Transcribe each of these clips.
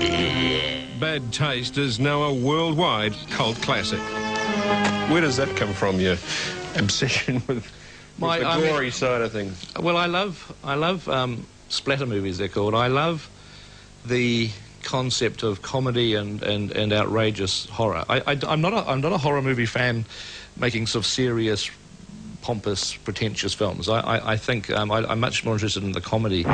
Bad Taste is now a worldwide cult classic. Where does that come from, your obsession with, with My- the I mean- glory side of things? Well, I love I love um, splatter movies. They're called. I love the concept of comedy and, and, and outrageous horror. I, am not a, I'm not a horror movie fan, making sort of serious, pompous, pretentious films. I I, I think um, I, I'm much more interested in the comedy.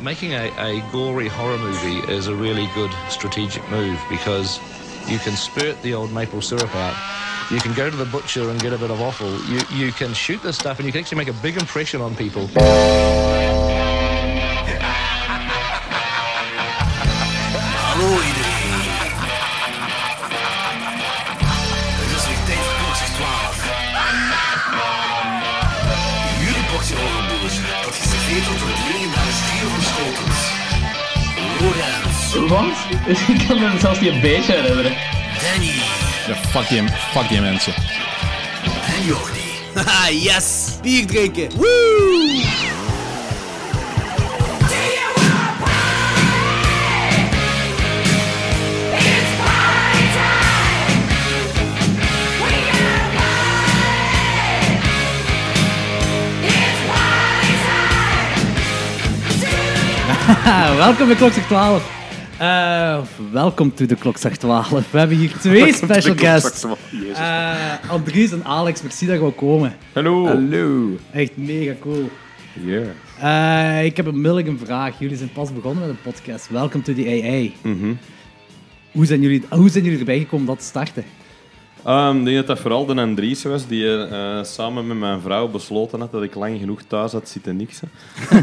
Making a, a gory horror movie is a really good strategic move because you can spurt the old maple syrup out. You can go to the butcher and get a bit of offal. You, you can shoot this stuff and you can actually make a big impression on people. Hallo iedereen. Het is weer tijd voor klokslag 12. Jullie portie overboers, dat is geveerd tot het dringen naar de stier van schotels. Lorenz, Wat? Ik kan me zelfs niet een beetje herinneren. Danny Ja, fuck die, fuck die mensen. en Jordi. Haha, yes! Bier drinken! Woo! Ah, welkom bij Klokzak 12. Eh, welkom to de Klokzak 12. We hebben hier twee special guests. Eh, Andries en Alex, merci dat je wou komen. Hallo. Hallo. Echt mega cool. Ja. Eh, ik heb onmiddellijk een vraag. Jullie zijn pas begonnen met een podcast. Welcome to the AA. hoe, zijn jullie, hoe zijn jullie erbij gekomen om dat te starten? Ehm, ik denk dat dat vooral de Andries was die eh, samen met mijn vrouw besloten had dat ik lang genoeg thuis had zitten niksen.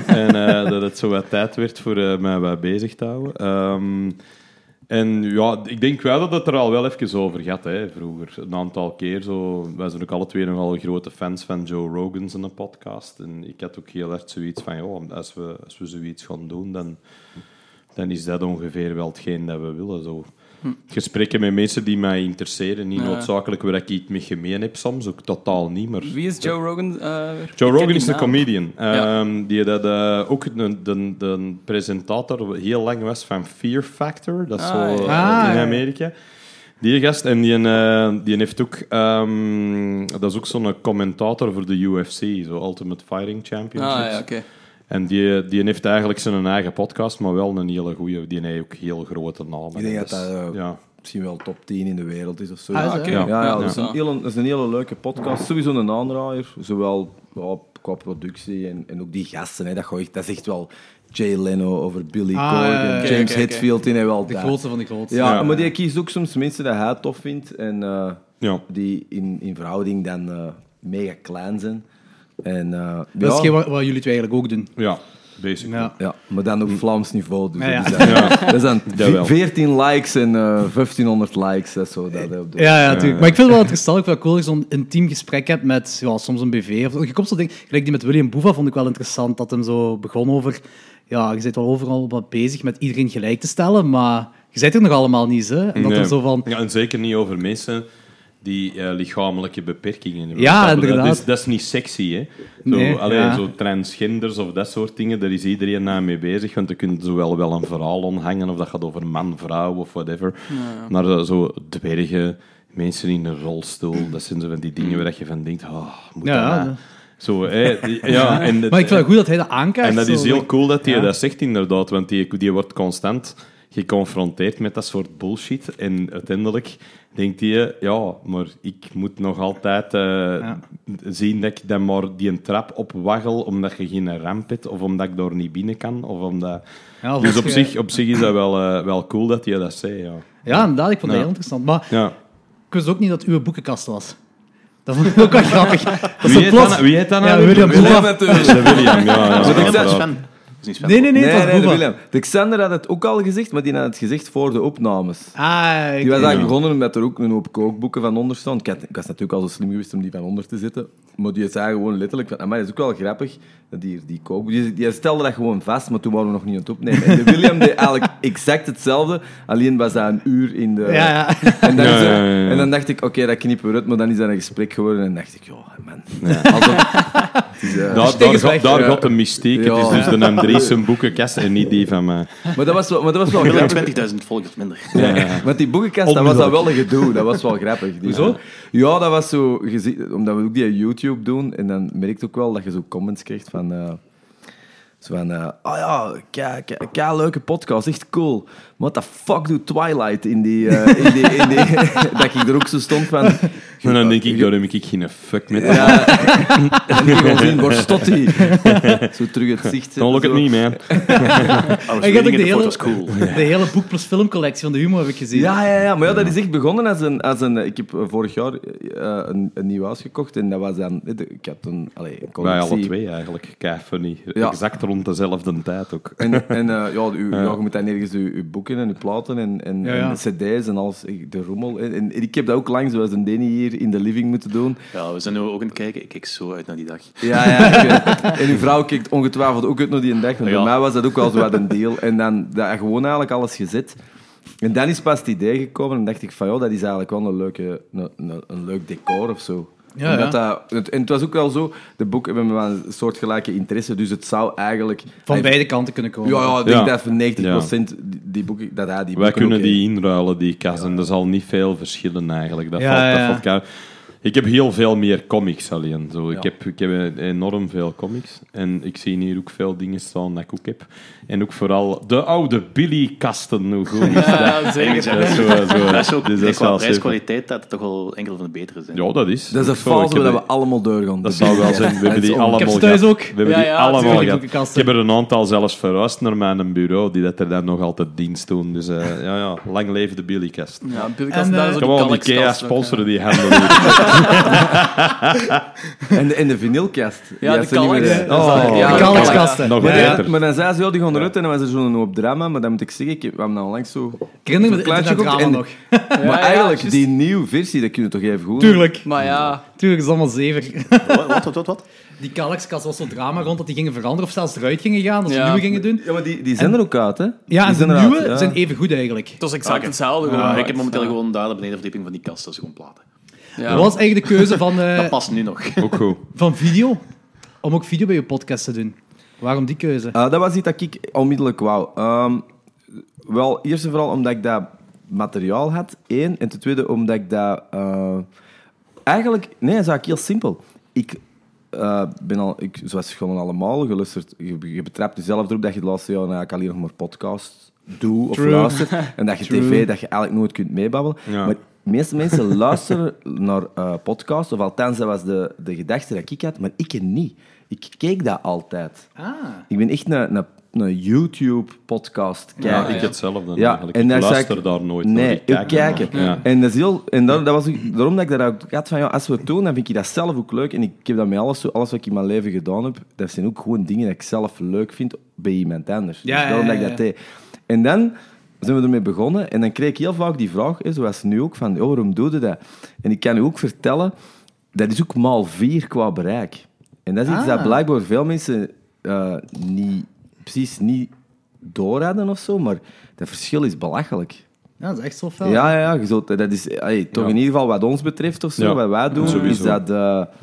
en eh, dat het zo wat tijd werd voor eh, mij wat bezig te houden. Ehm, en ja, ik denk wel dat het er al wel even over gaat, hè, vroeger. Een aantal keer. Zo, wij zijn ook alle twee nogal grote fans van Joe Rogan's in de podcast. En ik had ook heel hard zoiets van, joh, als we, als we zoiets gaan doen, dan, dan is dat ongeveer wel hetgeen dat we willen. Zo. Gesprekken met mensen die mij interesseren, niet Hm. Ja. noodzakelijk waar ik iets mee gemeen heb soms, ook totaal niet, maar... Wie is Joe Rogan? eh, weer? Joe Ik ken Rogan die is een naam. comedian. Ja. ehm, die dat, eh, ook de, de, de presentator heel lang was van Fear Factor. Dat is Ah, zo ja. eh, in Ah, ja. Amerika. Die gast, en die, eh, die heeft ook... ehm, dat is ook zo'n commentator voor de UFC. Zo Ultimate Fighting Championship. Ah ja, oké. En die, die heeft eigenlijk zijn eigen podcast, maar wel een hele goeie. Die heeft ook heel grote namen. Ik denk Dus, dat dat, eh, ja. misschien wel top 10 in de wereld is of zo. Ah, is ja, dat? Oké. Ja. ja, Ja, dat, is ja. een hele, dat is een hele leuke podcast. Sowieso een aanraaier, zowel ja, qua productie en, en ook die gasten. Hè, dat, gooi ik, dat is echt wel Jay Leno over Billy Ah, Corgan, ja, ja, ja. James Oké, oké, oké. Hetfield in en wel De dat. grootste van de grootste. Ja, Ja. maar die kiest ook soms mensen dat hij tof vindt en eh, Ja. die in, in verhouding dan eh, mega klein zijn. En, eh, Dat is ja, geen wat, wat jullie twee eigenlijk ook doen. ja, basic. Ja. ja, maar dan op Vlaams niveau. Dus Ja, ja. Dat is dan, dat is dan Jawel. 14 likes en eh 1500 likes. Dat is zo, dat, hè, op de- Ja, ja, natuurlijk. Maar ik vind het wel interessant, ik vind het wel cool dat je zo'n intiem gesprek hebt met ja, soms een BV. Of, je komt zo ding, gelijk die met William Boeva vond ik wel interessant, dat hem zo begon over... Ja, je bent wel overal wat bezig met iedereen gelijk te stellen, maar je bent er nog allemaal niet, hè? En dat Nee. er zo van... Ja, en zeker niet over mensen die eh, lichamelijke beperkingen hebben. Ja, dat, inderdaad. Dat is, dat is niet sexy, hè. Zo, Nee, allee, ja. zo transgenders of dat soort dingen, daar is iedereen na mee bezig, want je kunt zowel wel een verhaal onthangen, of dat gaat over man, vrouw, of whatever. Maar eh, zo dwergen, mensen in een rolstoel, dat zijn zo van die dingen waar je van denkt, ah, moet Ja, dat dat- nou? Zo, hè, die- ja, en het- Maar ik vind het goed dat hij dat aankaart. en dat zo. is heel cool dat hij Ja. dat zegt, inderdaad. Want die, die wordt constant geconfronteerd met dat soort bullshit. En uiteindelijk denkt hij, ja, maar ik moet nog altijd eh, zien dat ik dan maar die een trap opwaggel omdat je geen ramp hebt, of omdat ik daar niet binnen kan. Of omdat... Ja, of dus als op je- zich, op zich is dat wel, eh, wel cool dat hij dat zei, ja. Ja, inderdaad, ik vond dat Ja. heel interessant. Maar ja. ik wist ook niet dat het uw boekenkast was. Dat vond ik ook wel grappig. Dat Wie zo heet plots... dat- wie heet dat nou Ja, weer? William William Boeva. natuurlijk. De William, ja. ja, Moet ik ja, dat- ja. Nee, nee, nee, het Nee, was nee, de Boeva. Willem. De Xander had het ook al gezegd, maar die had het gezegd voor de opnames. Ah, ik- Die was eigenlijk begonnen met er ook een hoop kookboeken van onder staan. Ik, had- ik was natuurlijk al zo slim geweest om die van onder te zetten. Maar die zei gewoon letterlijk van, maar dat is ook wel grappig, dat die, die kook... Die, die stelde dat gewoon vast, maar toen waren we nog niet aan het opnemen. En de William deed eigenlijk exact hetzelfde, alleen was dat een uur in de... Ja, ja. En, dan Ja, zo- ja, ja, ja. en dan dacht ik, oké, dat knippen we uit, maar dan is dat een gesprek geworden. En dacht ik, joh, man. Alsof- het is, eh, Daar, daar, steek is gaat- weg. daar Ja. gaat de mystiek. Het is Ja. dus de M3's boekenkast en niet die van mij. maar, dat was wel, maar dat was wel Gemiddeld grappig. 20.000 volgers minder. Want die boekenkast, dat was dat wel een gedoe. Dat was wel grappig. Die- Hoezo? Ja, dat was zo... je ziet- Omdat we ook die YouTube doen. En dan merk je ook wel dat je zo comments krijgt van... eh, zo van... eh, Ah ja, kei, kei, kei leuke podcast. Echt cool. What the fuck doet Twilight in die... eh, in die, in die dat ik er ook zo stond van... eh, En dan denk ik, daar heb ik geen fuck mee. Ja, en ik gewoon zien, waar stot die? Zo terug het zicht. Dan lukt het zo. niet, man. I was Ik had ook reading it, I thought de it hele, was cool. de hele boek plus filmcollectie van de humor heb ik gezien. Ja, ja, ja, maar ja, dat is echt begonnen als een... Als een ik heb eh, vorig jaar eh, een, een nieuw huis gekocht en dat was dan... eh, de- Ik had een, allee, een Wij alle collectie. twee eigenlijk. Kei funny. Ja. Exact rond dezelfde tijd ook. En, en eh, ja, u, ja, je moet dan nergens uw, uw boeken en uw platen en, en, Ja, ja. en cd's en alles, eh, de rommel. En, en ik heb dat ook lang, zoals een Denny hier, in de living moeten doen. Ja, we zijn nu ook aan het kijken. Ik kijk zo uit naar die dag. Ja, ja. ik weet- en uw vrouw kijkt ongetwijfeld ook uit naar die dag. Maar Ja. voor mij was dat ook wel zo wat een deel. En dan dat, gewoon eigenlijk alles gezet. En dan is pas het idee gekomen en dacht ik van, joh, dat is eigenlijk wel een, leuke, een, een, een leuk decor of zo. Ja, Omdat ja. Dat, het- en het was ook wel zo, de boeken hebben wel een soortgelijke interesse, dus het zou eigenlijk... Van Hij- beide kanten kunnen komen. Ja, ja, ik denk Ja. dat voor 90% die, die boeken, dat hij die Wij boeken kunnen ook die inruilen, die kast. En er zal niet veel verschillen eigenlijk. Dat Ja, valt, ja. Dat valt kei- ik heb heel veel meer comics alleen. Zo. Ja. Ik, heb, ik heb enorm veel comics. En ik zie hier ook veel dingen staan dat ik ook heb. En ook vooral de oude Billy-kasten. Hoe goed is dat? Zeker. Dat is zo- zo- Dat is ook dus dus dat is wel super. prijsqualiteit dat het toch al enkele van de betere zijn. Ja, dat is. heeft. Dat is een Zo, ik fase heb waar die- we allemaal door gaan. Dat zou wel zijn. We hebben die allemaal Ik heb ze thuis gehad. ook. We hebben Ja, die ja, allemaal tuurlijk, gehad. Ik boekenkasten. heb er een aantal zelfs verhuisd naar mijn bureau, die dat er dan nog altijd dienst doen. Dus eh, ja, ja, lang leven de Billykast. Ja, En, Billycast, daar eh, is ook Gewoon Galaxy Ikea Cast ook, sponsoren die handel. Oh, niet. En de, en de vinylkast. Ja, Die de had ze niet meer, Galaxy. eh, Ja, ja, De Kalkskasten. Nog Maar, beter. dan- maar dan zei ze, ja, die gaan eruit en dan was er zo'n hoop drama. Maar dan moet ik zeggen, ik heb we hebben nou langs zo... Ik herinner me zo'n het internetdrama en- nog. Maar ja, eigenlijk, juist. die nieuwe versie, dat kunnen we toch even goed... Tuurlijk. Maar ja, Tuurlijk, is allemaal zever. Wat, wat, wat, wat? wat? Die Kalkskast was zo'n drama rond dat die gingen veranderen of zelfs eruit gingen gaan, dat ze Ja. nieuwe gingen doen. Ja, maar die, die zijn er ook uit, hè? Die Ja, en de zijn er nieuwe uit, ja. zijn even goed eigenlijk. het was Ah, exact hetzelfde. gewoon. ik heb momenteel gewoon daar de benedenverdieping van die kast, dat is gewoon platen. Ja. Dat was eigenlijk de keuze van, eh, Dat past nu nog. Ook goed. van video, om ook video bij je podcast te doen. Waarom die keuze? Ah, dat was iets dat ik onmiddellijk wou. Ehm, wel, eerst en vooral omdat ik dat materiaal had, één. En ten tweede omdat ik dat... eh, eigenlijk, nee, dat is eigenlijk heel simpel. Ik eh, ben al, ik, zoals gewoon allemaal, geluisterd, je, je betrapt jezelf erop dat je de laatste nou jaren eigenlijk alleen nog maar podcasts doet of True. luistert. En dat je tv, dat je eigenlijk nooit kunt meebabbelen. Ja. Maar de meeste mensen luisteren naar eh, podcasts, of althans, dat was de, de gedachte dat ik had, maar ik niet. Ik keek dat altijd. Ik ben echt een, een, een YouTube-podcast kijker. Ja, ik hetzelfde Ja, eigenlijk. en Ik daar zei luister ik- daar nooit naar. Nee, Ik ik kijk ernaar. kijken. Ja. En, dat is heel, en daar- dat was, ook- daarom dat ik dat ook had van, ja, als we het doen, dan vind ik dat zelf ook leuk. En ik heb dat met alles, zo- alles wat ik in mijn leven gedaan heb, dat zijn ook gewoon dingen dat ik zelf leuk vind bij iemand anders. Ja, dus daarom ja, dat ik ja, dat deed. En dan zijn we ermee begonnen en dan kreeg ik heel vaak die vraag, hè, zoals nu ook, van, oh, waarom doe je dat? En ik kan u ook vertellen, dat is ook maal vier qua bereik. En dat is iets Ah. dat blijkbaar veel mensen eh, niet, precies niet door hadden of zo, maar dat verschil is belachelijk. Ja, dat is echt zo fel. Ja, ja, ja je zult- dat is hey, toch in ieder geval wat ons betreft of zo, Ja, wat wij doen, is sowieso. dat... eh,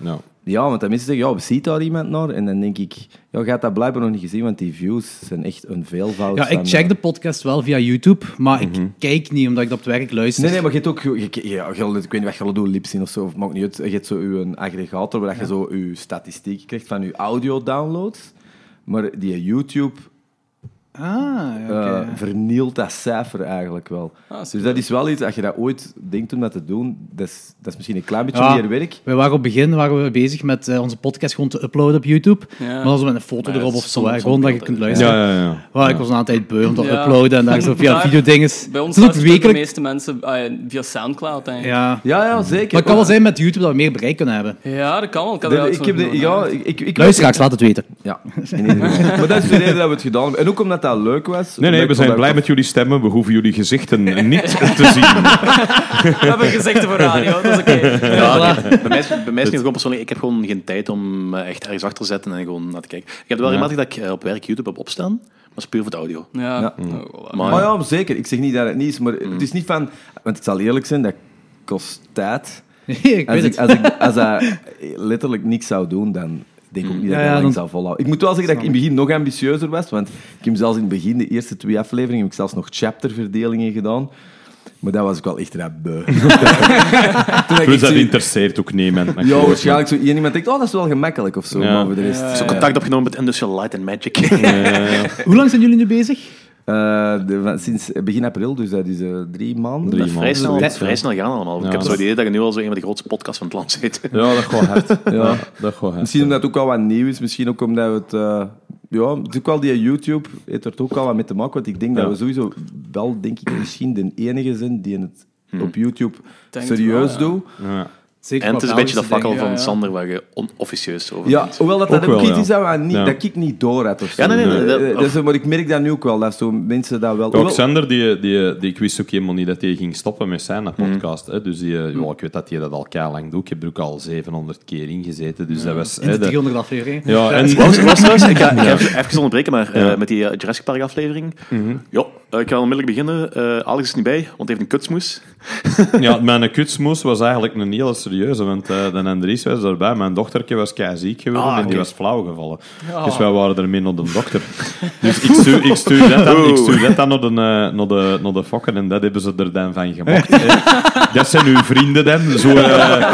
Ja. ja, want dan mensen zeggen, ja, ziet daar iemand naar? En dan denk ik, ja, je hebt dat blijkbaar nog niet gezien, want die views zijn echt een veelvoud. Ja, ik van, check eh, Mhm. de podcast wel via YouTube, maar ik kijk niet omdat ik dat op het werk luister. Nee, nee, maar je hebt ook... Je, je- ja, je- ik weet niet wat je doet, lipsyn of zo, of maakt niet uit. Je hebt zo een aggregator waar je zo je statistiek krijgt van je audio-downloads. Maar die YouTube Ah, ja, eh, oké. vernielt dat cijfer eigenlijk wel. dus dat is wel iets, als je dat ooit denkt om dat te doen, dat is, dat is misschien een klein beetje Ja. meer werk. We waren op het begin waren we bezig met eh, onze podcast gewoon te uploaden op YouTube. Ja. Maar dan zo met een foto ja, erop dat of is zo. zonder- hè. Gewoon zonder dat je beeld, kunt hè. luisteren. Ja, ja, ja. Wow, ik was een tijd beu om dat Ja. uploaden en daar zo via Maar videodinges. Bij ons Het is ook luisteren de wekelijk. meeste mensen eh, via Soundcloud, denk ik. Ja, Ja. Ja, ja, zeker. Maar het kan wel zijn met YouTube dat we meer bereik kunnen hebben. dat kan wel. Ik, had De- dat ik zo heb de, genoemd, ja, hè. ik, ik, ik Luisteraars, laat het weten. Ja, in ieder geval. maar dat is de reden dat we het gedaan hebben. En ook omdat dat leuk was. Nee, nee, omdat we ik zijn vond blij dat- met jullie stemmen. We hoeven jullie gezichten niet te zien. We hebben gezegd voor radio, dat is oké. Ja, nee, bij mij is, bij mij is het niet gewoon persoonlijk. Ik heb gewoon geen tijd om eh, echt ergens achter te zetten en gewoon naar te kijken. Ik heb wel regelmatig dat ik eh, op werk YouTube heb opstaan, maar dat is puur voor de audio. Ja. Ja. Oh, voilà. Maar, Maar Ah, ja, zeker. Ik zeg niet dat het niet is, maar Mm. het is niet van... Want ik zal eerlijk zijn, dat kost tijd. ik Als weet het. ik, als, ik, als dat letterlijk niks zou doen, dan denk ik ook niet dat Mm. Ja, ik dat ja, lang dan- zou volhouden. Ik moet wel zeggen dat ik in het begin nog ambitieuzer was, want ik heb zelfs in het begin, de eerste twee afleveringen, heb ik zelfs nog chapterverdelingen gedaan. Maar dat was ik wel echt rap beu. Toen had ik Plus, dat zo- interesseert ook niemand. maar Ja, goed. waarschijnlijk zo één iemand denkt, oh, dat is wel gemakkelijk of zo. Ja. Maar voor de rest... zo contact opgenomen met Industrial Light and Magic. Hoe lang zijn jullie nu bezig? eh, de- van- sinds begin april, dus dat is eh, drie maanden. Drie vrij, maanden. snel, zoiets, vrij ja. snel gaan allemaal. eh, Ja. Ik heb zo het idee dat je nu al zo een van de grootste podcasts van het land zit. Ja, dat gaat hard. Ja, dat gaat hard. Misschien omdat het ook al wat nieuw is. Misschien ook omdat we het... eh, ja, het is ook wel die YouTube heeft er ook al wat mee te maken. Want ik denk Ja. dat we sowieso wel, denk ik, misschien de enige zijn die het op YouTube Denk serieus het wel, doen. Hmm. Ja. Zeker En het is een beetje de fakkel Ja, van ja. Sander waar je onofficieus over Ja, bent. hoewel dat, dat Ook ook, wel, iets ja. is dat, we niet, Ja. dat ik niet door had of zo. Ja, nee, nee, dat- Eh, dus, maar ik merk dat nu ook wel, dat zo mensen dat wel... Ook hoewel- Sander, die, die, die, ik wist ook helemaal niet dat hij ging stoppen met zijn podcast. Hè. Dus die, eh, ja, ik weet dat hij dat al kei lang doet. Ik heb er ook al 700 keer in gezeten. Dus dat was... In de hè, dat- 300 aflevering. ja, en, Was, was trouwens, ik ga, ik ga even, even onderbreken, maar eh, met die eh, Jurassic Park aflevering. Mhm. Ja, eh, ik ga onmiddellijk beginnen. Eh, Alex is niet bij, want hij heeft een kutsmoes. ja, mijn kutsmoes was eigenlijk een hele serieuze, want eh de Andries was erbij. Mijn dochtertje was kei ziek geworden en die was flauw gevallen. Dus wij waren ermee naar de dokter. Dus ik stuur, ik stuur dat dan, ik stuur dat dan naar, de, eh, naar, de, naar de fokken en dat hebben ze er dan van gemaakt. hè. dat zijn uw vrienden dan. Zo, eh,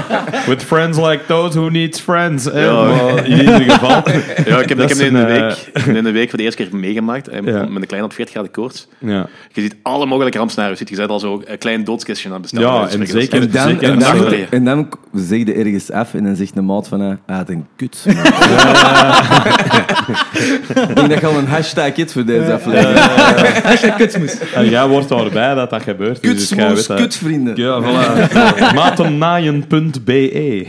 with friends like those, who needs friends? hè. Ja. Maar in ieder geval... Ja, ik heb, ik Dat heb is nu in de een, week, eh, ik heb nu in de week voor de eerste keer meegemaakt. eh, Ja. Met een klein op 40 graden koorts. Ja. Je ziet alle mogelijke rampscenario's. Je bent al zo een klein doodskistje aan het bestellen. Ja, bij wijze van en spreken. zeker- En dan, zeker en, een dan, nachtleer. en dan k- zeg je ergens af en dan zegt de maat van, eh, ah, het een kut. Ik denk dat je al een hashtag hebt voor deze aflevering. En jij wordt daarbij dat dat gebeurt. dus jij weet Kutsmoes, dat- kutvrienden. Ja, voilà. Matennaaien.be. E.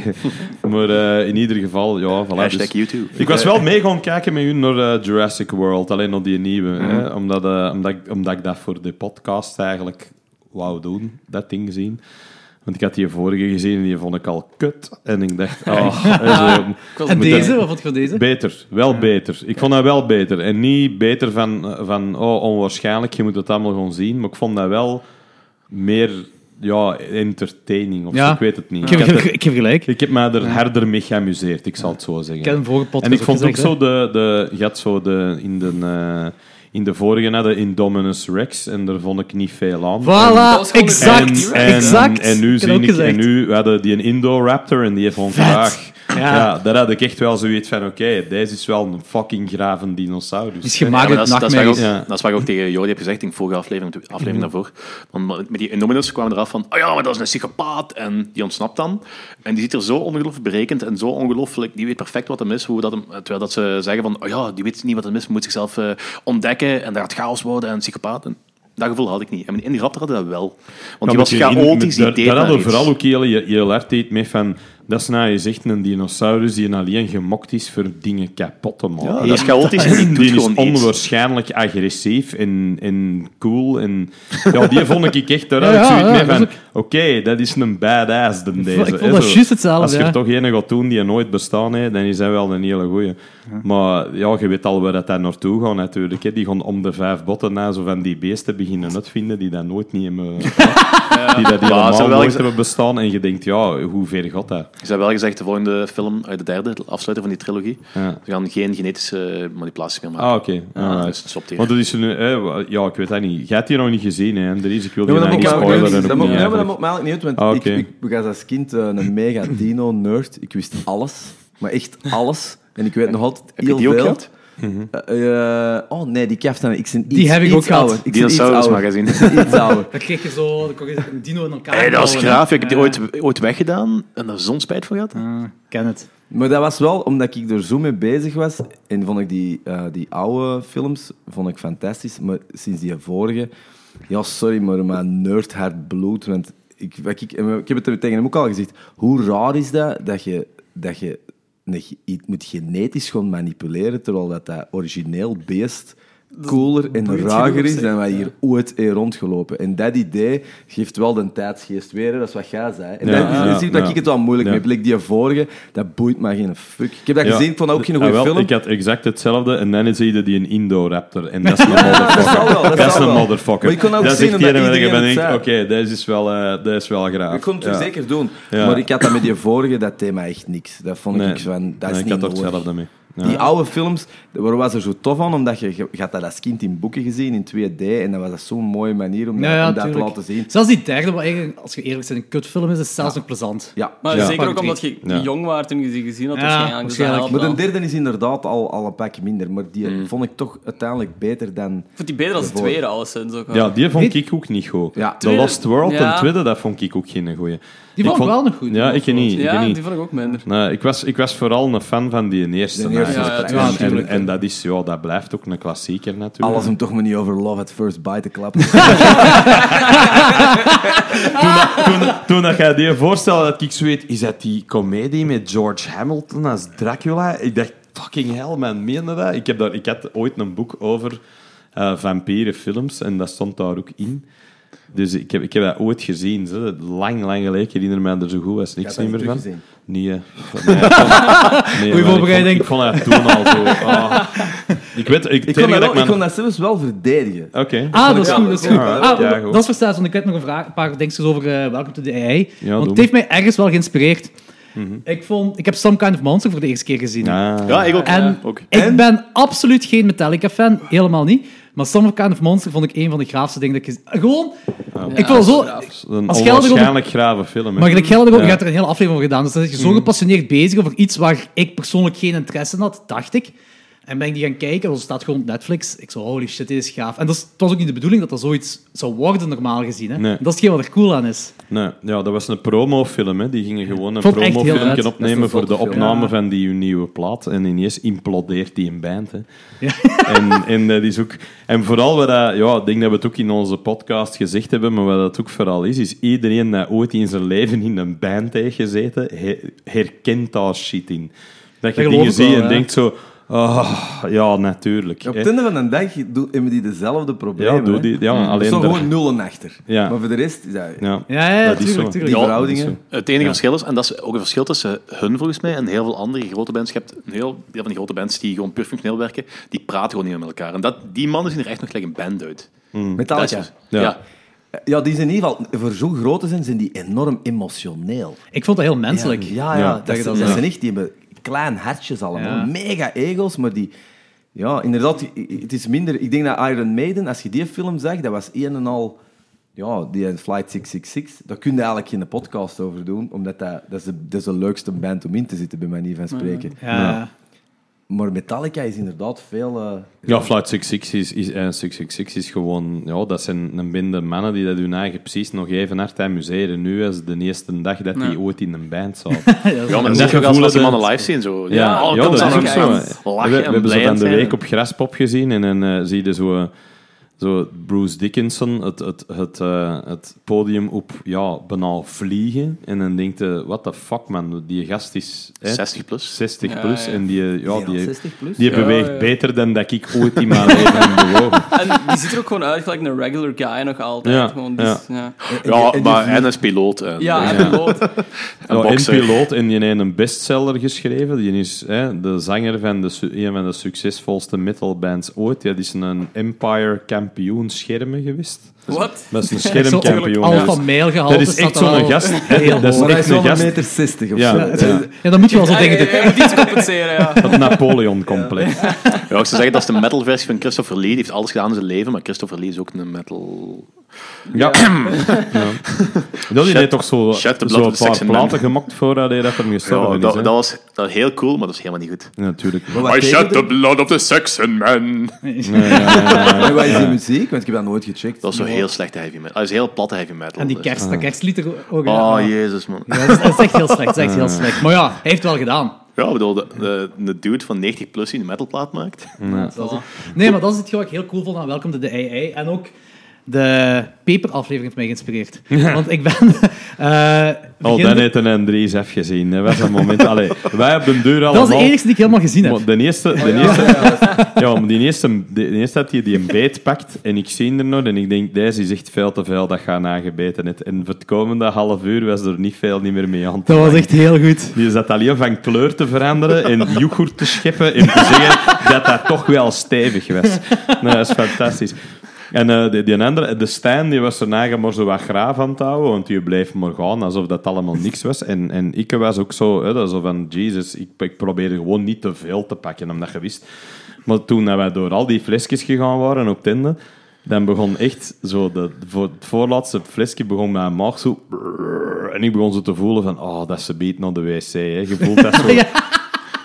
Maar eh, in ieder geval, ja, voilà. Hashtag dus- YouTube. ik was wel mee gaan kijken met u naar eh, Jurassic World, alleen nog die nieuwe. Mhm. Hè? Omdat, eh, omdat, ik, omdat ik dat voor de podcast eigenlijk wou doen, dat ding zien. Want ik had die vorige gezien en die vond ik al kut. En ik dacht, oh, hè, zo. En Moet deze? Wat dat- vond je van deze? Beter, wel beter. Ik vond dat wel beter. En niet beter van, van oh, onwaarschijnlijk, je moet het allemaal gewoon zien. Maar ik vond dat wel meer ja, entertaining of Ja. zo, ik weet het niet. Ik Ik, heb, heb ik heb- ik heb gelijk. ik heb me er harder mee geamuseerd, ik zal het zo zeggen. Ik heb hem dus vorige podcast En ik vond ook gezegd, zo de, de je had zo de in de eh, in de vorige na de Indominus Rex en daar vond ik niet veel aan. Voilà, was gewoon exact. een- En, en, exact. en nu heb zie ook ik, gezegd. en nu we hadden die een Indoraptor en die vond graag. Ja. daar had ik echt wel zoiets van: oké, deze is wel een fucking graven dinosaurus. Dus hè. je maakt Ja, het maar dat, is, dat, is waar nachtmerries. ik ook, Ja. Mm-hmm. dat is waar ik ook tegen Jordi heb gezegd in de vorige aflevering, de aflevering daarvoor. Want met die Indominus kwamen we eraf van, oh ja, maar dat is een psychopaat. En die ontsnapt dan. En die ziet er zo ongelooflijk berekend en zo ongelooflijk, die weet perfect wat hem is. Hoe dat hem, terwijl dat ze zeggen van, oh ja, die weet niet wat hem is, moet zichzelf eh, ontdekken. En daar gaat chaos worden en psychopaat. En dat gevoel had ik niet. En in die raptor hadden we dat wel. Want die was Ja, maar chaotisch, in- die met- deed Daar maar hadden we iets. vooral ook heel, heel hard deed mee van... Dat is nou, je zegt een dinosaurus die alleen gemokt is voor dingen kapot te maken. Ja, dat is chaotisch en die doet Die is gewoon iets. onwaarschijnlijk agressief en, en cool. En, ja, die vond ik echt... Daar had Ja, ik ja, zoiets ja, mee dat van... is Oké, dat is een badass, dan deze. ik vond hè, dat zo. juist hetzelfde, Als je ja. er toch een gaat doen die nooit bestaan heeft, dan is hij wel een hele goeie. Maar ja, je weet al waar dat daar naartoe gaat natuurlijk. Hè. Die gaan om de vijf botten na zo van die beesten beginnen uitvinden die dat nooit niet hebben... Die dat Maar ze helemaal hebben wel nooit geze- hebben bestaan. En je denkt, ja, hoe ver gaat dat? Ze hebben wel gezegd, de volgende film, uit de derde, de afsluiter van die trilogie, Ja. ze gaan geen genetische manipulaties meer maken. Ah, oké. Ja, alright. dus stopt hier. Want dat is nu... eh, wa- ja, ik weet dat niet. Jij hebt die nog niet gezien, hè, Andries? Ik wil die Ja, maar nou dat niet maakt mij ook niet spoileren. ook niet uit. Dat maakt- nee, maar dat eigenlijk. maakt mij eigenlijk niet uit, Ah, want oké. ik, ik was als kind eh, een mega dino-nerd. Ik wist alles, maar echt alles. En ik weet nog altijd je heel die ook veel. gehad? Eh, eh, oh nee, die kaftan. Ik ben Die iets- heb ik iets ook gehad. ouder. Ik ben iets ouder. Dinosaurusmagazine. Iets ouder. Dan kreeg je zo dan kon je een dino in elkaar Hey, dat was bouwen. graaf. Ik heb die ooit, ooit weggedaan en daar zo'n spijt voor gehad. Ah, ik ken het. Maar dat was wel omdat ik er zo mee bezig was. En vond ik die, eh, die oude films vond ik fantastisch. Maar sinds die vorige... Ja, sorry, maar mijn nerdhart bloed. Want ik, wat ik, en ik heb het er tegen hem ook al gezegd. Hoe raar is dat dat je, dat je een ge- iets moet genetisch gaan manipuleren terwijl dat, dat origineel beest cooler en boeit ruiger genoeg is zijn, dan wij ja. hier ooit heeft rondgelopen. En dat idee geeft wel de tijdsgeest weer, hè. dat is wat jij zei. En Ja, dat is ja, dat zie ik dat ja. ik het wel moeilijk Ja. mee heb. Like die vorige, dat boeit me geen fuck. Ik heb dat Ja. gezien, ik vond dat ook geen Ah, goede wel, film. Ik had exact hetzelfde en dan zie je die een Indoraptor. En dat is een motherfucker. zal wel, dat dat is zal een wel. motherfucker. Maar je kon ook dat is zien echt omdat die waar iedereen je het denkt, oké, zei. dat is wel, eh dat is wel graaf. Ik kon het Ja. toen zeker doen. Ja. Maar ik had dat met die vorige, dat thema echt niks. Dat vond ik Nee. niks van, dat is Nee, ik niet had er nodig. hetzelfde mee. Ja. Die oude films, waar was er zo tof aan? Omdat je, je had dat als kind in boeken gezien, in 2D. En dat was dat zo'n mooie manier Ja, om, dat, ja, om dat te tuurlijk. laten zien. Zelfs die derde, wat eigenlijk, als je eerlijk bent, een kutfilm is, is zelfs nog plezant. Ja. Maar Ja. zeker ook Fuck omdat je Ja. jong was toen je die gezien had. Ja, waarschijnlijk. Dus dat waarschijnlijk. helpt Maar de wel. derde is inderdaad al, al een pak minder. Maar die vond ik toch uiteindelijk beter dan... Ik vond die beter als de tweede, alleszins. Ook, wel. Ja, die vond ik ook niet goed. Ja. The Lost World, Ja. en tweede, dat vond ik ook geen goeie. Die vond ik wel nog goed, Ja, The ik Lost niet. Ik Ja, niet. die vond ik ook minder. Nee, ik, was, ik was vooral een fan van die eerste. De eerste eigenlijk. is Ja, ja, en, en, tuurlijk. en dat, is, ja, dat blijft ook een klassieker natuurlijk. Alles om toch maar niet over Love at First Bite te klappen. Toen dat jij die voorstelde, dat ik zo weet, is dat die komedie met George Hamilton als Dracula? Ik dacht, fucking hell man, meende dat? Ik, heb daar, ik had ooit een boek over eh vampierenfilms en dat stond daar ook in. Dus ik heb, ik heb dat ooit gezien. Zo. Lang, lang geleden. Ik herinner me er zo goed als niks dat meer niet van. teruggezien? Nee. eh, nee, ik kon- nee, maar voorbereiding. Ik kon, ik kon dat toen al zo. ah. Ik weet... Ik, ik, tegen kon dat dat wel- ik ik kon mijn- dat zelfs wel verdedigen. Oké. Ah, dat is goed, dat is goed. Ja, Ah, ja, dat- goed. dat is verstaan, want ik heb nog een, vraag, een paar dingetjes over eh Welcome to the AI. want doe maar. Mhm. het heeft mij ergens wel geïnspireerd. Ik, vond, ik heb Some Kind of Monster voor de eerste keer gezien. Ah. Ja, ik ook. En ook. ik ben absoluut geen Metallica-fan, helemaal niet. Maar Some Kind of Monster vond ik een van de graafste dingen dat ik... gez- Gewoon, Ah. ik wil zo... Een Als Gelder over- onwaarschijnlijk grave film. hè. Maar gelijk Gelder ook, Ja. je hebt er een hele aflevering over gedaan. Dus dan zit je zo gepassioneerd bezig over iets waar ik persoonlijk geen interesse in had, dacht ik. En ben ik die gaan kijken, want er staat gewoon op Netflix. Ik zo, holy shit, dit is gaaf. En dat is, het was ook niet de bedoeling dat dat zoiets zou worden, normaal gezien. Hè? Nee. Dat is hetgeen wat er cool aan is. Nee, ja, dat was een promofilm. Hè. Die gingen gewoon een Vond ik echt heel promofilmpje vet. opnemen voor de opname Ja. van die nieuwe plaat. En ineens implodeert die een band. Hè. En, en, dat is ook, en vooral, wat dat, ja, ik denk dat we het ook in onze podcast gezegd hebben, maar wat dat ook vooral is, is iedereen dat ooit in zijn leven in een band heeft gezeten, he- herkent daar shit in. Dat je Dat geloof dingen ik wel, ziet en ja. denkt zo... ah, ja, natuurlijk. Op hè. het einde van de dag doen- hebben die dezelfde problemen. Ja, doe hè. die- ja, Hmm. Er alleen staan daar- gewoon nullen achter. Ja. Maar voor de rest is dat... Ja, Ja, ja, dat is tuurlijk, zo. tuurlijk. Die Ja, verhoudingen. dat is zo. Het enige verschil is, en dat is ook een verschil tussen hun volgens mij en heel veel andere grote bands. Je hebt een heel deel van die grote bands die gewoon puur functioneel werken, die praten gewoon niet meer met elkaar. En dat, die mannen zien er echt nog gelijk een band uit. Mm. Dat is- dus- Metallica. Ja. ja. Ja, die zijn in ieder geval... Voor zo groot te zijn, zijn die enorm emotioneel. Ik vond dat heel menselijk. Ja, ja, Ja, dat, dat je zijn- dat dat zegt. zijn echt, die hebben klein hartjes allemaal. Ja. Mega egels, maar die... Ja, inderdaad, i- i- het is minder... Ik denk dat Iron Maiden, als je die film zag, dat was een en al... Ja, die en Flight 666, daar kun je eigenlijk geen podcast over doen, omdat dat, dat, is de, dat is de leukste band om in te zitten, bij manier van spreken. Ja. Maar Metallica is inderdaad veel... eh, Ja, Flight 666 is, is, eh, 666 is gewoon... Ja, dat zijn een bende mannen die dat hun eigen precies nog even hard amuseren. Nu is de eerste dag dat die ooit in een band zaten. Ja, maar En dat dat is ook als, gevoel als die dat- mannen live zien. Zo. Ja, ja, alle dat kanten is ook aan zo. elkaar. hè. We, Lachen we hebben en ze van blijend de zijn. week op Graspop gezien en dan eh, zie je zo, eh, zo Bruce Dickinson het, het, het, eh, het podium op ja, banaal vliegen. En dan denkt je, what the fuck man, die gast is... hè, 60 plus. 60 Ja, plus ja. en die, eh, ja, zijn al die, 60 plus? die Ja, beweegt ja. beter dan dat ik ooit in mijn leven heb bewogen. En die ziet er ook gewoon uit gelijk een regular guy nog altijd. Ja, Gewoon, die is- ja. Ja, en- maar en als piloot. En, Ja, en Ja. piloot. en Ja, en bokser. Nou, piloot en die heeft een bestseller geschreven. Die is hè, de zanger van de, su- een van de succesvolste metalbands ooit. Die is een Empire kampioen schermen geweest. Wat? Dat is een Natuurlijk, schermkampioen. al geweest. van mijl gehaald. Dat is echt zo'n gast. hè, Dat is Maar hij is echt wel een een gast. meter 60 of zo. Ja, ja, Ja, dan moet je wel zo Ah, Ja, dingen ja, doen. ja, je moet iets compenseren, ja. het Napoleon-complex. Ja, ik zou zeggen, dat is de metalversie van Christopher Lee. Die heeft alles gedaan in zijn leven, maar Christopher Lee is ook een metal... Ja. Ja. Dat die Shut- heeft toch zo, shut the zo blood of een the paar section man. platen gemokt voordat hij dat hem Ja, gestorven dat, is. hè. dat was dat was heel cool, maar dat is helemaal niet goed. Ja, natuurlijk. Maar wat I betekent shed the blood of the Saxon man. het? En wat is die muziek? Want ik heb dat nooit gecheckt. Dat is zo heel slechte heavy metal. Ah, Dat is heel platte heavy metal. En die Dus- kerst, dat kerstlied er ook. ja. Oh, jezus, man. Ja, dat, is, dat is echt heel slecht, dat is echt heel slecht. Maar ja, hij heeft het wel gedaan. Ja, ik bedoel, de, de, de dude van 90 plus die een metalplaat maakt. Nee, maar dat is het wat ik heel cool vond aan Welcome to the AI. En ook de Paper-aflevering heeft mij geïnspireerd. Want ik ben... eh, Al begin- Oh, dan heeft een Andries even gezien. Hè. Wij zijn moment... Allee, wij hebben de deur allemaal... dat is de enige die ik helemaal gezien heb. Maar de eerste, de eerste, ja, maar die eerste, de, de eerste dat je die een beet pakt en ik zie er nog en ik denk, deze is echt veel te veel, dat gaat aangebeten. Het. En voor het komende half uur was er niet veel niet meer mee aan. Dat was echt heel goed. Die zat alleen van kleur te veranderen en yoghurt te scheppen en te zeggen dat dat toch wel stevig was. Nou, dat is fantastisch. En eh, die, die andere, de Stijn, die was erna maar zo wat graaf aan het houden, want die bleef maar gaan alsof dat allemaal niks was. En, en ik was ook zo, hè, dat zo van, Jesus, ik, ik probeerde gewoon niet te veel te pakken, omdat je wist. Maar toen dat wij door al die flesjes gegaan waren op Tinder, dan begon echt zo, de, voor het voorlaatste flesje begon mijn maag zo... En ik begon zo te voelen van, oh, dat ze beet naar de wc. Hè. Je voelt dat zo...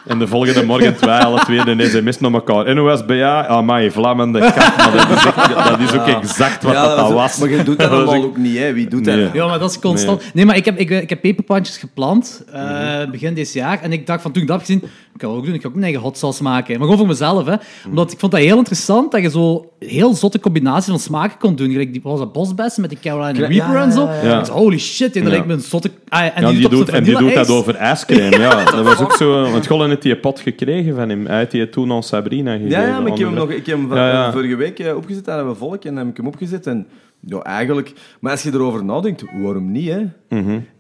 En de volgende morgen twee, alle twee een sms naar elkaar. NOSBA, Ah, amai, vlammende kat. Maar dat, is echt- dat is ook exact wat dat, ook- was. Maar je doet dat was allemaal echt- ook niet, hè? Wie doet dat? Nee. Ja, maar dat is constant. Nee, maar ik heb, ik, ik heb peperpantjes geplant eh, begin dit jaar. En ik dacht van toen ik dat heb gezien, ik kan dat ook doen. Ik ga ook mijn eigen hot sauce maken. Maar gewoon voor mezelf. Hè. Omdat ik vond dat heel interessant dat je zo heel zotte combinaties van smaken kon doen. Gelijk die wat was dat bosbessen met die Carolina Ja, Reaper ja, en zo. ja, ja. Ik dacht, holy shit, ja, dat Ja. lijkt me een zotte. Ah, en Ja, die, die doet, doet, dat op zo'n en die doet dat vanilla-ijs. over ijscream. Ja, dat was ook zo. Want Gollen heeft die pot gekregen van hem. Hij heeft die toen al Sabrina gegeven. Ja, ja, maar ik heb hem, nog, onder- ik heb hem van- Ja, ja. vorige week eh, opgezet. Daar hebben we volk en dan heb ik hem opgezet. En ja, eigenlijk... Maar als je erover nadenkt, waarom niet, hè?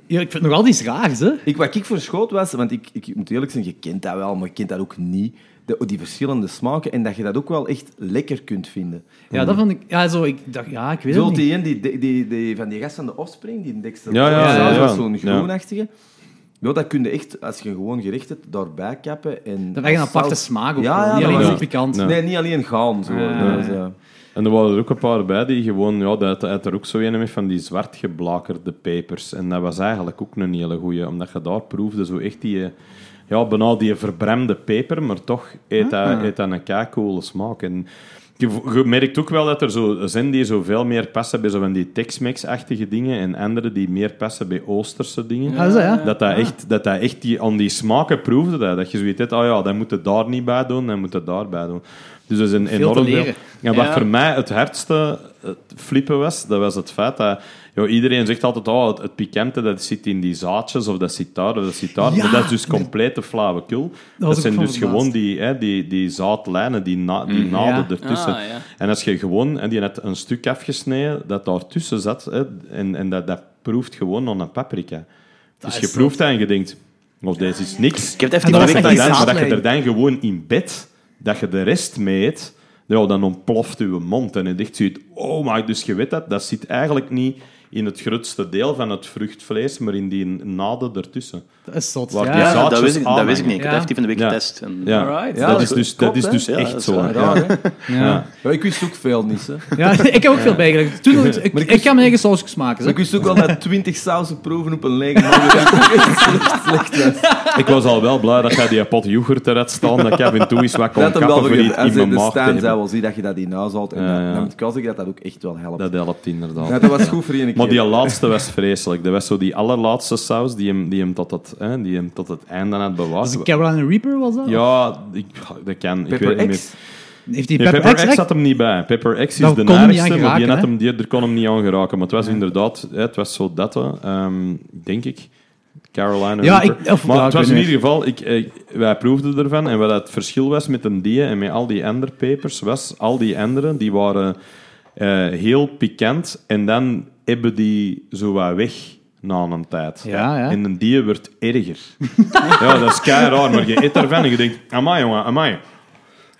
Ja, ik vind het nog altijd iets raars, hè? Ik, wat ik verschoot was, want ik, ik moet eerlijk zijn, je kent dat wel, maar je kent dat ook niet. De, die verschillende smaken en dat je dat ook wel echt lekker kunt vinden. Ja, dat vond ik. Ja, zo, ik dacht, ja, ik weet Zo het niet. die, een, die, die, die, die van die gast van de offspring, die Dexter Ja, ja, Lawrence, ja, dat ja. was zo'n Ja. groenachtige. Ja, dat kun je echt, als je gewoon gericht hebt, daarbij kappen. En Dat krijg je een als aparte saus- smaak ook. Ja, wel. ja, niet dat alleen was zo echt- pikant. Ja. Nee, niet alleen gaan. Zo. Dat is, ja. En er waren er ook een paar bij die gewoon... Ja, dat had er ook zo een met van die zwart geblakerde pepers. En dat was eigenlijk ook een hele goeie. Omdat je daar proefde zo echt die... eh, Ja, bijna die verbremde peper. Maar toch eet dat, eet dat een keicoole smaak. En je, v- je merkt ook wel dat er zo zijn die zo veel meer passen bij zo van die Tex-Mex-achtige dingen. En andere die meer passen bij Oosterse dingen. Ah, is dat, ja? Dat dat echt, dat dat echt die, aan die smaken proefde. Dat, dat je zoiets hebt, oh ja, dat moet het daar niet bij doen, dat moet het daarbij doen. Dus dat is een te enorm veel. leren. En wat Ja. voor mij het hardste het flippen was, dat was het feit dat joh, iedereen zegt altijd, oh, het, het pikante dat zit in die zaadjes, of dat zit daar, of dat zit daar. Ja, maar dat is dus complete flauwekul. Dat, was ik zijn van dus verbaasd. gewoon die, hè, die, die zaadlijnen, die, na, die naden Ja. ertussen. Ah, ja. En als je gewoon, en die had een stuk afgesneden dat daar tussen zat, hè, en, en dat, dat proeft gewoon aan een paprika. dus je proeft dat en je denkt, of deze is niks. Ik heb het En even dat was niet Maar meer echt die dat, je dan, maar dat je zaadlijn. er dan gewoon in bed, dat je de rest mee eet, ja, dan ontploft je mond en je dicht ziet, oh maar dus je weet dat, dat zit eigenlijk niet in het grootste deel van het vruchtvlees, maar in die naden ertussen. Dat is zot. Waar Ja, die ja. zaad- Ja, dat wist ik, dat wist ik niet. Ik heb Ja. het even van de week Ja. getest. En, Ja, Alright. Ja, dat, dat is dus, klopt, dat is hè. dus Ja, echt dat is zo. raar, hè. Ja, Ja. hè. Ja, ik wist ook veel niet. Hè. ik heb ook veel bijgelegd. Toen, ik, ik, ik ga mijn eigen sausjes maken. Maar Zeg. ik wist ook wel dat 20 sausen proeven op een lege man. Dat is echt slecht, slecht. hè. Ik was al wel blij dat jij die pot yoghurt eruit staan, dat Kevin toe is wat kon Dat hem kappen wel voor vergeten. iets Als in je mijn de maag te staan hebben. zou wel zien dat je dat in huis haalt. En Ja, dat- ja. dan moet ik wel zeggen dat dat ook echt wel helpt. Dat helpt inderdaad. Ja, dat was goed voor één keer. Maar die laatste was vreselijk. Dat was zo die allerlaatste saus die hem, die hem, tot, het, hè, die hem tot het einde had bewaard. Dus Was het Carolina Reaper, was dat? ja, ik, dat kan. Ik weet altså. Pepper niet X. meer. Heeft die Nee, Pepper, Pepper X X echt- had hem niet bij. Pepper X is Daar de kon hem niet naarste, aan maar die geraken, had hè? hem, die, er kon hem niet aan geraken. Maar het was inderdaad, hè, het was zo dat, hè, ehm, denk ik. Carolina Ja, Reaper. ik- of- maar ja, het ik was weet in niet. ieder geval, ik, ik- wij proefden ervan. En wat het verschil was met een die en met al die andere pepers, was al die anderen, die waren eh, heel pikant. En dan hebben die zo wat weg na een tijd. Ja, ja. En een die wordt erger. ja, dat is kei raar. Maar je eet ervan en je denkt, amai jongen, amai.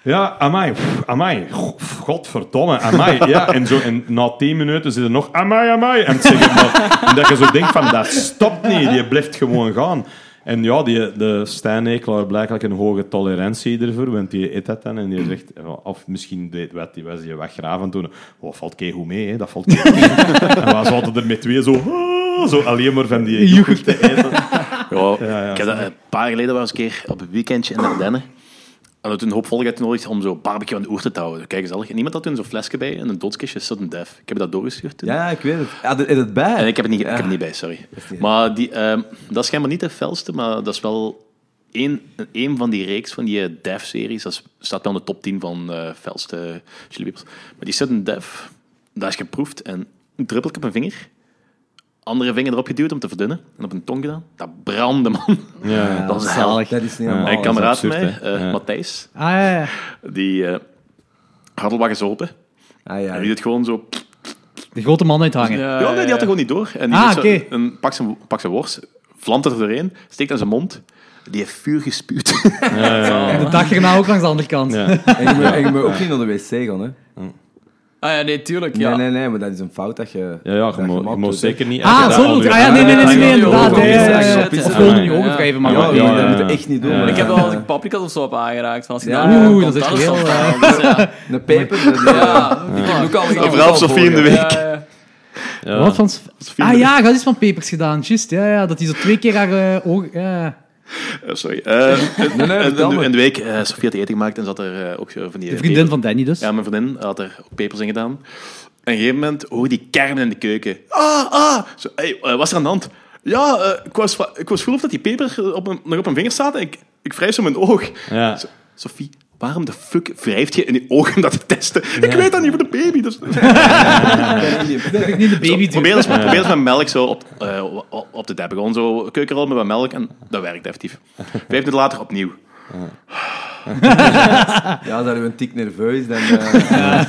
Ja, amai, pff, amai, Go- godverdomme, amai. Ja, en, zo, en na tien minuten zit er nog amai, amai. En, het zeggen, maar, en dat je zo denkt van, dat stopt niet, die blijft gewoon gaan. En ja, die, de Stijn Ekelaar heeft blijkbaar een hoge tolerantie ervoor, want die eet dat dan en die zegt, ja, of misschien deed wat, die was die wat graven toen, oh, valt kei goed mee, hè, dat valt kei goed mee. En we zaten er met twee zo, ah, zo alleen maar van die yoghurt te eten. Ja, ik heb dat een paar jaar geleden was ik een keer op een weekendje in Ardennen. En dat toen een hoop volk uitgenodigd om zo barbecue aan de oerten te houden. Kijk gezellig. En iemand had toen zo'n flesje bij en een doodskistje sudden death. Ik heb dat doorgestuurd toen. Ja, ik weet het. Ja, dat- is het bij? En ik heb het niet, ik heb Ah. het niet bij, sorry. Maar die, ehm, dat is schijnbaar niet de felste, maar dat is wel één, één van die reeks van die eh, Def-series. Dat is- staat wel in de top 10 van eh felste chili peppers. Maar die Sudden Def, dat is geproefd en een druppeltje op een vinger, andere vinger erop geduwd om te verdunnen en op een tong gedaan. Dat brandde, man. Ja. dat is hel. Ah, Dat is niet Ja. normaal. Mijn kameraad van absurd, mij, hè? eh, Ja. Matthijs, Ah, ja, ja. die eh hardelwagens open Ah, ja. en die het gewoon zo De grote man uithangen. Ja, Ja, nee, die had er gewoon niet door. En die Ah, deed zo oké. een, pak, zijn, pak zijn worst, vlamt er doorheen, steekt aan zijn mond. Die heeft vuur Oh, gespuwd. En de dag erna ook langs de andere kant. Ja. En je moet, en je moet ook niet naar de wc gaan, hè. Ah ja, nee, tuurlijk, ja. Nee, nee, nee, maar dat is een fout dat je... Ja, ja, je Dat mo- gemaakt dus, je moet is, zeker niet... Ah, zo bedoel ik. Ah, ja, nee, nee, nee, nee, nee, inderdaad. Ja, ja, ja, ja. Shit, Of ja. gewoon in je Ja, ogen ja. wrijven, Ja, maar ja, ja, ja, ja. dat moet je echt niet doen. Ja. maar Ik dat heb is wel als een, ik papicas of zo op aangeraakt. van Als je Ja, daar komt, oeh, dat is dan heel, toch eh, wel, dus ja. Ah, een paper. dat- Ja, ik heb ook al een keer Overal op gezien. Sofie in de Ja, week. ja. Ja. Wat van... oh, Ah ja, dat is van Papers gedaan, juist. Ja, ja, dat hij zo twee keer haar eh, ogen... Ja. Eh, sorry. Eh, en- nee, en- vertel en- me. en de week, eh Sofie had eten gemaakt en zat er eh, ook zo van die... De vriendin van Danny dus. Ja, mijn vriendin had er ook pepers in gedaan. En op een gegeven moment hoor die kermen in de keuken. Ah, ah! Zo, hey, eh, wat is er aan de hand? Ja, eh, ik, was, va- ik was voel of dat die peper op mijn, nog op mijn vinger staat en ik, ik wrijf zo mijn oog. Ja. Zo, Sophie, waarom de fuck wrijft je in je oog om dat te testen? Ik weet dat niet voor de baby. Dus... Niet de baby doen. Probeer eens, met- probeer eens met melk zo op, eh, op- op de deppen. Gewoon zo keukenrol met wat melk en dat werkt effectief. Vijf minuten later opnieuw. Ja, zijn we een tik nerveus, dan... eh,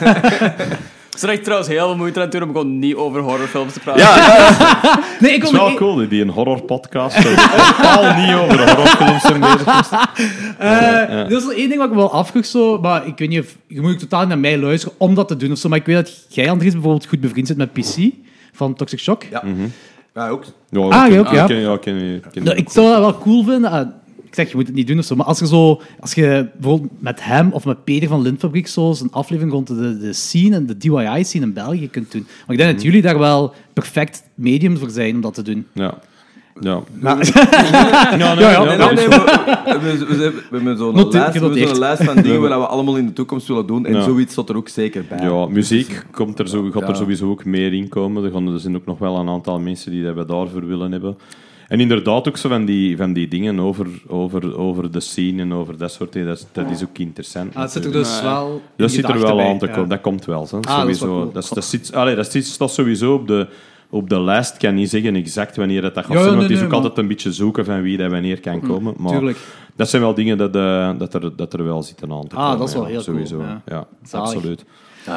Ze had echt trouwens heel veel moeite aan toen om gewoon niet over horrorfilms te praten. Nee, ik Het kon... is wel Ik, cool, die- die een horrorpodcast. zo Totaal niet over de horrorfilms zijn bezig. is. eh, Er is wel één ding wat ik me wel afvroeg, zo, maar ik weet niet of... Je moet ook totaal niet naar mij luisteren om dat te doen of zo, maar ik weet dat jij, Andries, bijvoorbeeld goed bevriend zit met PC van Toxic Shock. Ja. ja, ook. Ja, Ah, ik ken- ook, ja. ik ken- Ja, ik ken die- ik ken Nou, die ik zou dat wel cool vinden. Ah, ik zeg, je moet het niet doen of zo. Maar als je zo, als je bijvoorbeeld met hem of met Peter van Lindfabriek zo een aflevering rond de, de scene en de DIY-scene in België kunt doen. Maar ik denk Mhm. dat jullie daar wel perfect medium voor zijn om dat te doen. Ja. Ja. ja, ja. Nee, nee, nee, we, we, we- we- we hebben Noteer- zo'n lijst, we hebben genoteerd. zo'n lijst van dingen waar we allemaal in de toekomst willen doen. En Ja. zoiets zat er ook zeker bij. Ja, muziek komt er zo, gaat Ja. er sowieso ook meer in komen. Er, gaan, er zijn ook nog wel een aantal mensen die dat daarvoor willen hebben. En inderdaad ook zo van die, van die dingen over, over, over de scene en over dat soort dingen. Dat, is- dat is ook interessant. Ah, het zit er natuurlijk. dus wel. in Dat je zit er dag wel erbij, aan te ja. Ah, komen. Dat komt wel. Hè. wel sowieso. cool. dat, is, dat, zit, allee, dat, zit, staat sowieso op de, op de lijst. Ik kan niet zeggen exact wanneer dat, dat gaat Ja, ja, zijn. nee, Want het is nee, ook maar- Mm, altijd een beetje zoeken van wie dat wanneer kan komen. Maar tuurlijk. dat zijn wel dingen dat, eh, dat, er, dat er wel zitten aan te Ah, komen. dat is wel ja, heel cool, sowieso. ja. Ja, Zalig. absoluut.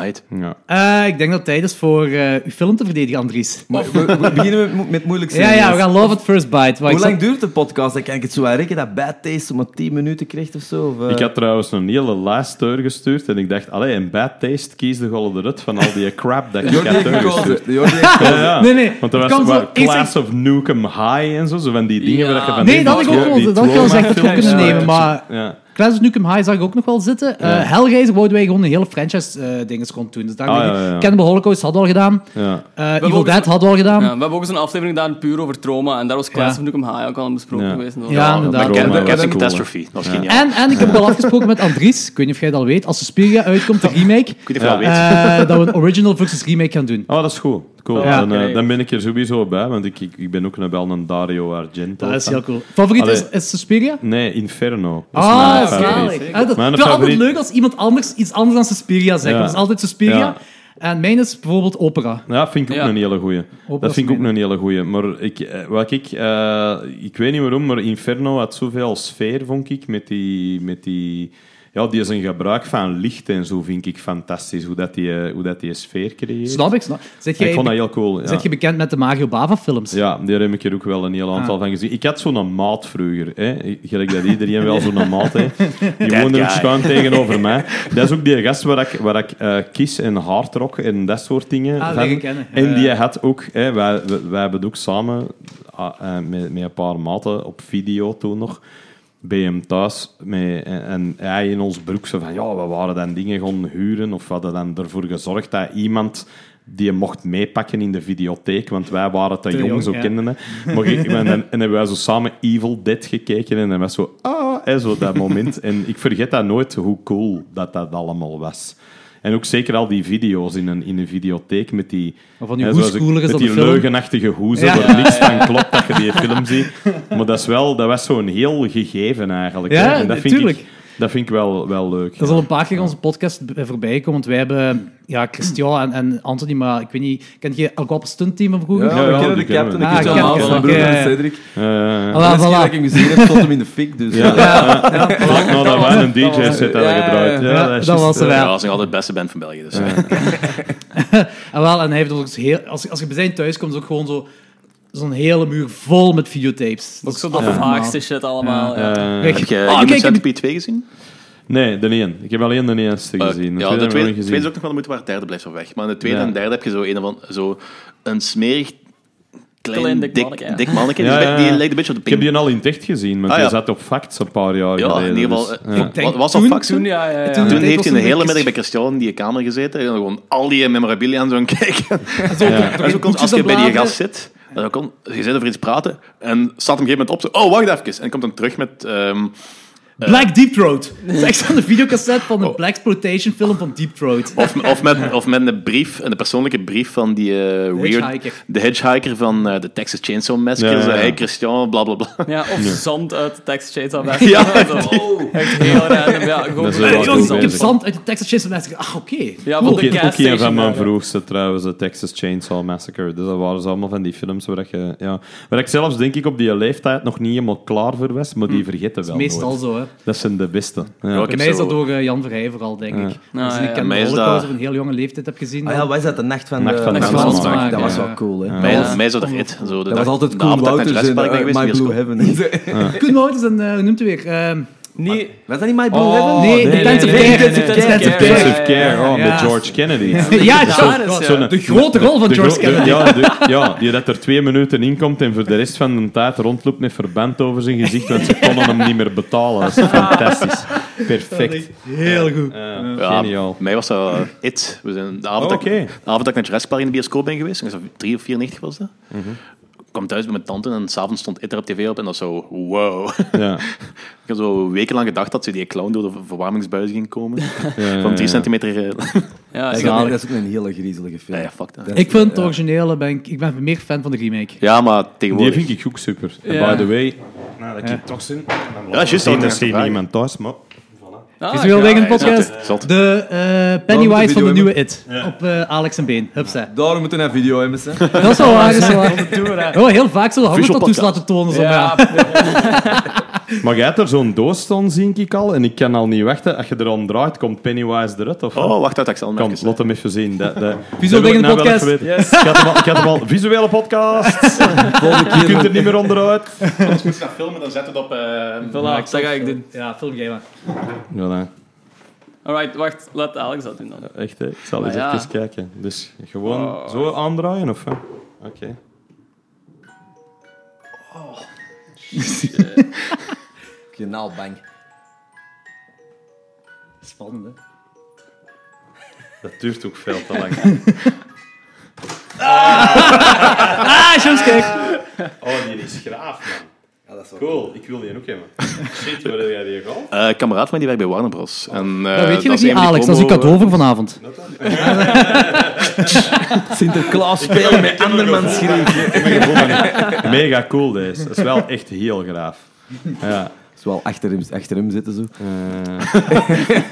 Right. Ja. Eh, ik denk dat tijd is voor eh, uw film te verdedigen, Andries. Maar we, we beginnen met, met moeilijk zijn. Ja, ja, we gaan Love at First Bite. Maar Hoe ik lang zat- duurt de podcast? Dan kan ik het zo wel rekken dat bijtaste maar 10 minuten krijgt of zo. Of, eh, Ik had trouwens een hele lijst doorgestuurd en ik dacht, allee, een bad taste kies de golden rut van al die crap dat ik Jordi had heeft doorgestuurd. gekozen. Jordi heeft Ja, ja. Nee, nee, Want er het was kan zo- wel ik zeg- Class of Nukem High en zo, zo van die dingen Ja. waar je van... Nee, die- dat had ik ook wel- die dat had ik wel eens echt trauma-films op kunnen en zo. nemen, maar- Ja. Class of Nukem High zag ik ook nog wel zitten. Eh Hellraiser wouden wij gewoon een hele franchise-dinges rond doen. Dus daar Ah, ja, ja, ja. Cannibal Holocaust hadden we al gedaan. Ja. Eh hebben Evil ook- Dead hadden we al gedaan. Ja, we hebben ook eens een aflevering gedaan puur over trauma. En daar was Class Ja. of Nukem High ook al aan besproken Ja. geweest. en zo. Ja, inderdaad. dat Cat- maar Cat- dat is cool, eh, Catastrophe. Dat is geniaal. En, en ik heb al afgesproken met Andries, ik weet niet of jij dat al weet, als Suspiria uitkomt, de remake, Ik weet niet of je dat weet. eh, dat we een original versus remake gaan doen. Oh, dat is goed. Cool. Ja. Dan, eh, Oké. dan ben ik er sowieso bij, want ik, ik, ik ben ook een, wel een Dario Argento. Dat is fan. heel cool. Favoriet is, Allee. is Suspiria? Nee, Inferno. Dat is Ah, mijn favoriet. zalig. Ah, dat- ik Mijn vind het altijd favoriet- leuk als iemand anders iets anders dan Suspiria zegt. Ja. Dat is altijd Suspiria. Ja. En mijn is bijvoorbeeld opera. Ja, vind ik ook Ja. een hele goeie. dat als vind ik ook mede. een hele goeie. Maar ik, eh, wat ik, eh, ik weet niet waarom, maar Inferno had zoveel sfeer, vond ik, met die... Met die ja, die is een gebruik van licht en zo vind ik fantastisch, hoe dat die, eh, hoe dat die sfeer creëert. Snap ik, snap Zit ik jij, vond dat heel cool. Ja. zit je bekend met de Mario Bava films? Ja, daar heb ik er ook wel een heel Ah. aantal van gezien. Ik had zo'n maat vroeger. Hè. Gelijk dat iedereen wel zo'n maat heeft. Die woonde ook guy. schuin tegenover mij. Dat is ook die gast waar ik, waar ik eh, kies en hardrock en dat soort dingen. Ah, die van. ik ken, hè. En die Ja. had ook... Hè, wij, wij, wij hebben ook samen ah, eh, met, met een paar maten op video toen nog... Bij hem thuis met, en, en hij in ons broek zo van ja, we waren dan dingen gaan huren of we hadden dan ervoor gezorgd dat iemand die je mocht meepakken in de videotheek, want wij waren te, Te jong, jong, zo ja. kenden hè. Maar ik- en, dan- en hebben wij zo samen Evil Dead gekeken en dan was zo, ah, hè, zo dat moment. En ik vergeet dat nooit, hoe cool dat dat allemaal was. En ook zeker al die video's in een, in een videotheek met die... Maar van die hè, zoals ik- hoeskoelers Met op die de film. leugenachtige hoezen, Ja. waar niks van klopt dat je die film ziet. Maar dat, is wel, dat was zo'n heel gegeven eigenlijk. Ja, hè. en dat vind tuurlijk. Ik, Dat vind ik wel, wel leuk. Dat is al een paar keer in onze podcast b- voorbij gekomen, want wij hebben ja, Christian en, en Anthony, maar ik weet niet, kent je Alcohol Stunt Team van vroeger? Ja, we ja, kennen die de kennen captain. we. Ik Ah, heb captain, allemaal van mijn broer oké. en Cedric. Ja, Eh, ja, Ah, Voilà, Voilà, voilà. dat ik hem gezien heb, stond hem in de fik. Dus Ja. eh, Vlak nadat wij een DJ-set hebben Ja, ja, ja. gedraaid. Ja, Ja, dat is dat juist, was er eh, Ja, wel. dat is nog altijd de beste band van België. Dus. eh. En, Ah, wel, en hij heeft ons heel, als, als je bij zijn thuis komt, is ook gewoon zo, zo'n hele muur vol met videotapes. Ook Dat is zo dat abnormaal. vaagste shit allemaal. Ja. eh, Kijk, Heb je ah, Human kijk, ik- Centipede 2 gezien? Nee, de één. Ik heb alleen de eerste Eh, gezien. ja, de tweede heb tweede, ik nog tweede is niet ook nog wel de moeite waar het derde blijft van weg. Maar in de tweede Ja. en derde heb je zo een, van, zo een smerig, klein, Klein dik dik, dik manneke, ja. manneke. Die Ja, is bij- ja, Die ja. lijkt een beetje op de Ik heb ping. die al in Ticht gezien, want Ah, hij ja. zat op Facts een paar jaar Ja, geleden. in ieder geval. dus, eh, ja. Ik denk, wa- was dat toen- fax Toen, ja, ja, ja. Toen- Toen Nee, heeft hij was een een hele beetje- middag bij Christian in die kamer gezeten en dan gewoon al die memorabilia aan zo'n kijken. Ja. Dat is ook als je boekjes bij die aanbladeren. gast zit, dan kan, je zit over iets praten en staat op een gegeven moment op, zo, oh, wacht even. En komt dan terug met... ehm, Black Deep Throat. Dat is echt zo'n videocassette van de Black Exploitation film van Deep Throat. of, of, met, of met een brief, een persoonlijke brief van die eh, weird... hitchhiker. De hitchhiker van eh, de Texas Chainsaw Massacre. Ja, ja, Zo, ja. hey, Christian, bla, bla, bla. Ja, of zand uit de tekst shades al weg. Ja. Zo, oh, echt heel random. Ja, gewoon Dat is door wel de goed Ik heb bezig. zand uit de Texas Chainsaw Massacre. Ah, oké. Ja, Cool. want de Ook, ook een van gasstation, mijn ja. vroegste trouwens, de Texas Chainsaw Massacre. Dus dat waren ze allemaal van die films waar, dat je, ja, waar ik zelfs denk ik op die leeftijd nog niet helemaal klaar voor was, maar die vergeten wel Hm. Meestal nooit. zo, hè. Dat zijn de beste. Ja. Ja, Bij ik mij heb is dat zo... door eh, Jan Verheij vooral, denk ik. Nou, Dus ja, ik ken mij de is dat- Holocaust op een heel jonge leeftijd heb gezien. Eh, ah ja, wat is dat? De nacht van Nacht de- van de van de Mansmaak. Mansmaak. Dat was Ja. wel cool, hè. Mij, Ja. mij is dat er it. Zo, de Dat dag- was altijd de Koen avond dat ik naar Wouters Jurassic in Park ben eh, geweest, My die is Blue cool. Heaven. Koen Wouters en, eh, hoe noemt u weer? Eh, Niet... Was dat niet My Blue Oh, Heaven? nee, nee, Intensive nee, nee, nee, Care. nee, nee. Intensive Intensive Care. Intensive Care, oh, Ja. met George Kennedy. Ja, Ja, George. dat is, ja. Zo'n- De grote rol van de George gro- de- Kennedy. Ja, de- ja, die dat er twee minuten in komt en voor de rest van de tijd rondloopt met verband over zijn gezicht, want ze konden hem niet meer betalen. Dat is fantastisch. Perfect. Heel goed. Ja, Ja, geniaal. Oh, Mij was dat eh, it. We zijn de avond, dat ik- Oké. de avond dat ik naar Jurassic Park in de bioscoop ben geweest, ik was 3 of 94 was dat. Ik kwam thuis bij mijn tante en s'avonds stond it er op tv op en dat was zo, wow. Ja. ik heb zo wekenlang gedacht dat ze die clown door de verwarmingsbuis ging komen. ja, Van ja. 3 centimeter. eh, Ja, ik Ik had- Dat is ook een hele griezelige film. Nee, fuck dat. Dat is- Ik vind het ja. originele, ben ik, ik ben meer fan van de remake. Ja, maar Die tegenwoordig. vind ik ook super. En Ja. By the way, nou, dat ik toch zin. Ja, juist, dat dat ik is hier vraag. niemand thuis, maar... Ah, Is nu al ja, weg in de ja, ja. podcast? Zot. De eh, Pennywise van de Waarom de nieuwe It. Op eh, Alex en Been. Hupsa. Daarom moeten we een video hebben, ze. Dat is wel waar, dat is wel waar. Doen we dat. Oh, heel vaak zo de hangtattoos Visual podcast. laten tonen. Zo, ja. Ja, Maar jij hebt er zo'n doos staan, zie ik al, en ik kan al niet wachten. Als je er aan draait, komt Pennywise eruit, of Oh, wacht uit, ik zal hem Kom, even- laat hem even zien. Dat, dat, Visueel dat wil ding in ik de nou wel podcast. even weten. Ik had hem al- Ik had hem al... Visuele podcast! Je kunt er niet meer onderuit. Als we gaan filmen, dan zetten we het op... eh, voilà, dat ga ik doen. ja, film jij maar. Voilà. Alright, wacht, laat Alex dat doen dan. Echt, hè. ik zal eens Maar ja. even kijken. Dus gewoon zo aandraaien, of... hè? Oké. Je naaldbank. Spannend, hè? Dat duurt ook veel te lang. Ah, Shamskek! Oh, die is graaf, man. Ja, dat is wel Cool, ik wil die ook hebben. Shit, waar heb jij die gehaald? eh, een kameraad van die werkt bij Warner Bros. En, eh, Dat weet je nog is niet, een van die Alex. Dat is een promo- cadeau voor vanavond. Sinterklaas spelen met andermans schreef. Mega cool deze. Dat is wel echt heel graaf. Ja. is wel achter hem, achter hem zitten zo.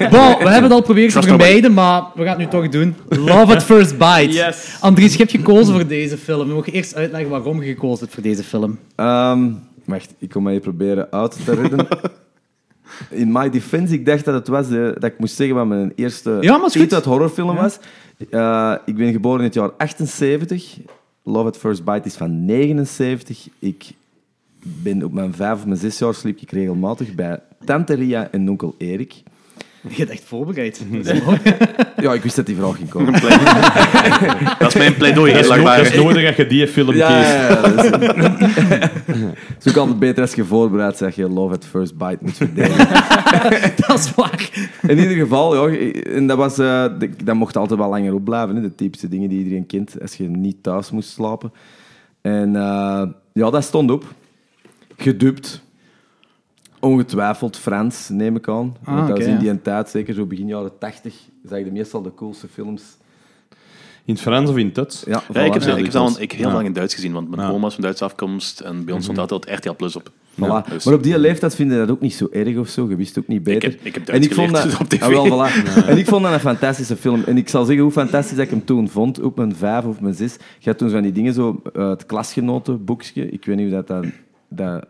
Bon, we hebben het al proberen te Trust nobody. vermijden, maar we gaan het nu toch doen. Love at First Bite. Yes. Andries, je hebt gekozen voor deze film. Je mag eerst uitleggen waarom je gekozen hebt voor deze film. Ehm, wacht, ik kom mij proberen uit te redden. In my defense, ik dacht dat het was eh, dat ik moest zeggen wat mijn eerste Ja, maar is goed. titel uit horrorfilm was. Eh, ik ben geboren in het jaar 78. Love at First Bite is van 79. Ik ben op mijn vijf of mijn zes jaar sliep ik regelmatig bij tante Ria en onkel Erik. Je hebt echt voorbereid. Dat is mooi. Ja, ik wist dat die vraag ging komen. Dat is mijn pleidooi, Dat, is heel no- dat is lang nodig dat je die film kiest. dat is- Het is ook altijd beter als je voorbereid bent, dat je Love at First Bite moet verdedigen. Dat is waar. In ieder geval, ja, en dat, was, eh, de- dat mocht altijd wel langer opblijven. Hè, de typische dingen die iedereen kent als je niet thuis moest slapen. En eh, ja, dat stond op. Gedubt. Ongetwijfeld Frans, neem ik aan. Ah, Want dat oké, was in ja. die tijd, zeker zo begin jaren 80, zag je meestal de coolste films. In het Frans of in het Duits? Ja, Ja, ik heb, voilà. ze- ik heb ze al dikwijls. ik heel Ja. lang in Duits gezien, want mijn Ja. oma is van Duitse afkomst en bij ons stond altijd RTL Plus op. Voilà. dus- Maar op die leeftijd vinden dat ook niet zo erg of zo. Je wist ook niet beter. heb- ik heb en Duits ik vond geleerd, dat, dus op tv. Ah, wel, voilà. En ik vond dat een fantastische film. En ik zal zeggen hoe fantastisch dat ik hem toen vond. Op mijn vijf of mijn zes. Je had toen zo van die dingen, zo eh, het klasgenotenboekje. Ik weet niet hoe dat, dat, dat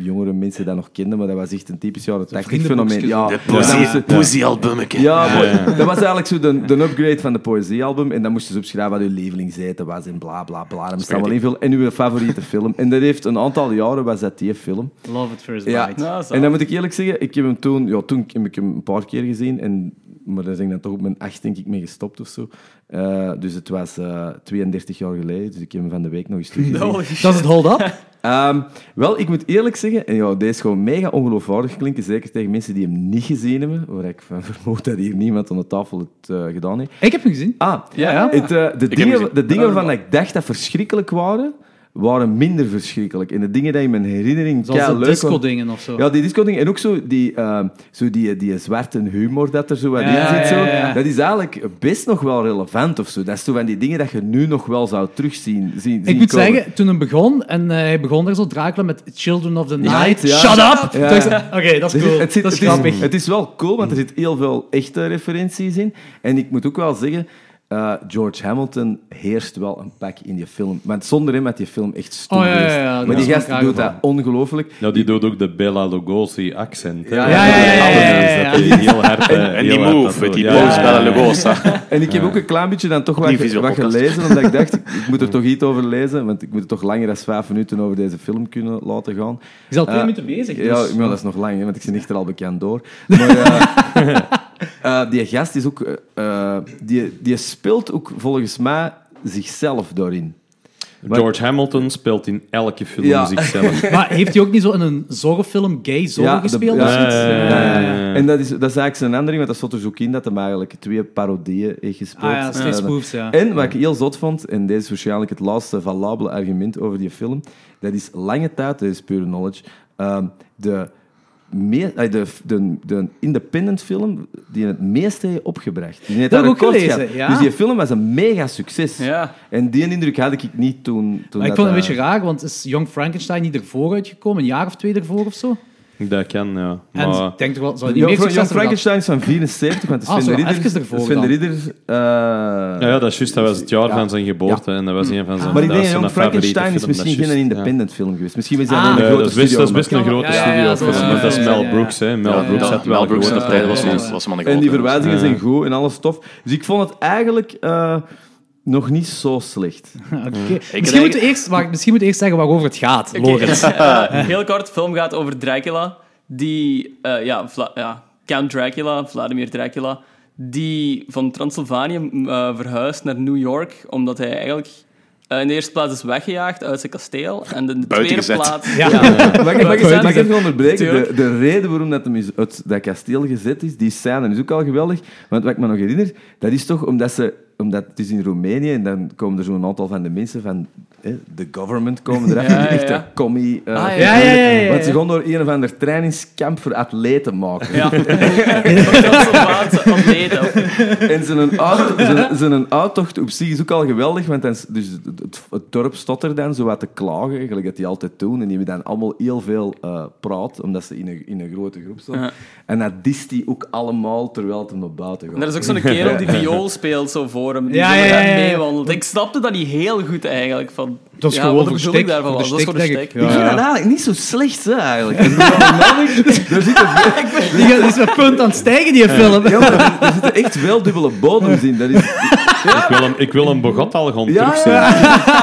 jongere mensen dat nog kenden, maar dat was echt een typisch jaren 80 fenomeen. vriendenboekje. Ja, De Nou, Ja, dat moest- poesie- poesiealbumetje. ja, maar dat was eigenlijk zo de, de upgrade van de poëziealbum. En dan moest je zo opschrijven wat je lievelingseten was en bla bla bla. Dan moest je allemaal invullen. En uw favoriete film. En dat heeft een aantal jaren was dat die film. Love at first Ja. bite. Nou, zo. En dan moet ik eerlijk zeggen, ik heb hem toen, ja, toen heb ik hem een paar keer gezien. En, maar daar ben ik dan toch op mijn acht denk ik mee gestopt of zo. Eh, dus het was eh, 32 jaar geleden, dus ik heb hem van de week nog eens teruggezien. Dat is het hold-up. Ehm, wel, ik moet eerlijk zeggen, en ja, deze is gewoon mega ongeloofwaardig klinken, zeker tegen mensen die hem niet gezien hebben, waar ik van vermoed dat hier niemand aan de tafel het eh, gedaan heeft. Ik heb hem gezien. Ah, Ja, ja. het, eh, de, hem dingen, gezien. de dingen waarvan ik dacht dat verschrikkelijk waren, waren minder verschrikkelijk. En de dingen die in mijn herinnering Zoals kei de leuk waren- disco-dingen of zo. ja, die disco En ook zo die, eh, zo die, die zwarte humor dat er zo wat Ja, in zit. Zo. ja, ja, ja. Dat is eigenlijk best nog wel relevant of zo. Dat is zo van die dingen dat je nu nog wel zou terugzien. Zien, zien Ik moet komen. zeggen, toen hem begon, en eh, hij begon daar zo Dracula met Children of the Ja, Night. ja. Shut up! Ja. Toen ik zei, Oké, dat is Er zit- cool. Dus het, zit- dat is het grappig. het is wel cool, want er zit heel veel echte referenties in. En ik moet ook wel zeggen, eh, George Hamilton heerst wel een pak in die film. Want zonder hem had die film echt stoer Oh, ja, ja, ja. geweest. Dat Maar is die me gast graag doet dat gevallen. ongelooflijk. Ja, nou, die doet ook de Bella Lugosi-accent. hè. Ja, ja, ja, ja, ja, ja, ja. Dat die heel hard, eh, En heel die hard move dat met doet. die Ja, ja, boos ja. Bella Lugosa. En ik heb ook een klein beetje dan toch Die wat, visuele wat podcast. gelezen, omdat ik dacht, ik, ik moet er toch iets over lezen, want ik moet er toch langer dan vijf minuten over deze film kunnen laten gaan. Je is al twee Eh, minuten bezig. Dus. Ja, maar dat is nog lang, hè, want ik zit echt er al bekend door. Maar, eh, eh, die gast is ook... eh, eh, die, die speelt ook volgens mij zichzelf daarin. George Hamilton speelt in elke film Ja. zichzelf. Maar heeft hij ook niet zo in een zorgfilm gay zorg Ja, de- gespeeld? ja, of zoiets? ja, ja, ja. En dat is, dat is eigenlijk zijn andere ding, want dat stond er zo ook in dat hem eigenlijk twee parodieën heeft gespeeld. Ah ja, steeds Eh, spoofs, ja. En wat ik heel zot vond, en deze is waarschijnlijk het laatste valabele argument over die film, dat is lange tijd, dat is pure knowledge, ehm, de, meer, eh, de, de, de independent film die het meeste heeft opgebracht. Die heeft Dat daar heb ik ook record gelezen, gehad. ja. Dus die film was een mega succes. Ja. En die indruk had ik niet toen... toen Maar ik vond dat, het een eh, beetje raar, want is Young Frankenstein niet ervoor uitgekomen? Een jaar of twee ervoor of zo? Dat kan, ja. En Maar, ik denk toch wel, zou die Jan, meer Jan succes hebben gehad? Frankenstein is van 74, want de Ah, Sven de zo, Ridder... even ervoor Sven de dan. Ridder... eh, ja, ja, dat is juist. Dat was het jaar van zijn geboorte. En dat was een van zijn Maar ik denk, dat is zijn Young favoriete Frankenstein is film, dat misschien geen juist. independent film geweest. Misschien was hij Ah. alleen Ja. een Nee, grote dat is best, dat is studio best maken. een grote Ja, ja, studio. ja, film, zo, maar dat ja, is ja, Mel ja. Brooks, hè. Mel Ja, Brooks ja. had wel Mel Brooks goed, en de eh, Pride was ja, een- ja. was een man En die groot, hè. verwijzingen zijn goed en alles tof. Dus ik vond het eigenlijk eh, nog niet zo slecht. Oké. Misschien, moeten we eerst, wacht, misschien moeten we eerst zeggen waarover het gaat, Oké, Lorenz. eh, heel kort, de film gaat over Dracula. Die, eh, ja, Vla- ja, Count Dracula, Vladimir Dracula, die van Transylvanië m, eh, verhuist naar New York, omdat hij eigenlijk eh, in de eerste plaats is weggejaagd uit zijn kasteel. En in de tweede gezet. plaats... Ja. Mag ik, mag ik, mag ik even onderbreken? Tuurlijk. De, de reden waarom dat, hem is uit dat kasteel gezet is, die scène is ook al geweldig. Want wat ik me nog herinner, dat is toch omdat ze omdat het is in Roemenië en dan komen er zo'n aantal van de mensen van hè, de government komen eraf, Ja, die ja, echte ja. commie. eh, Ah, ja. Ja, ja, ja, ja, Want ze ja. gaan door een of ander trainingskamp voor atleten maken. Ja. Van Transylvaanse atleten. En zijn, uit, zijn, zijn uittocht op zich is ook al geweldig, want dan, is- dus het, het- het dorp stond er dan zo wat te klagen, gelijk dat die altijd doen. En die hebben dan allemaal heel veel eh, praat, omdat ze in een, in een grote groep staan. Ja. En dat dist die ook allemaal terwijl het hem naar buiten En er gaat. is ook zo'n kerel die viool speelt zo voor hem, die Ja, zo met ja, ja, hem ja. meewandelt. Ik snapte dat niet heel goed eigenlijk. Van, Dat is ja, gewoon wat de voor bedoeling stik, daarvan voor de was. Dat is stik, voor de denk ik. stik. Ik vind Ja. dat eigenlijk niet zo slecht, hè, eigenlijk. Er zitten wel mannen- er zitten wel- Die, gaat- die is met punt aan het stijgen, die film. ja, maar er zitten echt wel dubbele bodems in. Dat is, Ik wil hem, ik wil hem begot al gaan Ja, terugzien.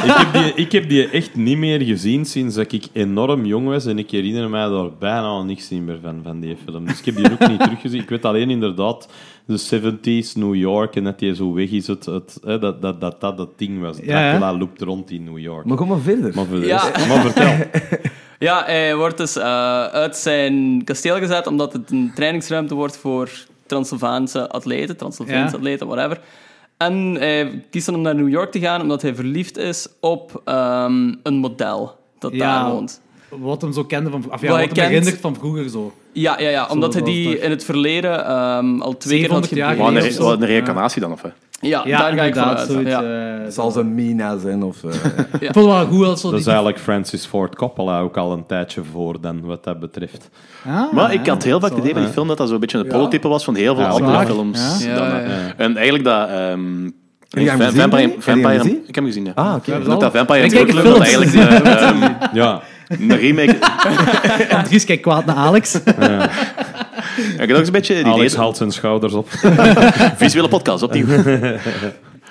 Ik, heb die, ik heb die echt niet meer gezien sinds dat ik enorm jong was. En ik herinner mij daar bijna niks meer van, van die film. Dus ik heb die ook niet teruggezien. Ik weet alleen inderdaad de 70s, New York. En dat die zo weg is. Het, het, hè, dat, dat, dat dat dat ding was. Ja, hè? Dracula loopt rond in New York. maar kom maar verder. Maar, voor de Ja. rest- maar vertel. Ja, hij wordt dus eh, uit zijn kasteel gezet omdat het een trainingsruimte wordt voor Transylvaanse atleten, Transylvaanse Ja. atleten, whatever. En hij kiest dan om naar New York te gaan omdat hij verliefd is op ehm, een model dat Ja. daar woont. Wat hem zo kende van... Of ja, Wat wat hij hem kent. herinnert van vroeger zo. Ja, ja, ja omdat hij dat was die toch- in het verleden ehm, al twee keer had 700 jaar gedupeerd. Wat een, Nee, re- wat een reïncarnatie dan, of hè? Ja, daar ga ik inderdaad, vanuit. zoiets, ja. eh, Het zal zijn Mina zijn of... eh, Ik vond het wel goed als zo Dat die... is eigenlijk Francis Ford Coppola ook al een tijdje voor dan, wat dat betreft. Ah, Maar ik had heel vaak het zo. idee van die film dat dat zo'n beetje een prototype was van heel veel Ja, andere zwaar. films. Ja. dan, Ja, eh. ja. En eigenlijk dat... ehm, je hem Va- gezien, Vampire, Danny? Heb je hem Vampire- gezien? Ik heb hem gezien, ja. ah, oké. Ook dat Vampire Wij in kijken Brooklyn, dat eigenlijk films. de, ehm, Ja, een remake... Dries kijkt kwaad naar Alex. Ik had ook eens een beetje het idee... Alex haalt zijn schouders op. Visuele podcast, opnieuw.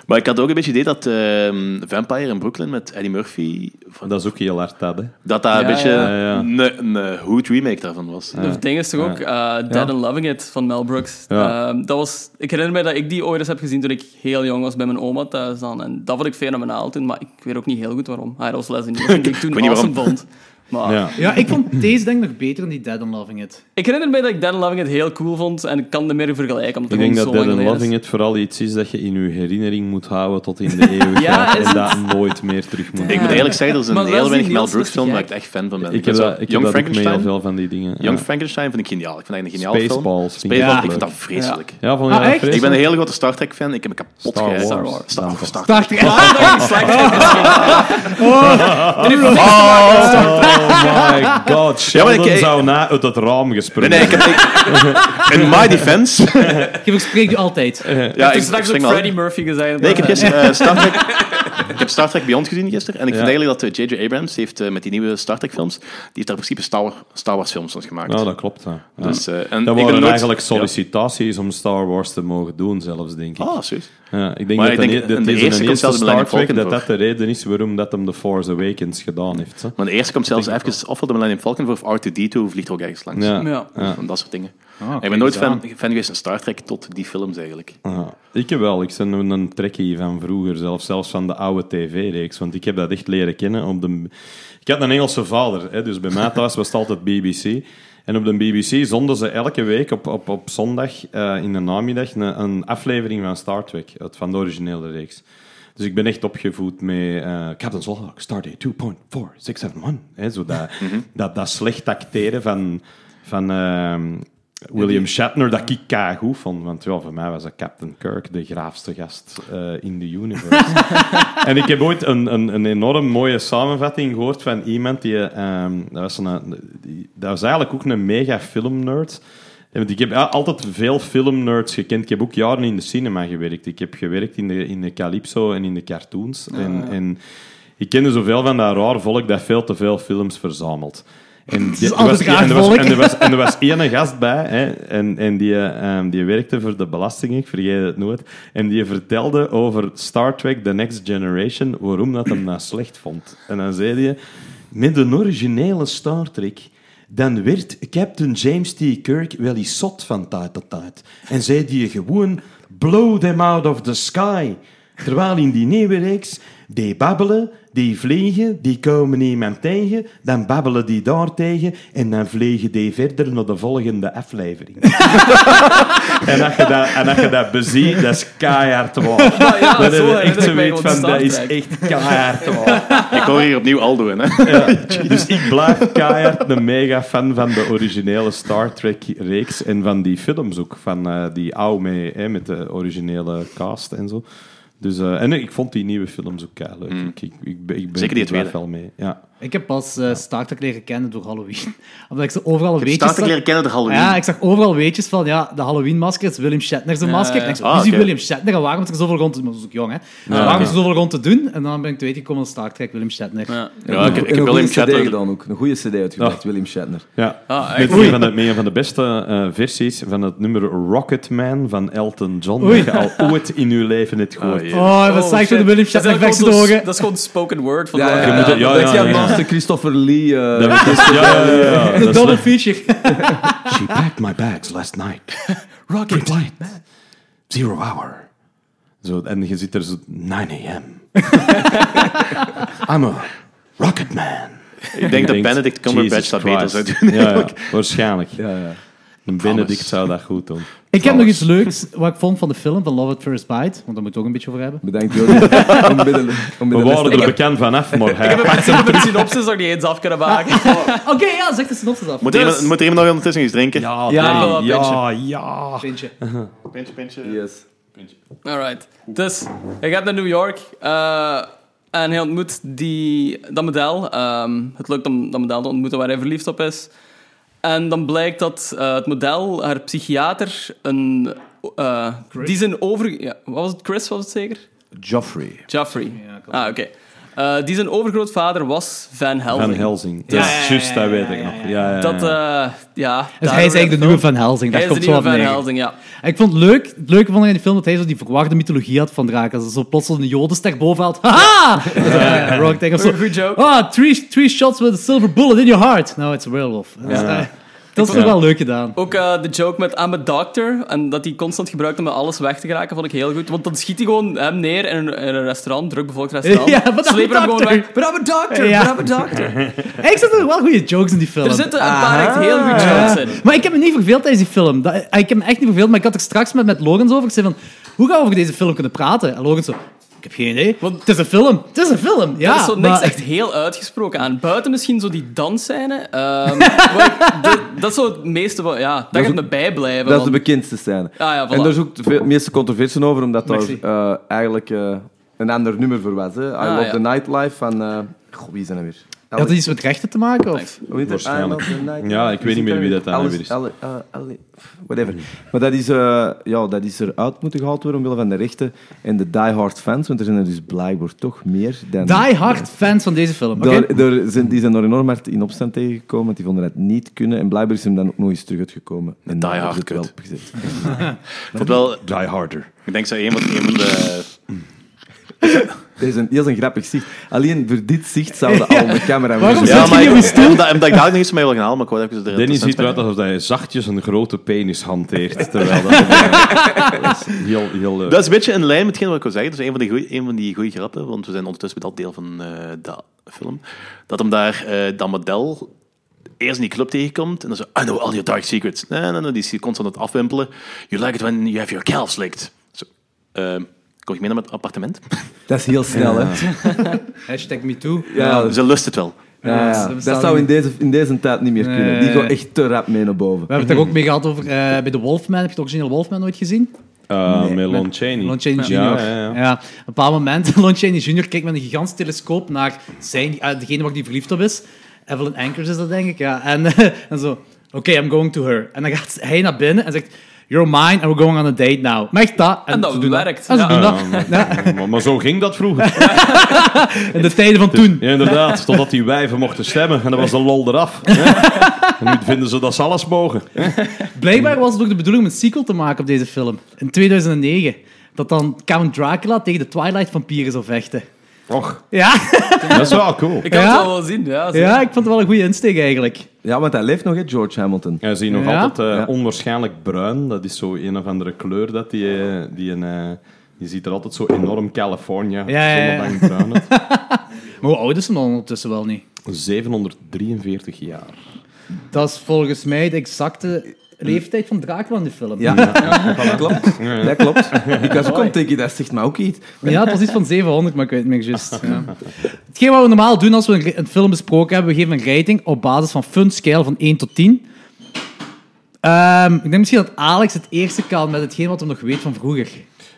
maar ik had ook een beetje het idee dat ehm, Vampire in Brooklyn met Eddie Murphy... dat is ook heel hard, dat, hè. Dat dat een Ja, beetje ja, ja. een een goed remake daarvan was. Het ding is toch ook eh, Dead and Loving It van Mel Brooks. Ja. Ehm, dat was, ik herinner me dat ik die ooit eens heb gezien toen ik heel jong was bij mijn oma thuis dan. En dat vond ik fenomenaal toen, maar ik weet ook niet heel goed waarom. Ah, dat was Leslie Nielsen die ik toen weet niet awesome vond. Maar Ja. Ja, ik vond deze denk ik nog beter dan die Dead and Loving It. ik herinner me dat ik Dead and Loving It heel cool vond en ik kan er meer vergelijken. Omdat het Ik denk gewoon zo dat Dead lang and geleden Loving is. It vooral iets is dat je in je herinnering moet houden tot in de eeuwigheid Ja, is en dat nooit meer terug moet Ik moet eigenlijk zeggen, dat is Maar dus een heel Leslie weinig Mel Nielsen Brooks is film gek. waar ik echt fan van ben. Ik heb Zo, dat, ik heb Young dat ook mee, heel Frankenstein. veel van die dingen. Young ja. Frankenstein vind ik geniaal. Ik vind dat een geniaal film. Spaceballs. vind ik Spaceballs, ook ik vind leuk. dat vreselijk. Ja, vond je Ah, dat echt? vreselijk? Ik ben een hele grote Star Trek fan. Ik heb me kapot Star gegeven. Wars. Star, Star, Star Dacht ik, ah, Oh. Oh my god, Sheldon ik- zou na uit het raam Nee, gesprongen nee, ik heb... ik- in my defense... je verspreekt je altijd. ja, Ik heb ik straks ook spring al. Freddie Murphy gezegd. Nee, ik heb gisteren eh, Star Trek... Ik heb Star Trek Beyond gezien gisteren. En ik vind Ja. eigenlijk dat eh, J.J. Abrams heeft eh, met die nieuwe Star Trek films... Die heeft daar in principe Star, Wars- Star Wars films van gemaakt. Ja, Nou, dat klopt. Ja. Ja. Dus, eh, en dat ik ben waren nooit- eigenlijk Ja. sollicitaties om Star Wars te mogen doen, zelfs, denk ik. Ah, serieus? Ja, ik denk Maar dat, ik de- denk, dat de deze eerste komt eerste zelfs in Star Millennium Trek, dat Falcon dat de reden is waarom dat hem The Force Awakens gedaan heeft. hè. Maar de eerste komt zelfs even of op de Millennium Falcon voor of R2-D2 vliegt er ook ergens langs. Ja. Ja. Ja. Van dat soort dingen. Ah, ik ben dus nooit fan, fan geweest van Star Trek tot die films eigenlijk. Ja. Ik heb wel. Ik ben een- een trekkie van vroeger, zelfs, zelfs van de oude tv-reeks. Want ik heb dat echt leren kennen. Op de... Ik had een Engelse vader, hè, dus bij mij thuis was het altijd BBC. En op de BBC zonden ze elke week op, op, op zondag eh, in de namiddag een, een aflevering van Star Trek, uit- van de originele reeks. Dus ik ben echt opgevoed met eh Captain Slog, Stardate 2.4671. hè, Zo dat, dat, dat slecht acteren van, van ehm, William Shatner, dat ik goed vond. Want ja, voor mij was dat Captain Kirk de graafste gast eh, in de universe. en ik heb ooit een, een, een enorm mooie samenvatting gehoord van iemand die... ehm, dat, was een, die- dat was eigenlijk ook een mega filmnerd. Ja, Want ik heb a- altijd veel filmnerds gekend. Ik heb ook jaren in de cinema gewerkt. Ik heb gewerkt in de, in de Calypso en in de cartoons. en, en ik kende zoveel van dat raar volk dat veel te veel films verzamelt. En die- er altijd was- raar en er was- volk. En er was- en er was één gast bij, hè, en, en die, eh, ehm, die werkte voor de belasting, ik vergeet het nooit. En die vertelde over Star Trek The Next Generation, waarom dat hem dat slecht vond. En dan zei hij, met een originele Star Trek dan werd Captain James T. Kirk wel eens zot van tijd tot tijd. En zei die gewoon, blow them out of the sky. Terwijl in die nieuwe reeks, die babbelen, die vliegen, die komen iemand tegen, dan babbelen die daar tegen en dan vliegen die verder naar de volgende aflevering. en, als je dat, en als je dat beziet, dat is keihard waar. ja, dat is zo herinner ik echt mij zoiets gewoon van, Star dat is Trek. echt keihard waar. Ik hoor hier opnieuw Aldo in, hè? Dus ik blijf keihard een mega fan van de originele Star Trek-reeks en van die films ook. Van eh, die oude mee, hè, met de originele cast en zo. Dus, eh, en ik vond die nieuwe films ook keihard leuk. Ik, ik, ik, ben- ik ben Mm. Zeker die ik blijf tweede. wel mee. Ja. Ik heb pas eh Star Trek leren kennen door Halloween. Omdat ik ze overal Ik heb weetjes Star Trek zag. leren kennen door Halloween. Ja, ik zag overal weetjes van, ja, de Halloween-masker is William Shatner's masker. En ik zei, Ah, wie is die oké. William Shatner en waarom is er zoveel rond te doen? Dat was ook jong, hè. waarom is er zoveel rond te doen? En dan ben ik te weten gekomen dat Star Trek William Shatner. Ja. Ja, ik, ik En heb een William goede cd Shatner... gedaan ook. Een goede cd uitgebracht, William Shatner. Ja, Ah, echt? met, een van de, met een van de beste eh, versies van het nummer Rocketman van Elton John. Oei. Dat je al ooit in je leven hebt gehoord. Ah, hebt. jee. Oh, wat Oh, zag ik van de shit. Dat William is Shatner eigenlijk weg gewoon ogen? Dat is gewoon spoken word van de- moet het- ja, dat is ja, die ja. master Christopher Lee. eh, Dat is- ja, ja, ja, ja. De Dat is double feature. She packed my bags last night. Rocket flight. Zero hour. Zo, en je zit er zo 9 a.m. I'm a rocket man. Ik denk dat Benedict Cumberbatch dat beter zou doen. Ja, ja, waarschijnlijk. ja, ja. Een Benedict zou dat goed doen. Ik heb nog iets leuks wat ik vond van de film, van Love at First Bite. Want daar moeten we ook een beetje over hebben. Bedankt, Jordi. om bij de, om bij We de les te waren er bekend vanaf, maar hij Ik heb een synopsis nog niet eens af kunnen maken. Oké, ja, zeg de synopsis af. Moet, Dus- er iemand, moet er iemand nog ondertussen iets drinken? Ja, Ja, ja, wel een ja, ja. Pintje. Pintje, pintje. Yes. Puntje. Alright. Dus, hij gaat naar New York eh, en hij ontmoet die, dat model. Ehm, het lukt om dat model te ontmoeten waar hij verliefd op is. En dan blijkt dat eh, het model, haar psychiater, een, eh, die zijn over... Ja, wat was het? Chris was het zeker? Joffrey. Joffrey. ah, oké. Eh, die zijn overgrootvader was Van Helsing. Van Helsing. Dat is juist, dat weet ik nog. Ja, ja, ja. Dat, eh, ja... Dus hij is eigenlijk de nieuwe Van Helsing. Hij Daar is de komt zo nieuwe op Van neer. Helsing, ja. En ik vond het leuk, het leuke vond ik in de film dat hij zo die verwachte mythologie had van Dracula. Dat zo plotseling een jodenster boven haalt. Haha! Ja. Rock tegen of zo. Goed joke. Ah, three, three shots with a silver bullet in your heart. No, it's a werewolf. Dat is, eh, dat is toch wel leuk gedaan. Ook eh, de joke met I'm a doctor en dat hij constant gebruikt om met alles weg te geraken, vond ik heel goed. Want dan schiet hij gewoon hem neer in een, in een restaurant, drukbevolkt restaurant. Ja, but I'm Slepen a hem gewoon doctor. weg. But I'm a doctor, Ja. but I'm a doctor. Ik zat er wel goede jokes in die film. Er zitten een paar Ah. echt heel goede Ja. jokes in. Maar ik heb me niet verveeld tijdens die film. Dat, ah, ik heb me echt niet verveeld, maar ik had er straks met, met Logans over. Ik zei van, hoe gaan we over deze film kunnen praten? En Logans zo, ik heb geen idee. Want- het is een film. Het is een film. Ja, er is zo niks Ah, maar- echt heel uitgesproken aan. Buiten misschien zo die dansscène. ehm, waar ik- de- dat is zo het meeste van... Ja, dat, is gaat ook- me bijblijven. Dat is de want- bekendste scène. Ah, ja, voilà. En daar is ook de veel- meeste controversie over, omdat daar Merci. eh, eigenlijk eh, een ander nummer voor was. Hè. I Ah, Love ja. the Nightlife van... eh goh, wie is dat nou weer? Had dat iets met rechten te maken? Of? Hoe heet dat? Waarschijnlijk. I Love the Nightlife. Ja, ik weet niet meer wie dat dan Alice- weer is. Ali- eh, Ali- whatever. Maar dat is, eh, ja, dat is eruit moeten gehaald worden omwille van de rechten en de diehard fans, want er zijn er dus blijkbaar toch meer dan... Die hard fans van deze film. oké? Daar, daar zijn, die zijn er enorm hard in opstand tegengekomen, want die vonden het niet kunnen. En blijkbaar is hem dan ook nog eens terug uitgekomen. En Die daar Hard is het kut. wel opgezet. Ik vond wel, Die harder. ik denk dat een van, een van de... Dat is een, dat is een grappig zicht. Alleen voor dit zicht zouden al de camera Waarom moeten- zit je niet op je ik, stoel? omdat, omdat ik daar nog iets mee wil gaan halen, maar ik wou even erin Denny ziet tussenspringen. eruit alsof hij zachtjes een grote penis hanteert. Terwijl dat, dat is heel, heel leuk. Dat is een beetje in lijn met hetgeen wat ik wil zeggen. Dat is een van die goeie, een van die goeie grappen, want we zijn ondertussen met dat deel van eh dat film. Dat hem daar, eh dat model, eerst in die club tegenkomt en dan zo, I know all your dark secrets. Nee, nee, nee, die is constant aan het afwimpelen. You like it when you have your calves licked. Zo, ehm, kom je mee naar mijn appartement? Dat is heel snel, hè? Hashtag MeToo. Ja, Ze lust het wel. ja, ja. dat Dat zou in deze, in deze tijd niet meer kunnen. Die Nee. gaan echt te rap mee naar boven. We hebben het er ook mee gehad over eh, bij de Wolfman. Heb je de originele Wolfman nooit gezien? Eh, met Lon Chaney. Lon Chaney Jr. Ja, ja, Eh, ja. op een bepaald moment, Lon Chaney Jr. kijkt met een gigantisch telescoop naar zijn, eh, degene waar hij verliefd op is. Evelyn Anchors is dat, denk ik. Ja. En, en zo, oké, I'm going to her. En dan gaat hij naar binnen en zegt, you're mine and we're going on a date now. Maar echt dat. En dat ze doen werkt. En ze Ja. doen dat. Maar, maar zo ging dat vroeger. In de tijden van toen. Ja, inderdaad. Totdat die wijven mochten stemmen. En dan was de lol eraf. hè. En nu vinden ze dat ze alles mogen. Blijkbaar was het ook de bedoeling om een sequel te maken op deze film. In 2009. Dat dan Count Dracula tegen de Twilight-vampieren zou vechten. Och, Ja. dat is wel cool. Ik kan Ja? het al wel zien, ja. zeker. ja, ik vond het wel een goede insteek eigenlijk. Ja, want hij leeft nog, hè, George Hamilton. Hij zie je nog Ja? altijd eh, Ja. onwaarschijnlijk bruin. Dat is zo een of andere kleur dat die... eh, die een, eh, je ziet er altijd zo enorm California. Ja, ja, ja. zonnebank bruin uit. Maar hoe oud is hij dan ondertussen wel niet? 743 jaar. Dat is volgens mij de exacte leeftijd van Dracula in de film. Ja, dat klopt. Dat klopt. Ik was ook aan het denken, dat zegt mij ook iets. Ja, het was iets van 700, maar ik weet het niet meer juist. Ja. Hetgeen wat we normaal doen als we een, een film besproken hebben, we geven een rating op basis van fun scale van 1 tot 10. Ehm, ik denk misschien dat Alex het eerste kan met hetgeen wat hij nog weet van vroeger.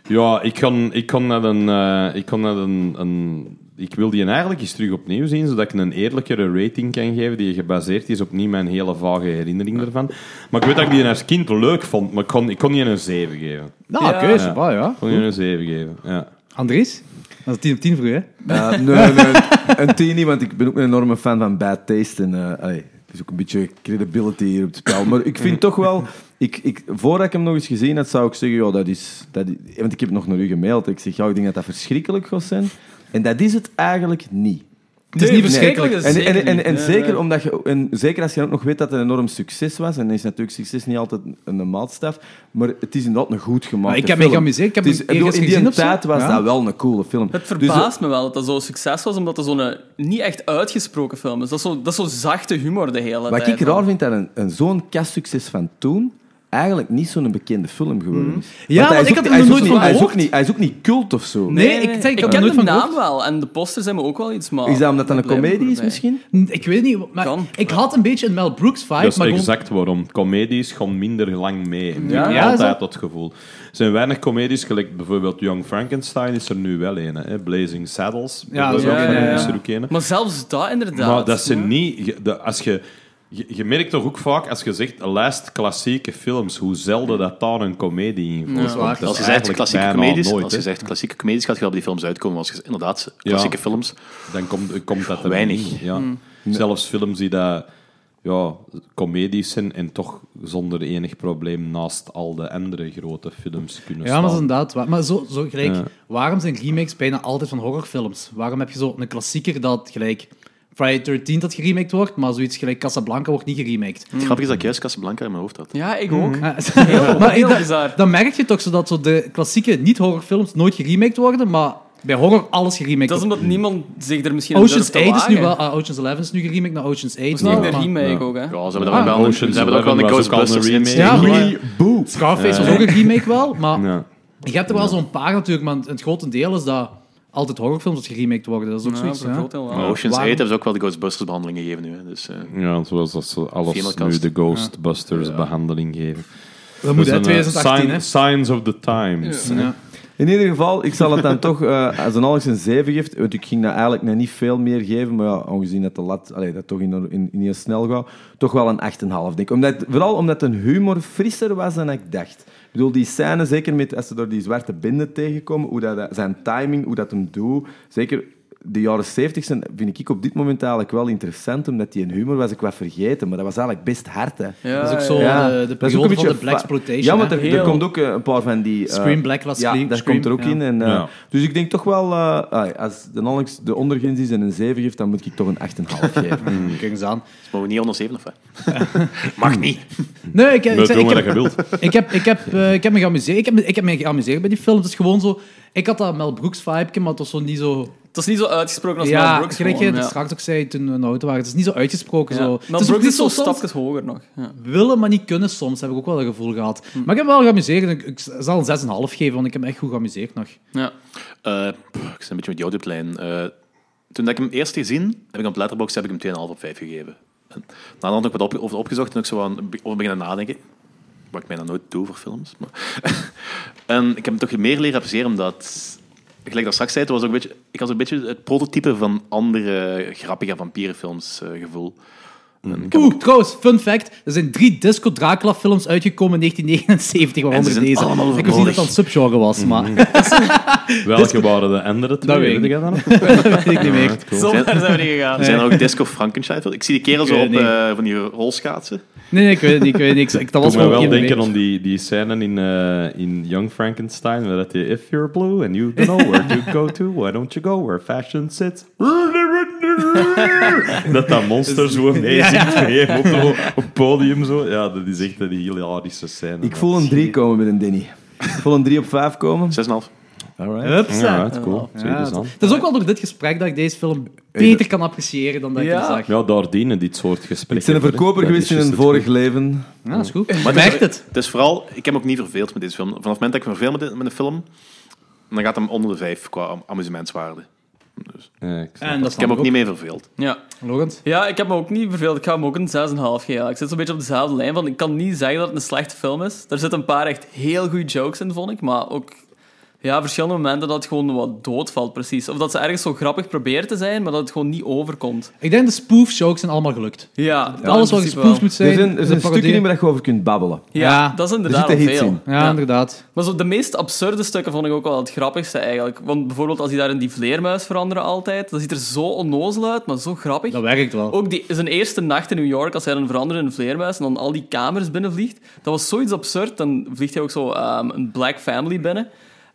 Ja, ik kan, ik kan naar een... eh, ik kan naar een, een ik wil die eigenlijk eens terug opnieuw zien, zodat ik een eerlijkere rating kan geven die gebaseerd is op niet mijn hele vage herinnering ervan. Maar ik weet dat ik die als kind leuk vond, maar ik kon, ik kon die een 7 geven. Nou, Ja. ja. keuze, ja. ja. Ik kon die een 7 geven, ja. Andries? Dat is 10 op 10 voor u, hè? Eh, nee, nee, een tien niet, want ik ben ook een enorme fan van bad taste. En, eh, allee, het is ook een beetje credibility hier op het spel. Maar ik vind toch wel... Ik, ik, voordat ik hem nog eens gezien had, zou ik zeggen... Ja, dat is, dat is- want ik heb nog naar u gemaild. Ik zeg, ja, ik denk dat dat verschrikkelijk gaat zijn. En dat is het eigenlijk niet. Het is Nee, niet verschrikkelijk. verschrikkelijk En, en, en, en, niet. Nee, zeker, omdat je, en zeker als je ook nog weet dat het een enorm succes was, en is natuurlijk succes niet altijd een, een maatstaf, maar het is inderdaad een goed gemaakt. Maar ik heb me geamuseerd, ik heb hem in ergens die gezien of zo. tijd was Ja. dat wel een coole film. Het Dus, eh, verbaast me wel dat dat zo'n succes was, omdat dat zo'n eh, niet echt uitgesproken film is. Dat is zo- dat is zo'n zachte humor de hele Wat tijd. ik raar vind, dat een, een zo'n kastsucces van toen eigenlijk niet zo'n bekende film geworden is. Ja, hij want is ik had ook- hem hij is nog ook nooit niet- van Hij is ook gehoord. niet, hij is ook niet cult of zo. Nee, ik zeg, ik ik heb ken er nooit de van naam gehoord. wel en de posters zijn me ook wel iets, maar... Is dat omdat dat een blijven komedie is erbij. misschien? Ik weet niet, maar Kan. ik had een beetje een Mel Brooks vibe. Dat is maar gewoon- exact waarom. Comedies gaan minder lang mee. Ja, Ja, is altijd dat- dat gevoel. Er zijn weinig comedies, gelijk bijvoorbeeld Young Frankenstein is er nu wel een. Hè. Blazing Saddles Ja, dat is bijvoorbeeld, ook een, is ja. er ook een. Maar zelfs dat inderdaad. Maar dat ze niet... je- de- als je, je, je merkt toch ook vaak, als je zegt een lijst klassieke films, hoe zelden dat daar een comedie in voorkomt. waar. is Als je zegt eigenlijk klassieke bijna comedies, nooit, als je hè. zegt klassieke comedies, gaat je wel op die films uitkomen. Als je zegt, inderdaad, klassieke films. dan komt, komt dat er Weinig. niet in, Ja. Zelfs films die dat, ja, comedies zijn en toch zonder enig probleem naast al de andere grote films kunnen Ja, maar dat is staan. inderdaad waar. Maar zo, zo gelijk, Ja. waarom zijn remakes bijna altijd van horrorfilms? Waarom heb je zo een klassieker dat gelijk Friday 13 dat geremaked wordt, maar zoiets gelijk Casablanca wordt niet geremaked? Het grappige is dat ik juist Casablanca in mijn hoofd had. Ja, ik Mhm. ook. Eh, Hm. heel ik- dat- bizar. Dan merk je toch zo dat zo de klassieke niet-horrorfilms nooit geremaked worden, maar bij horror alles geremaked Dat is wordt. omdat niemand zich er misschien Ocean's durft te 8 is nu wagen. wel... ah, Ocean's 11 is nu geremaked naar Ocean's 8. Dat is niet maar- echt een remake ook, hè. Ja, ze hebben daar Ah, ook wel, ze Ocean's hebben daar ook wel een Eleven was ook al een Ghostbusters in. remake. Ja, maar- Boe. Scarface was ook een remake wel, maar Ja. je hebt er wel zo'n paar natuurlijk, maar het grote deel is dat altijd horrorfilms dat geremaked worden. Dat is ook Ja, zoiets, voor een ja. groot deel wel. Maar Ocean's Waarom? 8 hebben ze ook wel de Ghostbusters behandeling gegeven nu. Hè. Dus, eh, Ja, zoals dat ze alles Filmcast. nu de Ghostbusters behandeling geven. Dat moet, Dus hè, een, eh, 2018, hè. sign- Signs of the times. Ja. In ieder geval, ik zal het dan toch, eh, als een Alex een 7 geeft, want ik ging dat eigenlijk nog niet veel meer geven, maar ja, aangezien dat de lat allee, dat toch in, in, in heel snel gaat, toch wel een 8,5 denk ik. Omdat, vooral omdat de humor frisser was dan ik dacht. Ik bedoel, die scène, zeker met, als ze door die zwarte binden tegenkomen, hoe dat, zijn timing, hoe dat hem doet, zeker de jaren 70 zijn, vind ik op dit moment eigenlijk wel interessant, omdat die een humor was ik wat vergeten, maar dat was eigenlijk best hard. Hè. Ja, Dat is ook ja. zo Ja, de, de dat is ook periode van de fa- Black Exploitation. Ja, want er, Heel- er komt ook eh, een paar van die... eh, Scream, Black Last ja, Scream, dat Scream, komt er ook ja. in. En, eh, Ja. Dus ik denk toch wel... eh, ah, als de Alex de ondergrens is en een 7 geeft, dan moet ik toch een 8,5 geven. Mm. Kijk eens aan. dus mogen we niet onder 7 of wat? Mag niet. Nee, ik, ik, Mm. Dat zeg, doen ik, we dat je heb, wilt. ik, heb, ik, heb, eh, ik heb me geamuseerd. Ik heb, me- ik heb me geamuseerd bij die film. Het is gewoon zo... Ik had dat Mel Brooks vibe, maar het was zo niet zo... Het is niet zo uitgesproken als Mel ja, Brooks. gelijk je gewoon, het ja. straks ook zei toen we in de auto waren. Het is niet zo uitgesproken. Ja. Zo. Mel het is ook Brooks niet is zo soms stapjes hoger nog. Ja. willen, maar niet kunnen soms, heb ik ook wel een gevoel gehad. Mm. Maar ik heb me wel geamuseerd. Ik, ik zal een 6,5 geven, want ik heb me echt goed geamuseerd nog. Mm. Ja. Eh, pff, ik zit een beetje met jou op het lijn. Eh, toen dat ik hem eerst gezien heb ik op Letterboxd heb ik hem 2,5 op 5 gegeven. En naderhand heb ik wat op, over opgezocht en ik zo aan be- over beginnen nadenken. Wat ik mij dan nooit doe voor films. Maar en ik heb hem toch meer leren appreciëren omdat... Gelijk dat straks zei, het was ook een beetje, ik had een beetje het prototype van andere grappige vampierenfilms eh, gevoel. En ik heb Oeh, trouwens, fun fact. Er zijn drie Disco Dracula films uitgekomen in 1979, waaronder En ze zijn deze. allemaal Ik wist niet dat verboden. dat een subgenre was, maar Mm. Welke waren de andere twee? weet ik je dat nog? dat weet ik niet meer. Zo ver zijn we niet gegaan. Zijn er ook Disco Frankenstein films? Ik zie die kerel zo weet op het niet. eh, van die rolschaatsen. Nee, nee, ik weet het niet. Ik weet het niet. Ik- Dat was Doet me gewoon wel geen denken meer. aan die, die scène in, eh, in Young Frankenstein, waar dat je, if you're blue and you don't know where to go to, why don't you go where fashion sits? dat dat monster zo meezingt mee op, de- op het podium. Zo. Ja, dat is echt een hilarische scène. ik voel een 3 komen met een Denny. Ik voel een 3 op 5 komen. 6,5. Alright. Hupsa. Ja, right, cool. Zie je Ja, dus aan. Het is ook wel door dit gesprek dat ik deze film beter kan appreciëren dan dat ik Ja. hem zag. Ja, daar dienen dit soort gesprekken. Ik ben een voor, hè. verkoper Dat is geweest in een juist het vorig leven. Ja, dat is goed. Maar Merkt het. Het is vooral, ik heb me ook niet verveeld met deze film. Vanaf het moment dat ik me verveel met, de- met een film, dan gaat hem onder de vijf qua am- amusementswaarde. goede. Ja, ik En snap dat Ik heb snap me ik ook ook. niet mee verveeld. Ja. Logans. ja, ik heb me ook niet verveeld. Ik ga hem ook een 6,5 geven. Ja. Ik zit zo'n beetje op dezelfde lijn. Van, ik kan niet zeggen dat het een slechte film is. Er zitten een paar echt heel goede jokes in, vond ik. Maar ook ja, verschillende momenten dat het gewoon wat doodvalt, precies. Of dat ze ergens zo grappig proberen te zijn, maar dat het gewoon niet overkomt. Ik denk de spoof shows zijn allemaal gelukt. Ja, Alles wat gespoofd moet zijn. Er zijn, er is zijn stukken parodie. in waar je over kunt babbelen. Ja, Ja. dat is Er inderdaad zitten al hits veel. in. Ja, inderdaad. Maar zo, de meest absurde stukken vond ik ook wel het grappigste eigenlijk. Want bijvoorbeeld als hij daar in die vleermuis veranderen altijd, dat ziet er zo onnozel uit, maar zo grappig. Dat werkt wel. Ook die, zijn eerste nacht in New York, als hij dan verandert in een vleermuis en dan al die kamers binnenvliegt. Dat was zoiets absurd. Dan vliegt hij ook zo ehm, een black family binnen.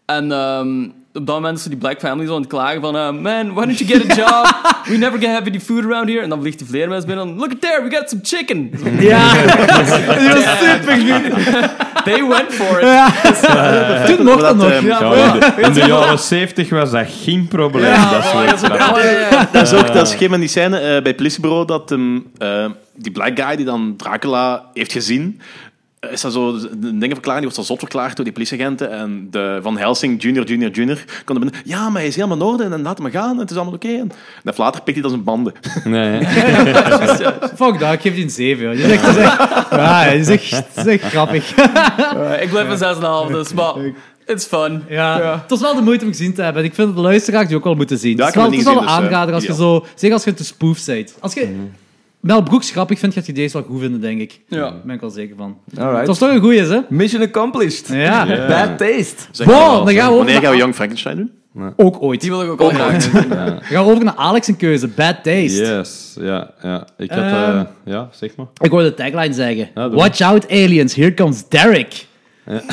En ehm, op dat moment is zo die black family zo aan het klagen van... eh, Man, why don't you get a job? We never get happy food around here. En dan vliegt die vleermuis binnen en... Look at there, we got some chicken. Ja, dat was super goed. They went for it. Toen mocht dat nog. Ja, in, de, in de jaren 70 was dat geen probleem. dat soort grappen. Dat is ook dat schema in die scène eh, bij het politiebureau dat ehm, eh, die black guy die dan Dracula heeft gezien, is dat zo een dingen verklaren, die wordt zo zot verklaard door die politieagenten en de Van Helsing, junior, junior, junior, komt er binnen, ja, maar hij is helemaal in orde en laat hem gaan en het is allemaal oké. En En later pikt hij dan zijn banden. Nee, Fuck dat, ik geef die een 7. Joh. Je zegt, je zegt, ja, je zegt, je zegt grappig. Eh, ik blijf een 6,5, dus maar it's fun. Ja. Het was wel de moeite om gezien te hebben. Ik vind dat de luisteraars die ook wel moeten zien. Ja, het ik is wel, heb het is wel het niet een gezien, dus, aanrader als je eh, zo... Zeker als je te spoof bent. Als je Mel Brooks grappig vindt, gaat je deze wel goed vinden, denk ik. Ja. Daar ben ik wel zeker van. Het was Alright. toch een goeie, hè? Mission accomplished. Ja. Bad taste. Zeg maar Wow, wel, dan gaan we Wanneer over- gaan we Young Frankenstein doen? Ook ooit. Die wil ik ook al graag. We gaan over naar Alex een keuze. Bad taste. yes, ja, ja. Ik had, Ehm. eh, ja, zeg maar. Ik hoorde de tagline zeggen. Ja, doe Watch out aliens, here comes Derek.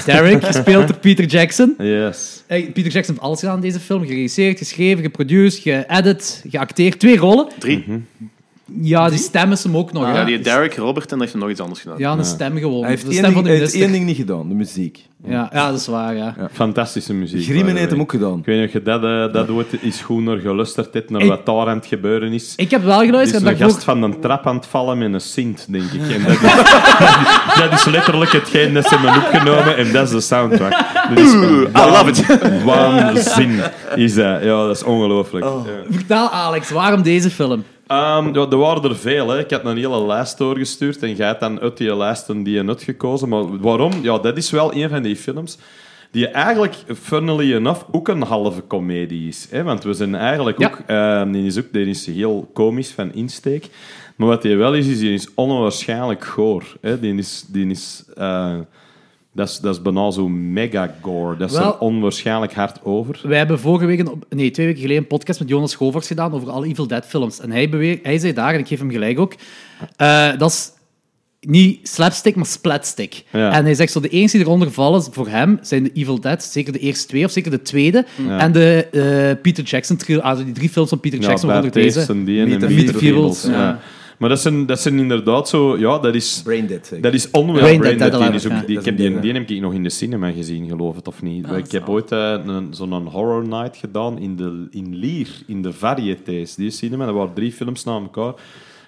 Derek, gespeeld door Peter Jackson. Yes. Hey, Peter Jackson heeft alles gedaan in deze film. Geregisseerd, geschreven, geproduceerd, geëdit, geacteerd. Twee rollen. Drie. Ja, die stem is hem ook nog. Ja, hè. Ah, die Derek, Robert en dan heeft hij nog iets anders gedaan. Ja, een stem gewoon. Hij heeft de één stem ding, van de hij heeft minister. één ding niet gedaan, de muziek. Ja, ja, dat is waar, ja. Fantastische muziek. Griemen by the heeft way. hem ook gedaan. Ik weet niet of je dat, eh, dat doet, is goed naar gelusterd hebt, naar Ik- wat daar aan het gebeuren is. Ik heb wel Er is geluisterd een en gast dat ik ook... van een trap aan het vallen met een sint, denk ik. En dat, is, dat is letterlijk hetgeen dat ze hebben opgenomen en dat is de soundtrack. Dit is I love it. waanzin. Is dat. Ja, dat is ongelooflijk. Ja. Vertel, Alex, waarom deze film? Ehm, ja, er waren er veel. Hè. Ik had een hele lijst doorgestuurd en jij hebt dan uit die lijsten die je nut gekozen. Maar waarom? Ja, dat is wel een van die films die eigenlijk, funnily enough, ook een halve komedie is. Hè? Want we zijn eigenlijk Ja. ook... ehm, die, is ook die is heel komisch van insteek. Maar wat die wel is, is die is onwaarschijnlijk goor. Hè? Die is... Die is eh, dat is, dat is bijna zo mega gore. Dat is Wel- er onwaarschijnlijk hard over. Wij hebben vorige week, een op- nee, twee weken geleden, een podcast met Jonas Govers gedaan over alle Evil Dead films. En hij, beweer, hij zei daar, en ik geef hem gelijk ook, eh, dat is niet slapstick, maar splatstick. Ja. En hij zegt zo, de eens die eronder vallen voor hem zijn de Evil Dead, zeker de eerste twee, of zeker de tweede. En de eh, Peter Jackson, trio, also die drie films van Peter Jackson, ja, waaronder Bad deze. Taste en die en Meet Meet the the Feebles, Feebles, ja. ja. Maar dat zijn, dat zijn inderdaad zo... Ja, dat is... Braindead, zeg. Dat is onwel Brain Brain Dead, Dead. dat Die, is ook- ja. die, Dat ik heb is een die, ding, die heb ik nog in de cinema gezien, geloof het of niet. ik heb ooit eh, een- zo'n horror night gedaan in, de, in Lier, in de Varietés. Die cinema, dat waren drie films na elkaar.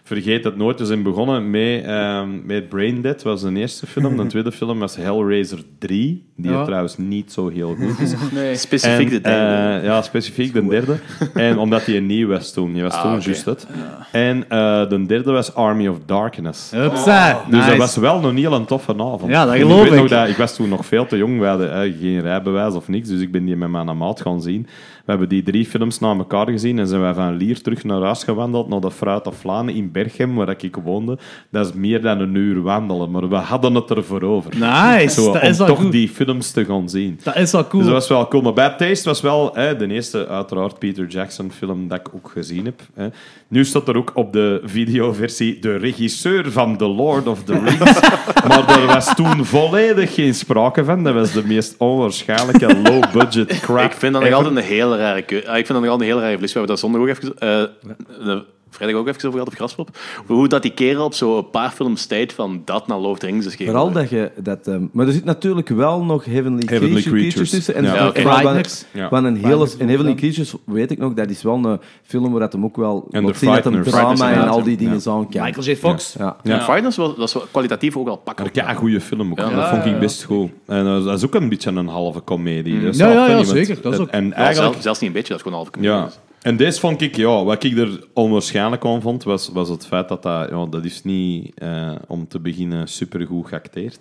Vergeet dat nooit. We zijn begonnen met, ehm met Brain Dead, was de eerste film. De tweede film was Hellraiser 3, die Ja. trouwens niet zo heel goed is. Nee. Specifiek de En, derde. eh, ja, specifiek de derde. En omdat hij nieuw was toen. Die was Ah, toen oké. juist het. En eh, de derde was Army of Darkness. Hupsa, Dus nice. dat was wel een heel toffe avond. Ja, dat En geloof ik. weet ik. nog dat- ik was toen nog veel te jong. We hadden eh, geen rijbewijs of niks. Dus ik ben die met mijn maat gaan zien. We hebben die drie films na elkaar gezien. En zijn wij van Lier terug naar huis gewandeld. Naar de Fruit of Vlaanderen in Berchem, waar ik woonde. Dat is meer dan een uur wandelen. Maar we hadden het ervoor over. Nice, Zo, dat om is wel toch goed. die films te gaan zien. Dat is wel cool. Dus dat was wel cool. Maar Bad Taste was wel hè, de eerste, uiteraard, Peter Jackson film dat ik ook gezien heb. Hè. Nu staat er ook op de videoversie de regisseur van The Lord of the Rings. maar daar was toen volledig geen sprake van. Dat was de meest onwaarschijnlijke low-budget crap. Ik vind dat nog ever. altijd een hele rare keu- Ah, Ik vind dat nog altijd een hele rare verlies. We hebben daar zondag ook even... eh, eh, vrijdag ook even over gehad op Graspop. Hoe dat die kerel op zo'n paar films tijd van dat naar Lord of the Rings is gegeven. Vooral dat je dat... ehm, maar er zit natuurlijk wel nog Heavenly, Heavenly creature, Creatures. creatures tussen. En Ja, dat- oké. vooral dat- Frighteners. Ja. Want een hele... Frighteners En Heavenly ook, Creatures, weet ik nog, dat is wel een film waar dat hem ook wel... En wat de zien dat hem Frighteners. drama en Frighteners, al die dingen zo Michael J. Fox. Ja. Ja. Frighteners was, dat is kwalitatief ook al pakken. Maar Ja, een goede film ook. dat vond ik best goed. En eh, dat is ook een beetje een halve komedie. Dat is Mm. Ja, wel ja, funny, ja, want zeker. Dat is het- ook- En Ja, eigenlijk... zelfs, zelfs niet een beetje, dat is gewoon half Ja. En deze vond ik, ja, wat ik er onwaarschijnlijk aan vond, was, was het feit dat dat, ja, dat is niet eh, om te beginnen supergoed geacteerd.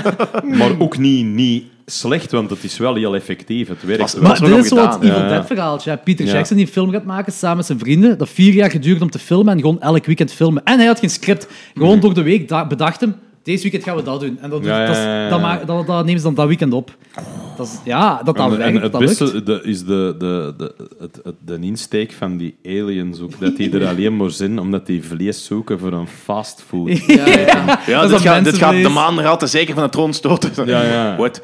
maar ook niet, niet slecht, want het is wel heel effectief. Het werkt Was- wel. was- Maar Dat dit is ook is al zo het gedaan, Evil ja. Dead verhaaltje. hè. Peter Ja. Jackson die een film gaat maken samen met zijn vrienden. Dat vier jaar geduurd om te filmen en gewoon elk weekend filmen. En hij had geen script. Gewoon door de week da- bedacht hem, deze weekend gaan we dat doen. En dat, doet- Ja, ja, dat is- ja, ja. dat, ma- dat, dat nemen ze dan dat weekend op. Dat is, ja, dat dat En, en werkt, het dat lukt. beste de- is de, de, de, het, het- de insteek van die aliens ook, dat die er alleen maar zijn omdat die vlees zoeken voor een fastfood. Ja, ja, ja. Ja, Dat is dat dit, gaat, dit gaat de mensenvlees. maanratten zeker van de troon stoten. Ja, ja. What?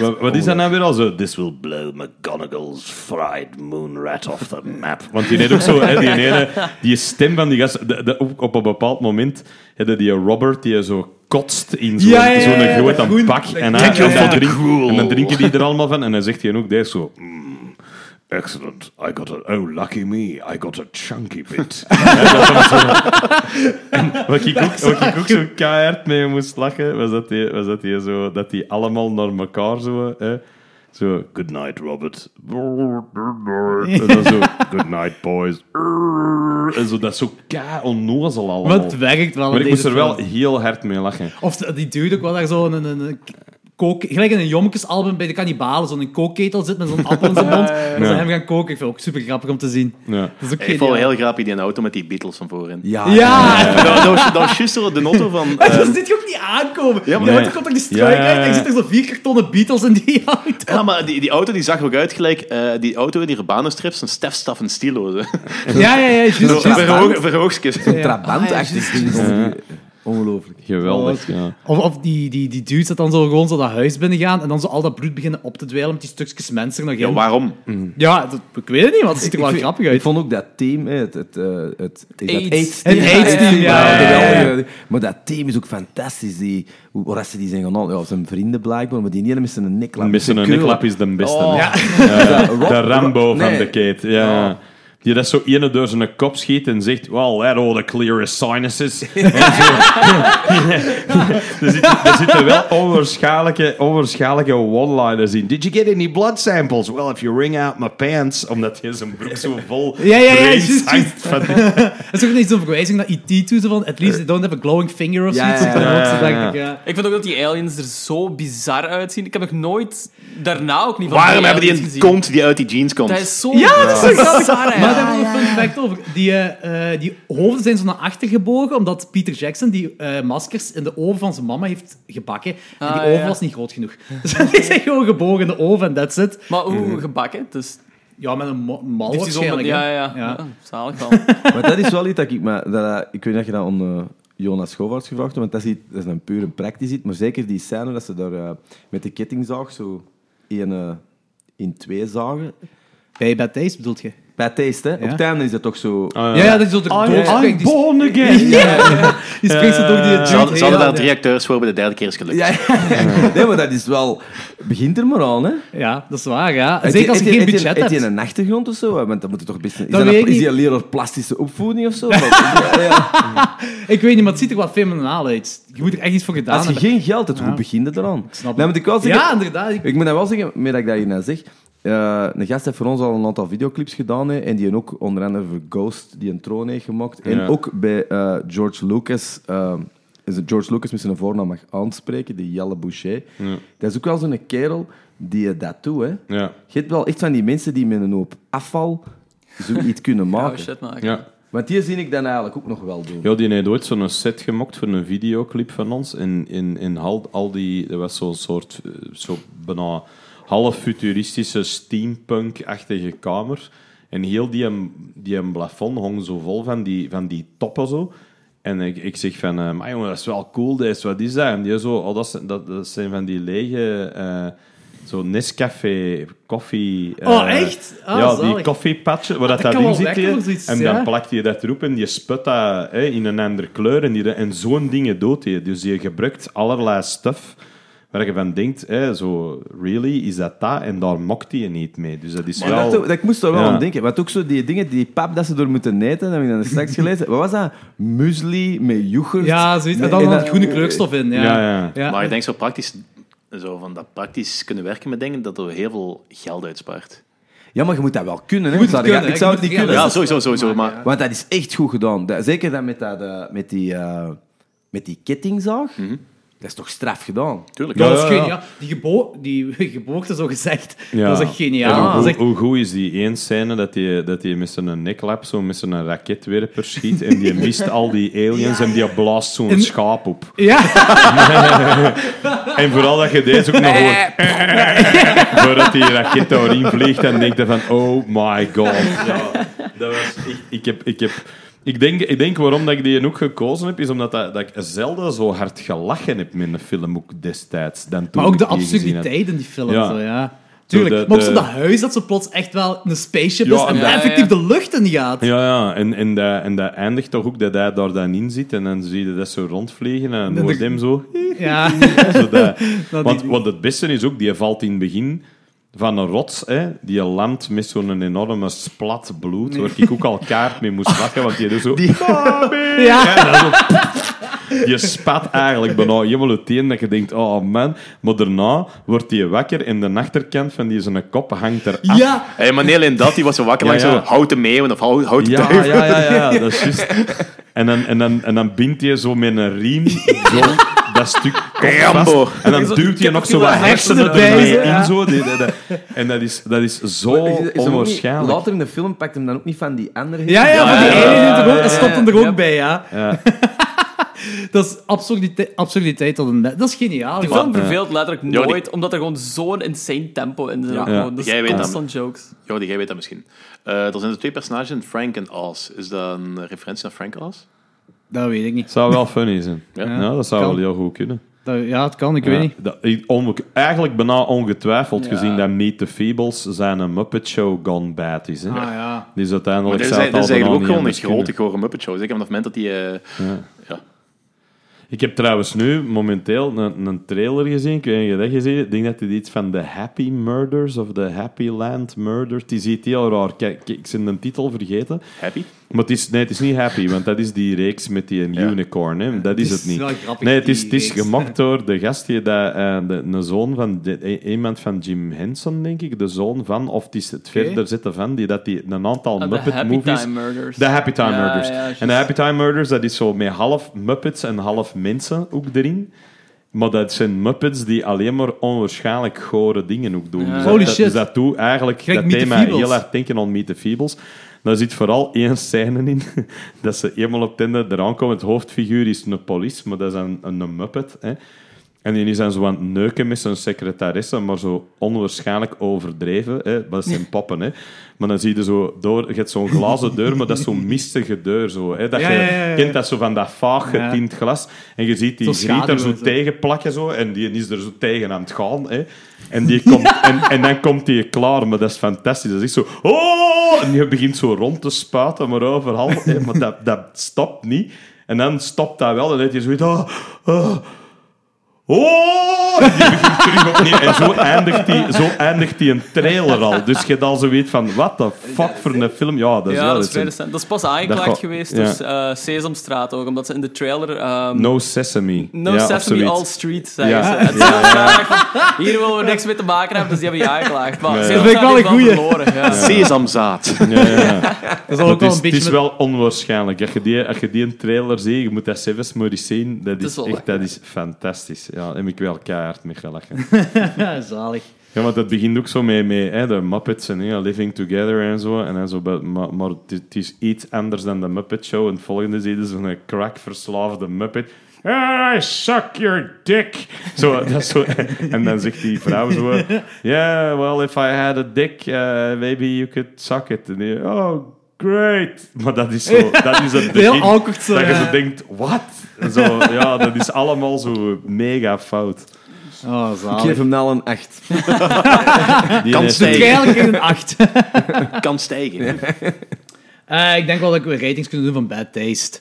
Wat, wat is dat nou weer al zo? This will Blow McGonagall's fried moon rat off the map. Want die heeft ook zo, hè, die, ene, die stem van die gast, de- de- op, op een bepaald moment hebben die Robert die zo kotst in zo'n Ja, ja, ja, zo'n ja, groot dat groen- pak. dat En, groen- hij- en, Thank you dan for the drink- gruel. en dan drinken die er allemaal van en dan zegt hij ook deze zo. "Mm, Excellent. I got a. Oh, lucky me. I got a chunky bit. Wat ik ook, wat ik ook zo keihard mee moest lachen, was dat die, was dat die, zo, dat die allemaal naar elkaar zo... Hè, zo, good night, Robert. En dan zo, good night, boys. En zo, dat is zo kei onnozel allemaal. Maar het werkt wel Maar in ik moest deze er wel film. heel hard mee lachen. Of de- die dude ook wel daar zo een, een, een kook... Gelijk in een Jommekesalbum bij de kannibalen, zo'n kookketel zit met zo'n appel in zijn mond. En ze Ja. hem gaan koken. Ik vind het ook super grappig om te zien. Ja. Dat is ook Ik vond wel geniaal. heel grappig die auto met die Beatles van voorin. Ja, Ja! Dat, dat, dat was juist zo de auto van... eh, Dat zit je ook niet aankomen. Ja, maar nee. komt er die struik Ja, ja, uit en ja. er zitten zo vier kartonnen Beatles in die auto. ja, maar die, die auto die zag er ook uit gelijk... eh, die auto, die Urbano-strips, een Stef, Staf en Stilo. zo. Ja, ja, ja. Just, Zo, Verhoog, verhoogstjes. Ja. Trabant-achtig ding. Ongelooflijk. Oh, Oh, Geweldig, ja. Of, of die, die, die dudes dat dan zo gewoon zo dat huis binnen gaan en dan zo al dat bloed beginnen op te dweilen met die stukjes mensen er nog Ja, in. waarom? Ja, dat- ik weet het niet, want het ziet er wel vind- grappig Ik uit. vond ook dat team, hè, het, het, eh, het, het AIDS. Het AIDS team, ja, ja, ja, ja. geweldig. Maar dat team is ook fantastisch. Die, hoe hoe dat ze die zijn gaan Ja, zijn vrienden blijkbaar, maar die ene missen een niklap. Missen een Keur. niklap is de beste. Oh. hè. Ja. Ja, Rob- de Rambo Rob- van nee. de Kate. Ja. Oh. Die dat zo ene door zijn kop schiet en zegt: Well, that all the clear is sinuses. En zo. er, zitten, er zitten wel onwaarschijnlijke, onwaarschijnlijke one-liners in. Did you get any blood samples? Well, if you wring out my pants. Omdat hij zijn broek zo vol Ja, ja, ja, brains juist, Oh, hangt juist. van die- Het is ook niet zo'n verwijzing naar E.T. toe, zo van at least they don't have a glowing finger of Ja, zoiets. ja, Op de ja, hoogste, ja, ja. denk ik, ja. Ik vind ook dat die aliens er zo bizar uitzien. Ik heb nog nooit daarna ook niet van Waarom hebben die aliens een gezien. kont die uit die jeans komt? Dat is zo Ja, dat is zo grappig. bizar, hè. Maar daar hebben we een fun fact over. Die, eh, eh, die hoofden zijn zo naar achter gebogen, omdat Peter Jackson die eh, maskers in de oven van zijn mama heeft gebakken. En die Ah, oven ja. was niet groot genoeg. Dus die zijn gewoon gebogen in de oven en that's it. Maar hoe gebakken? Dus Ja, met een ma- mal heeft hij zo met- waarschijnlijk. ja, hè. ja, ja. Ja. Ah, Zalig wel. Maar dat is wel iets dat ik me... Dat, eh, ik weet niet of je dat aan eh, Jonas Schoovarts gevraagd hebt, want dat is, iets- dat is een pure praktisch iets. Maar zeker die scène dat ze daar eh, met de kettingzaag zo in, eh, in twee zagen. Bij Bad Taste bedoelt je? Bij Taste, hè? Op het einde is dat toch zo... Ja, ja, dat is zo er doorspringt. Die, sp- Born again. die springt zo door die Ze hadden, dude ze hadden heen. daar drie acteurs voor, bij de derde keer is gelukt. Ja, nee, maar dat is wel... Begint er maar aan, hè? Ja, dat is waar, ja. Heeft Zeker die- als je heeft geen die- budget heeft die hebt. een achtergrond of zo? Want dat moet er toch best... Is, Dat dat weet ik een, is niet. die een leraar plastische opvoeding of zo? Want- ja, ja. Ik weet niet, maar het ziet er wat feminaal uit. Je moet er echt iets voor gedaan Als je hebben. geen geld hebt, hoe begin je eraan? snap Nou, het. moet ik, wel zeggen, Ja, inderdaad. Ik- ik moet dat wel zeggen, meer dat ik dat hierna zeg. eh, een gast heeft voor ons al een aantal videoclips gedaan. hè, en die ook onder andere voor Ghost die een troon heeft gemaakt. En Ja. ook bij eh, George Lucas. eh, is het George Lucas met zijn voornaam mag aanspreken, die Jelle Boucher. Dat is ook wel zo'n kerel die eh, dat doet. Hè. Ja. Je hebt wel echt van die mensen die met een hoop afval zoiets kunnen Oh maken. shit, maken. ja. Want die zie ik dan eigenlijk ook nog wel doen. Ja, die heeft ooit zo'n set gemaakt voor een videoclip van ons. In, in, in al, al die... Dat was zo'n soort... eh, Zo bijna half futuristische steampunk-achtige kamer. En heel die, die plafond hong zo vol van die, van die toppen zo. En ik, ik zeg van... eh, maar jongen, dat is wel cool. Deze, wat is dat? En die zo... Oh, dat, zijn- dat, dat zijn van die lege... eh, zo Nescafé, koffie... eh, Oh, echt? Ah, ja, zalig. die koffiepatje, waar dat, Ah, dat kan dat in wel zit. werken hier. voor zoiets, en dan ja. plakt je dat erop en je sput dat hè, in een andere kleur. En, die- en zo'n dingen doet je. Dus je gebruikt allerlei stuff waar je van denkt, hè, zo, really, is dat dat? En daar mokt je niet mee. Dus dat is Ja, wel... dat, dat, ik moest daar wel Ja. aan denken. Want ook zo die dingen, die pap dat ze door moeten eten, dat heb ik dan straks gelezen. Wat was dat? Muesli met yoghurt. Ja, zoiets. En Met- dan en een dat- groene kleurstof in. Ja, Ja, ja. Maar ik denk zo praktisch, zo van dat praktisch kunnen werken met dingen, dat er heel veel geld uitspaart. Ja, maar je moet dat wel kunnen. Hè? moet het Zou je- kunnen, ik hè. zou Je het niet moet het kunnen. Ja, is sowieso, sowieso. Maar Want dat is echt goed gedaan. Dat- zeker dat met, dat, eh, met, die, eh, met die kettingzaag. Dat is toch straf gedaan? tuurlijk. Ja, dat is Ja, ja, ja. geniaal. Die, gebo die geboorte, zo gezegd, Ja. dat is echt En geniaal. hoe, Dat is echt- hoe goed is die één scène dat hij dat die met zijn neklap, zo met zijn raketwerper schiet en die mist al die aliens en die blaast zo'n En- schaap op. Ja, En vooral dat je deze ook nog hoort. Voordat die raket daarin vliegt en denkt van, oh my god. Ja, dat was, ik, ik heb... Ik heb ik denk, ik denk waarom dat ik die ook gekozen heb, is omdat dat, dat ik zelden zo hard gelachen heb met een film ook destijds. Dan toen maar ook ik de die gezien had. absurditeit in die film. Ja. Zo, ja. Tuurlijk. Zo de- maar ook zo de- dat huis dat zo plots echt wel een spaceship Ja, is en en dat- effectief Ja, ja. de lucht in gaat. Ja, ja. En, en, dat, en dat eindigt toch ook dat hij daar dan in zit en dan zie je dat zo rondvliegen en dan de- wordt hem zo... Ja. Zo dat- die- want, want het beste is ook, die valt in het begin van een rots, hè, die landt met zo'n enorme splat bloed, waar ik ook al kaart mee moest lachen, want die doet zo... "Ah, Ja. Ja, dat is ook- Je spat eigenlijk bijna helemaal uiteen dat je denkt, oh man. Maar daarna wordt hij wakker en de achterkant van die zijn kop hangt er af. Ja, Hey, maar niet alleen dat, die was zo wakker Ja, langs ja. zo'n houten meeuwen of hou- houten Ja, duif. ja, ja, ja, dat is juist. En dan, en, dan, en dan bindt hij zo met een riem zo, dat stuk kop Rambo. vast. En dan duwt hij nog zo wat hersenen erbij, erbij ja. in. Zo. Die- die- die- En dat is, dat is zo onwaarschijnlijk. Later in de film pakt hem dan ook niet van die andere... Ja, ja, van die ja, eieren ja, die er ook, ja, dat stopt hem er ook bij, ja. Ja. dat is absurditeit, absurditeit tot een... Dat is geniaal. Die gewoon. film verveelt letterlijk Ja, die- nooit, omdat er gewoon zo'n insane tempo in zit. Ja. Gewoon, dat is Jij weet dat. constant jokes. Jordi, jij weet dat misschien. Eh, er zijn er twee personages in Frank en Oz. Is dat een referentie naar Frank en Oz? Dat weet ik niet. zou wel funny zijn. Ja, Nou, dat zou Kan. wel heel goed kunnen. Dat- ja, het kan, ik weet niet. Ja, dat- ik- onge- eigenlijk bijna ongetwijfeld, gezien dat Meet the Feebles zijn een Muppet Show gone bad is. Hè? Ah ja. Die is Maar uiteindelijk dat is, zou dat het is al bijna eigenlijk ook niet gewoon een anders kunnen. grote gore Muppet Show. Zeker vanaf het moment dat die... eh, Ik heb trouwens nu momenteel een, een trailer gezien. Ik weet niet of je dat gezien hebt. Ik denk dat dit iets van The Happy Murders of The Happy Land Murders. Die ziet heel raar. Kijk, kijk, ik ben de titel vergeten. happy? Maar het is, nee, het is niet Happy, want dat is die reeks met die unicorn. Hè. Dat is Het is het niet. wel grappig, nee, het is, die het is reeks. gemaakt door de gast, die dat, eh, de, een zoon van de- eh, iemand van Jim Henson, denk ik. De zoon van, of het is het verder zitten van, die dat die een aantal Ah, de Muppet Happy movies. Time Murders. De Happy Time Ja, Murders. ja, juist. en de Happy Time Murders, dat is zo met half Muppets en half mensen ook erin. Maar dat zijn Muppets die alleen maar onwaarschijnlijk gore dingen ook doen. Dus dat- Holy dat, shit. Dus dat doet eigenlijk Kijk, dat Meet the thema Feebles. heel erg denken aan Meet the Feebles. Daar zit vooral één scène in, dat ze eenmaal op Tinder eraan komen. Het hoofdfiguur is een police, maar dat is een, een muppet. Hè. En die zijn zo aan het neuken met zijn secretaresse, maar zo onwaarschijnlijk overdreven. Hè. Dat zijn poppen, hè. Maar dan zie je zo door... Je hebt zo'n glazen deur, maar dat is zo'n mistige deur. Zo, hè. Dat Ja, je ja, ja, ja. kent dat zo van dat vaag Ja. getint glas. En je ziet die Zo griet daar zo schaduwen, zo. tegen plakken zo, en die is er zo tegen aan het gaan. Hè. En, die komt, en, en dan komt die klaar, maar dat is fantastisch. Dat is echt zo... Oh! En die begint zo rond te spuiten, maar overal. Hè. Maar dat, dat stopt niet. En dan stopt dat wel en dan heb je zoiets... Oh, oh, Oh! En die begint terug opnieuw. En zo eindigt, die, zo eindigt die een trailer al. Dus je hebt al zo weet van, wat de fuck voor een film. Ja, dat is Ja, wel dat is, iets. vrij een- recent. Dat is pas Dat aangeklaagd ga- geweest ja. dus eh Sesamstraat ook, omdat ze in de trailer... ehm, No Sesame. No ja, of Sesame zoiets. All Street, zeggen Ja. ze. Ja, Het is wel graag van, Hier willen we niks mee te maken hebben, dus die hebben je aangeklaagd. Maar Ja, ja. ze Dat vind ik wel hebben een het goeie. verloren. Ja. Sesamzaad. Ja, ja, Dat ja. is ook Het wel is, een het is beetje... met- wel onwaarschijnlijk. Als je, die, als je die een trailer ziet, je moet dat zelfs maar eens zien. Dat is is, wel echt, dat is fantastisch. Ja, daar heb ik wel keihard mee gelachen. Ja, zalig. Ja, want dat begint ook zo mee, mee hè, de Muppets en ja, Living Together en zo. En dan zo bij- maar maar het, is- het is iets anders dan de Muppet Show. En het volgende zie je zo'n crackverslaafde Muppet. Ah, I suck your dick. Zo, dat is zo, en dan zegt die vrouw zo... Yeah, well, if I had a dick, eh, maybe you could suck it. En die, oh, great. Maar dat is zo... Dat is het Heel begin. awkward zo, Dat je ja. zo denkt, wat? Zo, ja, dat is allemaal zo mega fout. Oh, Ik zalig. geef hem nou een 8. Die heeft- Kan Dus stijgen. eigenlijk in een 8. Kan stijgen. Eh, ik denk wel dat we ratings kunnen doen van Bad Taste.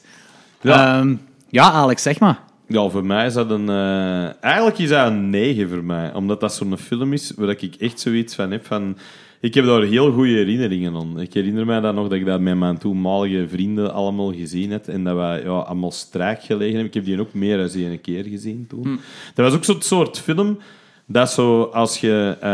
Ja. Ja, ja Alex, zeg maar. Ja, voor mij is dat een... eh, Eigenlijk is dat een 9 voor mij. Omdat dat zo'n film is waar ik echt zoiets van heb van... Ik heb daar heel goede herinneringen aan. Ik herinner mij dan nog dat ik dat met mijn toenmalige vrienden allemaal gezien heb. En dat wij ja, allemaal strijk gelegen hebben. Ik heb die ook meer dan één keer gezien Hm. toen. Dat was ook zo'n soort film dat zo als je eh,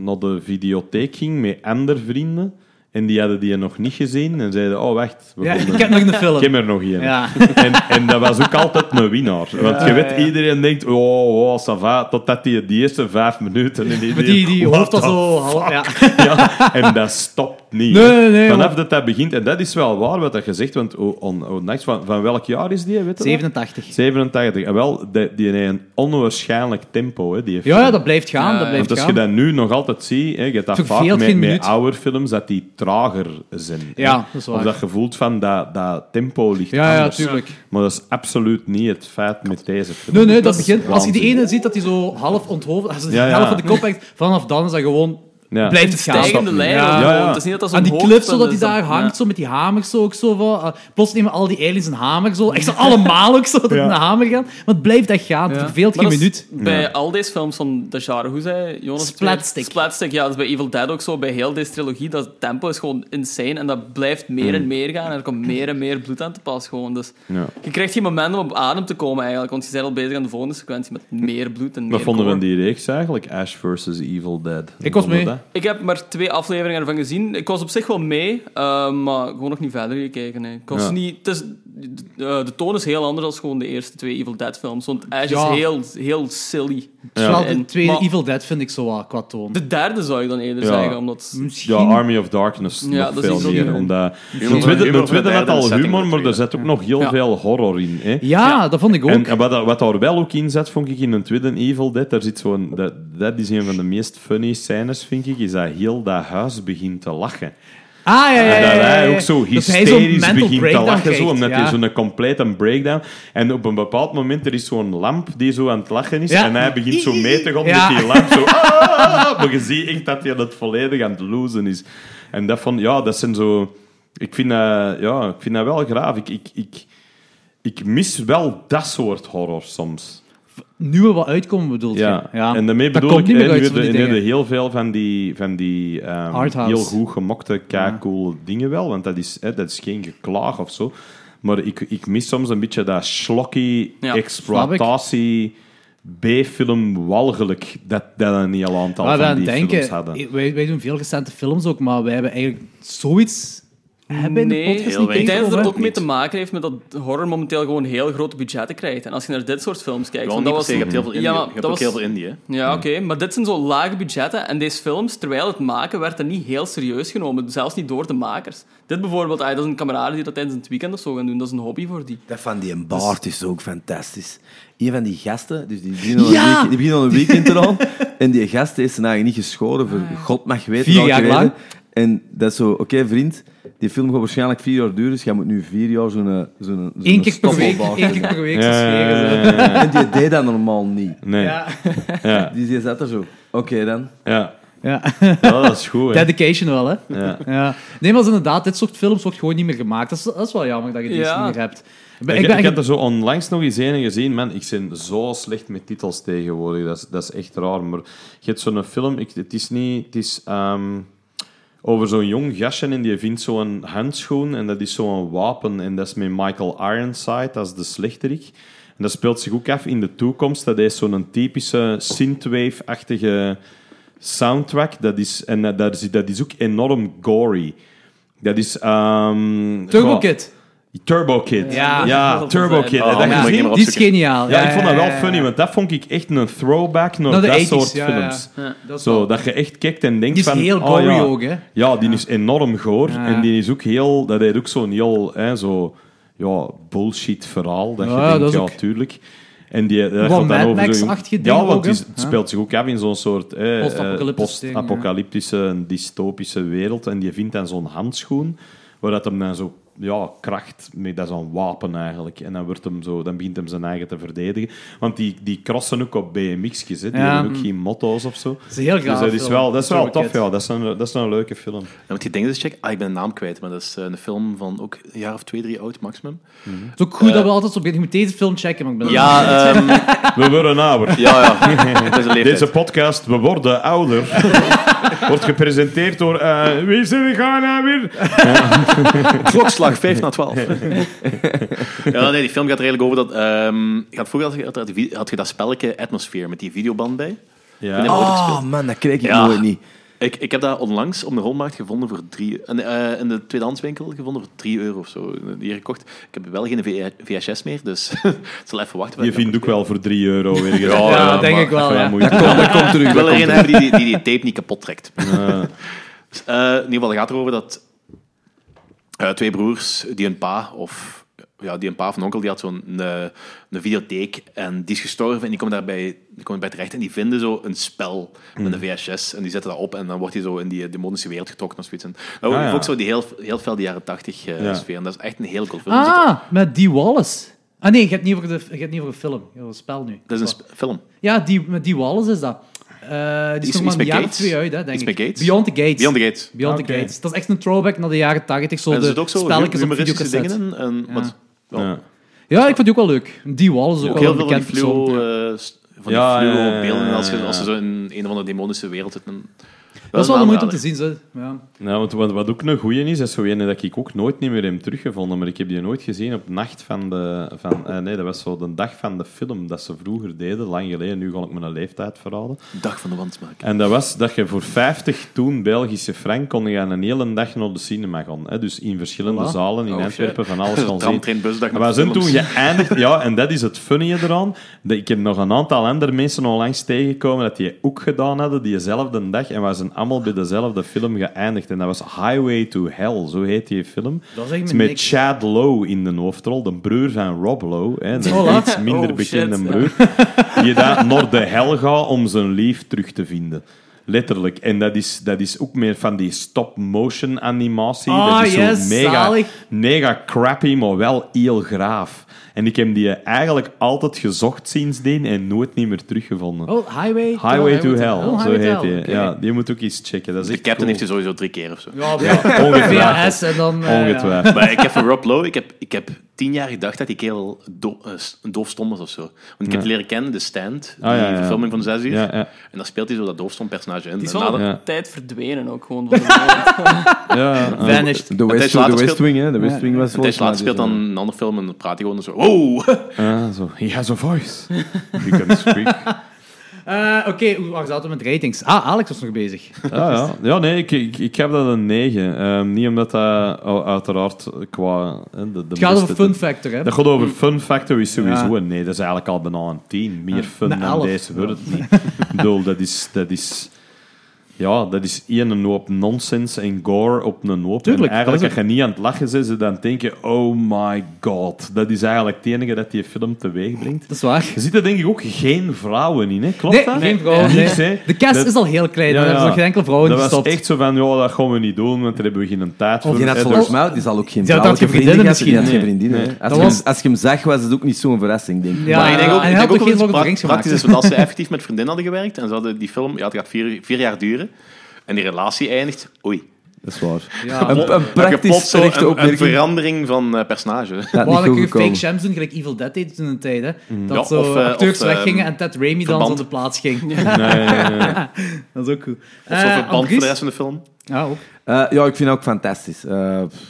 naar de videotheek ging met andere vrienden... En die hadden die nog niet gezien. En zeiden, oh wacht, we Ja, vonden- ik heb nog een film. ik heb er nog één. Ja. En, en dat was ook altijd een winnaar. Want je weet, iedereen denkt, oh, oh, ça va, totdat die de eerste vijf minuten... En Met die, die what hoofd al the zo... half- Ja. ja, en dat stopt niet. Nee, nee, nee, Vanaf want- dat dat begint, en dat is wel waar wat dat gezegd want o- on, ondanks van, van welk jaar is die? Weet je dat? 87. 87. En wel, die, die heeft een onwaarschijnlijk tempo. Hè, die Ja, ja, film. dat blijft gaan. Ja, dat ja. blijft Eh, Want als gaan. je dat nu nog altijd ziet, hè, je hebt dat Het vaak verveelt met, geen met minuut. oude films, dat die trager zijn. hè. Ja, dat is waar. Of dat gevoel van dat, dat tempo ligt Ja, ja, anders. tuurlijk. Maar dat is absoluut niet het feit met deze film. Nee, nee, dat is begint... Als je die waanzin. ene ziet dat hij zo half onthoofd... Als hij de Ja, ja. helft van de kop hangt, vanaf dan is dat gewoon Ja. blijft het Het stijgende gaan. lijn. Ja. gewoon. Ja, ja. Het is niet dat dat zo'n Aan die hoogte clip, zo dat hij dus is, daar ja. hangt, zo met die hamers zo ook zo van... eh, plots nemen al die aliens een hamer zo. Echt zo allemaal ook zo, dat naar de hamer gaan. Maar het blijft echt gaan, het verveelt Maar geen dat is minuut. Bij al deze films van de genre, hoe zei Jonas? Splatstick. Splatstick, ja, dat is bij Evil Dead ook zo. Bij heel deze trilogie, dat tempo is gewoon insane en dat blijft meer en meer gaan en er komt meer en meer bloed aan te pas gewoon. Dus Mm. Ja. je krijgt geen moment om op adem te komen eigenlijk, want je bent al bezig aan de volgende sequentie met meer bloed en meer Wat vonden we gore. in die reeks eigenlijk? Ash versus Evil Dead. Ik was Vonden we mee. dat? Ik heb maar twee afleveringen ervan gezien. Ik was op zich wel mee, eh, maar gewoon nog niet verder gekeken. nee. Ik was Ja. niet, het is, eh, de toon is heel anders dan gewoon de eerste twee Evil Dead films. Want Ash Ja. is heel, heel silly. Terwijl de En- tweede maar- Evil Dead vind ik zo wat qua toon. De derde zou ik dan eerder Ja. zeggen, omdat... Ja, Misschien... Army of Darkness Ja, nog dat is veel iets wat meer. humor. Omdat de Humor- tweede, de humor tweede van had de al setting humor, van de maar er tweede. zit ook nog heel Ja. veel horror in. Hè? Ja, dat vond ik ook. En wat, dat- wat daar wel ook in zit, vond ik in een tweede Evil Dead, daar zit zo'n, dat, dat is een van de meest funny scènes, vind ik, is dat heel dat huis begint te lachen. Ah, ja, ja, ja. En dat ja, ja. hij ook zo Dat hij zo'n hysterisch mental begint te breakdown lachen, zo, krijgt, omdat ja. hij zo'n complete breakdown... En op een bepaald moment, er is zo'n lamp die zo aan het lachen is, Ja. en hij begint zo mee te gaan Ja. met die lamp. Zo, "Ah!" maar je ziet echt dat hij dat volledig aan het lozen is. En dat van, ja, dat zijn zo... Ik vind dat, ja, ik vind dat wel graaf. Ik, ik, ik, ik mis wel dat soort horror soms. Nu we wat uitkomen, bedoelt Ja. je? Ja. En daarmee Dat bedoel komt ik, niet meer eh, uit nu van die hebben we- nu dingen. hebben we heel veel van die, van die ehm, Arthouse. heel goed gemokte, kei-cool dingen wel, want dat is, hè, dat is geen geklaag of zo. Maar ik, ik mis soms een beetje dat slokkie, Ja. exploitatie, B-film, walgelijk, dat, dat een heel aantal Waar we van aan die films denken, eh, hadden. wij, wij doen veel recente films ook, maar wij hebben eigenlijk zoiets... Hebben in de Nee, podcast heel niet weinig. Ik denk dat tegengekomen, het er ook hè? mee te maken heeft met dat horror momenteel gewoon heel grote budgetten krijgt. En als je naar dit soort films kijkt... Gewoon want dat was niet per se, je hebt heel veel indie. Ja, maar je hebt dat ook was- heel veel indie, hè. Ja, oké, maar dit zijn zo lage budgetten. En deze films, terwijl het maken, werd er niet heel serieus genomen. Zelfs niet door de makers. Dit bijvoorbeeld, ah, dat is een kameraden die dat tijdens het weekend of zo gaan doen. Dat is een hobby voor die. Dat van die Dus- een baard is ook fantastisch. Een van die gasten, dus die beginnen al een, Ja! week- die beginnen al een weekend eraan. en die gast is eigenlijk niet geschoren voor god mag weten Ah. Vier welke jaar reden. lang? En dat is zo, oké vriend, die film gaat waarschijnlijk vier jaar duren, dus jij moet nu vier jaar zo'n zo'n zo'n Eén keer per week, stoppelbaard één keer hebben. per week. Ja, zo scheren ze. ja, ja, ja, ja. En die deed dat normaal niet. Eh, Nee, ja. Ja. Ja, Dus die zat er zo, oké dan. Ja. Ja, dat is goed. hè. Dedication wel, hè? Ja. Ja. Nee, maar inderdaad, dit soort films wordt gewoon niet meer gemaakt. Dat is, dat is wel jammer dat je deze Ja. niet meer hebt. Ik Ik, ben, ik, ik ben heb echt- er zo onlangs nog eens een gezien. Man, ik ben zo slecht met titels tegenwoordig. Dat is, dat is echt raar. Maar je hebt zo'n film... Ik, het is niet... Het is ehm, over zo'n jong gastje en die vindt zo'n handschoen. En dat is zo'n wapen. En dat is met Michael Ironside. Dat is de slechterik. En dat speelt zich ook af in de toekomst. Dat is zo'n typische synthwave-achtige soundtrack. Dat is, en dat, dat is, dat is ook enorm gory. Dat is... ehm, Turbo goh, Kid. Turbo Kid. Ja. Ja, Dat Turbo was- Kid. Oh, Heb je dat moet ik gezien? maar Die is opzoeken. geniaal. Ja, ik vond dat wel ja, funny, ja. want dat vond ik echt een throwback naar Naar de dat 80s, soort ja, ja. films. Dat is Zo, wel- dat je echt kijkt en denkt Die is van... heel oh, gory ja. ook, hè? Ja, die is enorm goor. En die is ook heel... Dat heeft ook zo'n heel... Hè, zo, ja, bullshit verhaal. Dat je Ja, denkt, dat is ja, ook- tuurlijk. En die, eh, dat Wat gaat dan Mad over zo'n- Max-achtige Ja, ding want ook, die hè? s- het Ja. speelt zich ook af in zo'n soort... hè, eh, Post-apocalyptische ding, ja. post-apocalyptische, dystopische wereld. En die vindt dan zo'n handschoen, waar dat hem dan zo... Ja, kracht, mee, dat is een wapen eigenlijk. En dan, wordt hem zo, dan begint hem zijn eigen te verdedigen. Want die, die crossen ook op BMX'jes, hè. die Ja. hebben ook geen motto's of zo. Dat is heel Dus gaaf. dat is film. wel, dat is wel Turbo tof, Kid. ja. Dat is een, dat is een leuke film. Dan moet je dingen eens checken. Ah, ik ben de naam kwijt, maar dat is eh, een film van ook een jaar of twee, drie oud, maximum. Het is ook goed dat we altijd zo beginnen. Je moet deze film checken, maar ik ben Ja, ehm, We worden ouder. ja, ja. Het is een leeftijd. Deze podcast, We Worden Ouder, wordt gepresenteerd door... eh, wie is er gaan nou weer? Klokslag 5 na 12. ja, nee, die film gaat er eigenlijk over dat. ehm, ik had vroeger had, had, had je dat spelletje Atmosphere met die videoband bij. Ja. Ik heb ooit gespeeld. Oh man, dat kreeg ik Ja. nooit niet. Ik, ik heb dat onlangs op de rommelmarkt gevonden voor drie... en, eh, in de tweedehandswinkel gevonden voor 3 euro of zo. Hier gekocht. Ik heb wel geen V- VHS meer, dus ik zal even wachten. Je vindt ook wel voor 3 euro weer. Ja, ja, denk ik wel, ja. moeite. dat komt terug. Ik wil er een hebben die, die die tape niet kapot trekt. Dus, eh, in ieder geval, het gaat erover dat eh, twee broers, die een pa of ja, die een pa of een onkel, die had zo'n eh, een videotheek en die is gestorven en die komen daarbij die komen bij terecht en die vinden zo een spel met Mm. een VHS en die zetten dat op en dan wordt hij zo in die eh, demonische wereld getrokken of zoiets. En, nou, Ah, ja. ook zo die heel, heel veel die jaren tachtig eh, Ja. sfeer en dat is echt een heel cool film. Er zit ook- Ah, met Dee Wallace. Ah nee, je hebt niet over de, je hebt niet over de film. Je hebt over het spel nu. Dat is een sp- film. Ja, die, met Dee Wallace is dat. Eh, Eh, die is, Iets- nog maar iets met een jaar of Gates? twee uit, hè, denk Iets ik. met Gates? Beyond the Gates. Beyond the Gates. Beyond Ah, the Oké. Gates. Dat is echt een throwback naar de jaren 80, zo en er de zit ook zo hu- spelletjes op humoristische videocassette. dingen in. En, wat, wel, Ja. Ja, ik vond die ook wel leuk. Die Wall is ook Ook wel heel een veel van die bekend persoon. fluo, eh, st- van die Ja, ja, fluo ja, ja, beelden. Als je, ja, ja. als je zo in een of andere demonische wereld zit. dan- Dat is wel de moeite om aanrader. te zien. Zo. Ja. Nou, want wat, wat ook een goeie is, is zo ene dat ik ook nooit niet meer heb teruggevonden, maar ik heb die nooit gezien op nacht van de... Van, eh, nee, dat was zo de dag van de film dat ze vroeger deden, lang geleden. Nu ga ik mijn leeftijd verraden. Dag van de wand maken. En dat was dat je voor 50 toen Belgische frank kon je aan een hele dag naar de cinema gaan. Hè? Dus in verschillende Voilà. zalen in Antwerpen van alles gaan zien. Tramtrain, busdag Dus Maar met we zijn films. toen geëindigd, ja, en dat is het funny eraan. Dat ik heb nog een aantal andere mensen onlangs tegengekomen dat die ook gedaan hadden diezelfde dag. En we zijn allemaal bij dezelfde film geëindigd. En dat was Highway to Hell, zo heet die film. Dat zegt me Het is met niks. Chad Lowe in de hoofdrol, de broer van Rob Lowe. Hè, de Voilà. iets minder Oh, shit. bekende broer. Die daar naar de hel gaat om zijn lief terug te vinden. Letterlijk. En dat is, dat is ook meer van die stop-motion animatie. Ah, dat is yes, zo mega, zalig. mega crappy, maar wel heel graaf. En ik heb die eigenlijk altijd gezocht sindsdien en nooit niet meer teruggevonden. Oh, Highway, Highway to Hell, Oh, zo Highway to heet die. Hell, oké. Ja, die moet ook eens checken. Dat is De echt captain heeft cool. je sowieso drie keer of zo. Ja, ongetwijfeld. VHS en dan... eh, ja. Ongetwijfeld. Maar ik heb van Rob Lowe, ik heb, ik heb tien jaar gedacht dat die kerel do, eh, s- doofstom was of zo. Want ik heb die leren kennen, The Stand, die Ah, ja, ja. verfilming van zes uur. Ja, ja. En daar speelt hij zo dat doofstom personage in. Die is En wel na- op Ja. tijd verdwenen ook gewoon. van de wereld. Ja, ja. Vanished. De West, tijdje de later West speelt- Wing, hè. De West Wing was dus Een tijdje later speelt dan een ander film en dan praat hij gewoon zo... Wow! Ah, zo. He has a voice. You can speak. Eh, Oké, hoe- waar zaten we met ratings? Ah, Alex was nog bezig. Ah, ja. ja, nee, ik, ik, ik heb dat een 9. Ehm, niet omdat dat u- uiteraard qua... hè, De, de Het gaat over beste- fun factor, hè? Dat gaat over fun factor is sowieso Mm. Ja. een nee. Dat is eigenlijk al bijna een 10. Meer fun een dan elf. deze wordt het niet. Ik bedoel, dat is... Dat is ja, dat is één een hoop nonsens en gore op een hoop. Tuurlijk, en eigenlijk, dat is als je niet aan het lachen zit, ze dan denk je, oh my god. Dat is eigenlijk het enige dat die film teweeg brengt. Dat is waar. Er zitten denk ik ook geen vrouwen in, hè? Klopt Nee, dat? geen vrouwen. Niks, nee. hè? De cast Dat- is al heel klein. ja, daar hebben ja. ze nog geen enkele vrouw in dat gestopt. was echt zo van, ja, dat gaan we niet doen, want daar hebben we geen tijd voor. Die had Eh, volgens dus- mij die zal ook geen Die had vrouwelijke geen vriendinnen vriendin gehad, die had geen misschien. vriendinnen. hè. Als, Dat je hem- was- als je hem zag, was het ook niet zo'n verrassing, denk ik. Ja, Maar ik denk ook, en ik hij denk had ook ook dat geen het Lord of the pra- Rings praktisch is, gemaakt. want als ze effectief met vriendinnen hadden gewerkt en ze hadden die film, ja, het gaat vier, vier jaar duren, en die relatie eindigt, oei. Dat is waar. Ja. Een, een Dan heb je plots praktisch zo terechte een, een opmerking. verandering van eh, personage. Dat had Waar niet dan goed kun je fake gekomen. Shams doen, gelijk Evil Dead deed toen een tijd. Hè? Dat Ja, zo of, eh, acteurs of, weggingen ehm, en Ted Raimi dan verband. zo de plaats ging. Dat is ook goed. Of zo'n Eh, verband voor Andries? de rest van de film. Ja, ook. Eh, ja, ik vind het ook fantastisch. Eh, pff,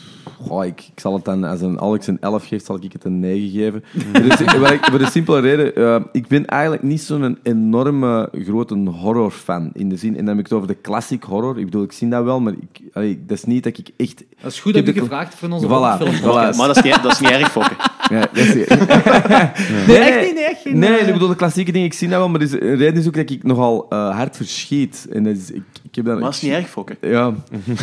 goh, ik, ik zal het dan, als een Alex een 11 geeft, zal ik het een 9 geven. Voor, de, si- waar ik- voor de simpele reden, eh, ik ben eigenlijk niet zo'n enorme grote horrorfan. In de zin, en dan heb ik het over de classic horror. Ik bedoel, ik zie dat wel, maar ik, allee, dat is niet dat ik echt... Dat is goed Ik dat je heb de- gevraagd hebt voor onze Voilà, film. voilà. Maar dat is niet, dat is niet erg, fokken. Ja, dat is- Nee, echt niet, nee, echt niet. Nee, ik bedoel, de klassieke dingen, ik zie dat wel, maar er is- de reden is ook dat ik nogal eh, hard verschiet. En dat is, ik, ik heb dan, Maar dat is niet erg, fokken. Ja. ik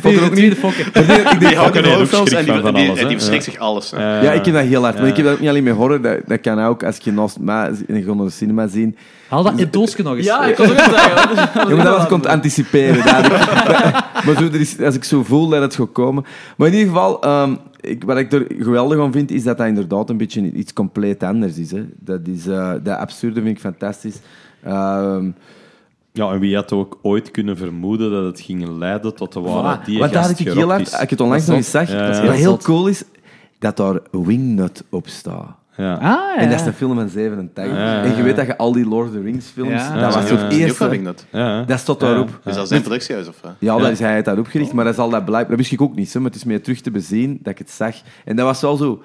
vond het ook niet de fokken. Nee, ik denk, Die houden nee, een ook hoofdfilms en schrik die, van van die, alles, hè. die verschrikt zich alles. hè. Eh, Ja, ik heb dat heel hard. Maar ik heb dat ook niet alleen met horror. Dat, dat kan ook als je naast mij in een gewone cinema zien. Haal dat in het doosje nog eens. Ah, ja, ik was ook aan het zeggen. Ja, maar dat was komt anticiperen. dadelijk. maar zo, er is, als ik zo voel dat het gaat komen. Maar in ieder geval, ehm, ik, wat ik er geweldig aan vind, is dat dat inderdaad een beetje iets compleet anders is. Hè. Dat, is eh, dat absurde vind ik fantastisch. Ehm, Ja, en wie had ook ooit kunnen vermoeden dat het ging leiden tot de waar voilà. die Want daar gast had ik heel gerokt hard, is. als ik het onlangs nog eens zag, Ja, ja. wat heel Zot. cool is, dat daar Wingnut op staat. Ja. Ah, ja. En dat is een film van 87. ja, En je weet dat je al die Lord of the Rings films... Ja. Dat Ja, was het die ook heb ik dat. eerste. Ja, hè. Dat stond daarop. Dus dat is zijn productiehuis, of eh? Ja, dat is, hij heeft dat opgericht, maar dat zal dat blijven. Dat wist ik ook niet, hè, maar het is meer terug te bezien dat ik het zag. En dat was wel zo...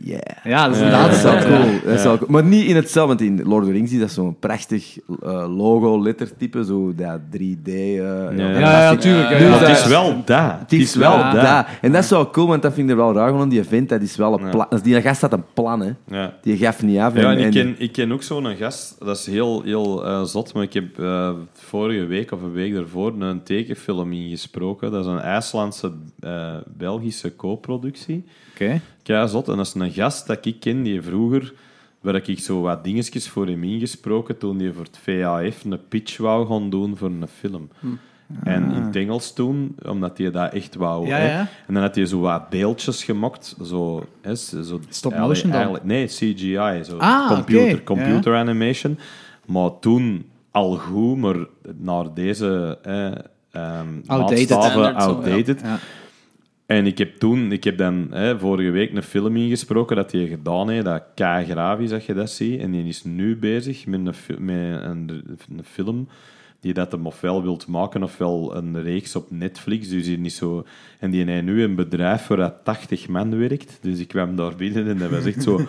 Yeah. Ja, dat is dat inderdaad is wel cool. Dat is wel cool. Maar niet in hetzelfde, want in Lord of the Rings is dat zo'n prachtig eh, logo, lettertype, zo dat 3D. eh, ja. Ja, ja, tuurlijk. Ja, Maar Dus ja. het dat- is wel daar. Het is wel Ja. dat. En dat is wel cool, want dat vind ik er wel raar van. Die vent, dat is wel een plan. Die gast had een plan, hè. Ja. Die gaf niet af. Ja, en ik en- ken, ik ken ook zo'n gast, dat is heel, heel eh, zot, maar ik heb eh, vorige week of een week daarvoor een tekenfilm ingesproken. Dat is een IJslandse, eh, Belgische co-productie. Oké. Keizot. En dat is een gast dat ik ken die vroeger, waar ik zo wat dingetjes voor hem ingesproken toen hij voor het VAF een pitch wou gaan doen voor een film. Hm. En in het Engels toen, omdat hij dat echt wou. Ah. Ja, hè. ja. En dan had hij zo wat beeldjes gemokt. Zo, hè, zo, Stop eigenlijk- motion dan? eigenlijk- Nee, CGI. Zo Ah, computer, oké. computer animation. Maar toen al goed, maar naar deze eh, ehm, Outdated. maatstaven Standard, zo, ja. outdated. Ja. En ik heb toen, ik heb dan hè, vorige week een film ingesproken dat hij gedaan heeft, dat K. Gravi, zeg je dat ziet. En die is nu bezig met een, fi- met een, een film die dat hem ofwel wilt maken, ofwel een reeks op Netflix. Dus hier niet zo... En die heeft nu een bedrijf waar dat 80 man werkt. Dus ik kwam daar binnen en dat was echt zo...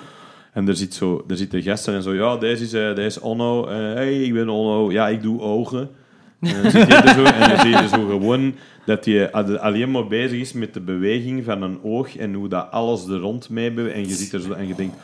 En er, zit zo, er zitten gasten en zo, ja, deze is, eh, deze is Onno. Eh, hey, ik ben Onno. Ja, ik doe ogen. En dan zit je er zo en dan zie je zo gewoon dat je ad- alleen maar bezig is met de beweging van een oog en hoe dat alles er rond mee beweegt. En je zit er zo en je denkt,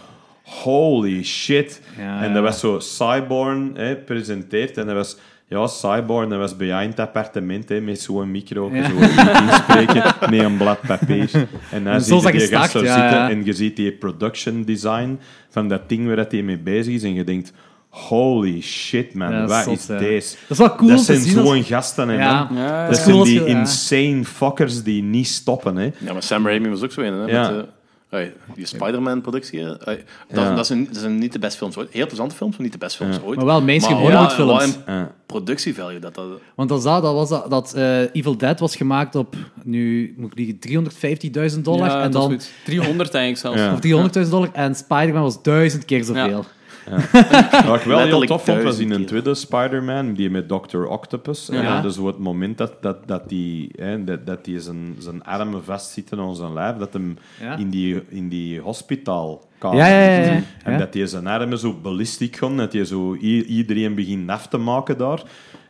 holy shit. Ja, en dat ja. was zo, Cyborn hè, presenteert en dat was... Ja, Cyborn, dat was behind het appartement hè, met zo'n micro, Ja. zo inspreken met een blad papier. En dan Zo zie je zag je die gast start, daar ja, zitten ja. en je ziet die production design van dat ding waar dat hij mee bezig is en je denkt... Holy shit, man. Ja, dat is wat zot, is ja. deze? Dat is wel cool Dat om te zijn zien als- zo'n gasten, hè, Ja. man. Ja, dat dat is zijn cool die als je- ja. insane fuckers die niet stoppen, hè. Ja, maar Sam Raimi was ook zo in. Hè, Ja. met, eh, ai, die Spider-Man-productie. hè. Ai, dat, Ja. dat, zijn, dat zijn niet de beste films ooit. Heel plezante films, maar niet de beste films ooit. Maar wel mainstream Maar wat- Hollywood-films. wat een productievalue dat dat... Want dat, is dat, dat was dat, dat eh, Evil Dead was gemaakt op, nu moet ik liegen, 350.000 dollar. Ja, en dat is dan, goed. 300 eigenlijk zelfs. Ja. of 300.000 dollar. En Spider-Man was duizend keer zoveel. Wat ik wel heel Letterlijk tof vond, was duizend in een keer. tweede Spider-Man, die met Dr. Octopus. En Ja. dat is zo het moment dat, dat, dat die, hè, dat, dat die zijn, zijn armen vastzitten aan zijn lijf, dat hem Ja. in die, in die hospitaal kan. Ja, ja, ja, ja. En Ja. dat die zijn armen zo ballistiek gaan, dat je zo i- iedereen begint af te maken daar.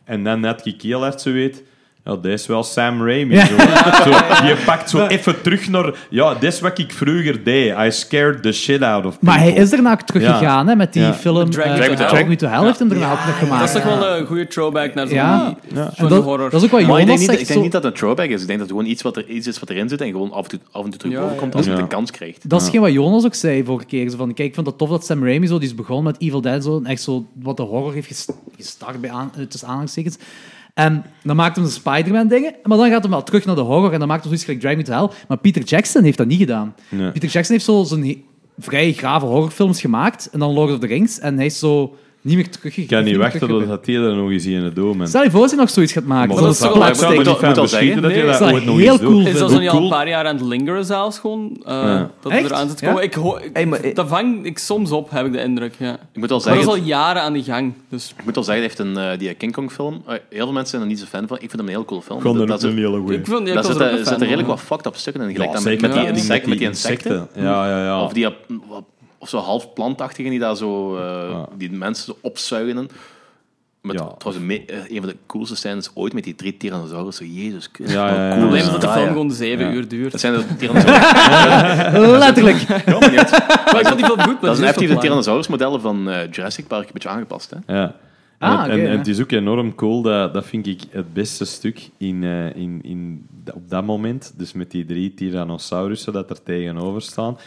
En dan net ik heel hard zo weet... Ja, dat is wel Sam Raimi. Zo. Zo, je pakt zo even terug naar... Ja, dat is wat ik vroeger deed. I scared the shit out of people. Maar hij is daarna ook Ja. teruggegaan hè, met die Ja. film Drag Me eh, to Hell. Drag Me to Hell. heeft hem daarna ook nog gemaakt. Dat is toch wel een goede throwback naar zo'n Ja. die- zo'n En dat, horror. dat is ook wat Maar ik denk, Jonas niet, zegt. ik denk zo- niet dat het een throwback is. Ik denk dat het gewoon iets, wat er, iets is wat erin zit en gewoon af en toe, af en toe terug Ja, bovenkomt ja. als het Ja. een kans krijgt. Dat is geen wat Jonas ook zei vorige keer. Zo van, kijk, ik vond het tof dat Sam Raimi zo, die is begonnen met Evil Dead, zo, en echt zo wat de horror heeft ges- gestart, bij aan, eh, tussen aanhalingstekens. En dan maakt hem de Spider-Man dingen, maar dan gaat hij wel terug naar de horror en dan maakt hij zoiets gelijk Drag Me to Hell. Maar Peter Jackson heeft dat niet gedaan. Nee. Peter Jackson heeft zo zijn he- vrij grave horrorfilms gemaakt en dan Lord of the Rings en hij is zo niet meer teruggegaan. Ik kan niet wachten tot dat hij er nog eens in het doel Stel je voor dat hij nog zoiets gaat maken. Maar Zo'n dat is toch wel- slapstick. zou Ik me zou niet er niet van van beschieten beschieten dat dat je je dat dat Nee, ooit ooit nog nog heel eens eens doet. cool doet. Is Hoe dat zo niet al een paar jaar aan het lingeren zelfs gewoon? eh, Ja. Dat het Echt? eraan zit te Ja? komen. Ik hoor, ik- Hey, maar- dat vang ik soms op, heb ik de indruk. Ja. Ik moet al Maar dat is zeggen, al jaren aan de gang. Dus ik moet al zeggen hij heeft een, eh, die King Kong film. eh, heel veel mensen zijn er niet zo fan van. Ik vind hem een heel cool film. Gewoon dat, een, dat zit- een hele goeie. ik vind, ja, ik daar was er ook zitten een fan zitten redelijk van. wat fucked up stukken in. Gelijk Ja, dan zeker met, die ja, met insecten. Met die insecten. insecten. Ja, ja, ja. Of die eh, wat- of zo half plantachtigen die daar zo eh, die mensen zo opzuigen. Met, Ja. Trouwens, me- eh, een van de coolste scènes ooit met die drie Tyrannosaurussen. Jezus Christus. Ja, ja, wat ja. cool Het Het is probleem is dat de dat, film ja. gewoon zeven Ja. uur duurt. Dat zijn de Tyrannosaurussen. Letterlijk. Ja, maar niet. Maar ik vond die film goed, maar Dat die is een effectief de wel klein. Tyrannosaurus-modellen van eh, Jurassic Park een beetje aangepast. Hè? Ja. Ah, en, oké, en, en ja. het is ook enorm cool, dat, dat vind ik het beste stuk in, eh, in, in, op dat moment. Dus met die drie tyrannosaurussen dat er tegenover staan.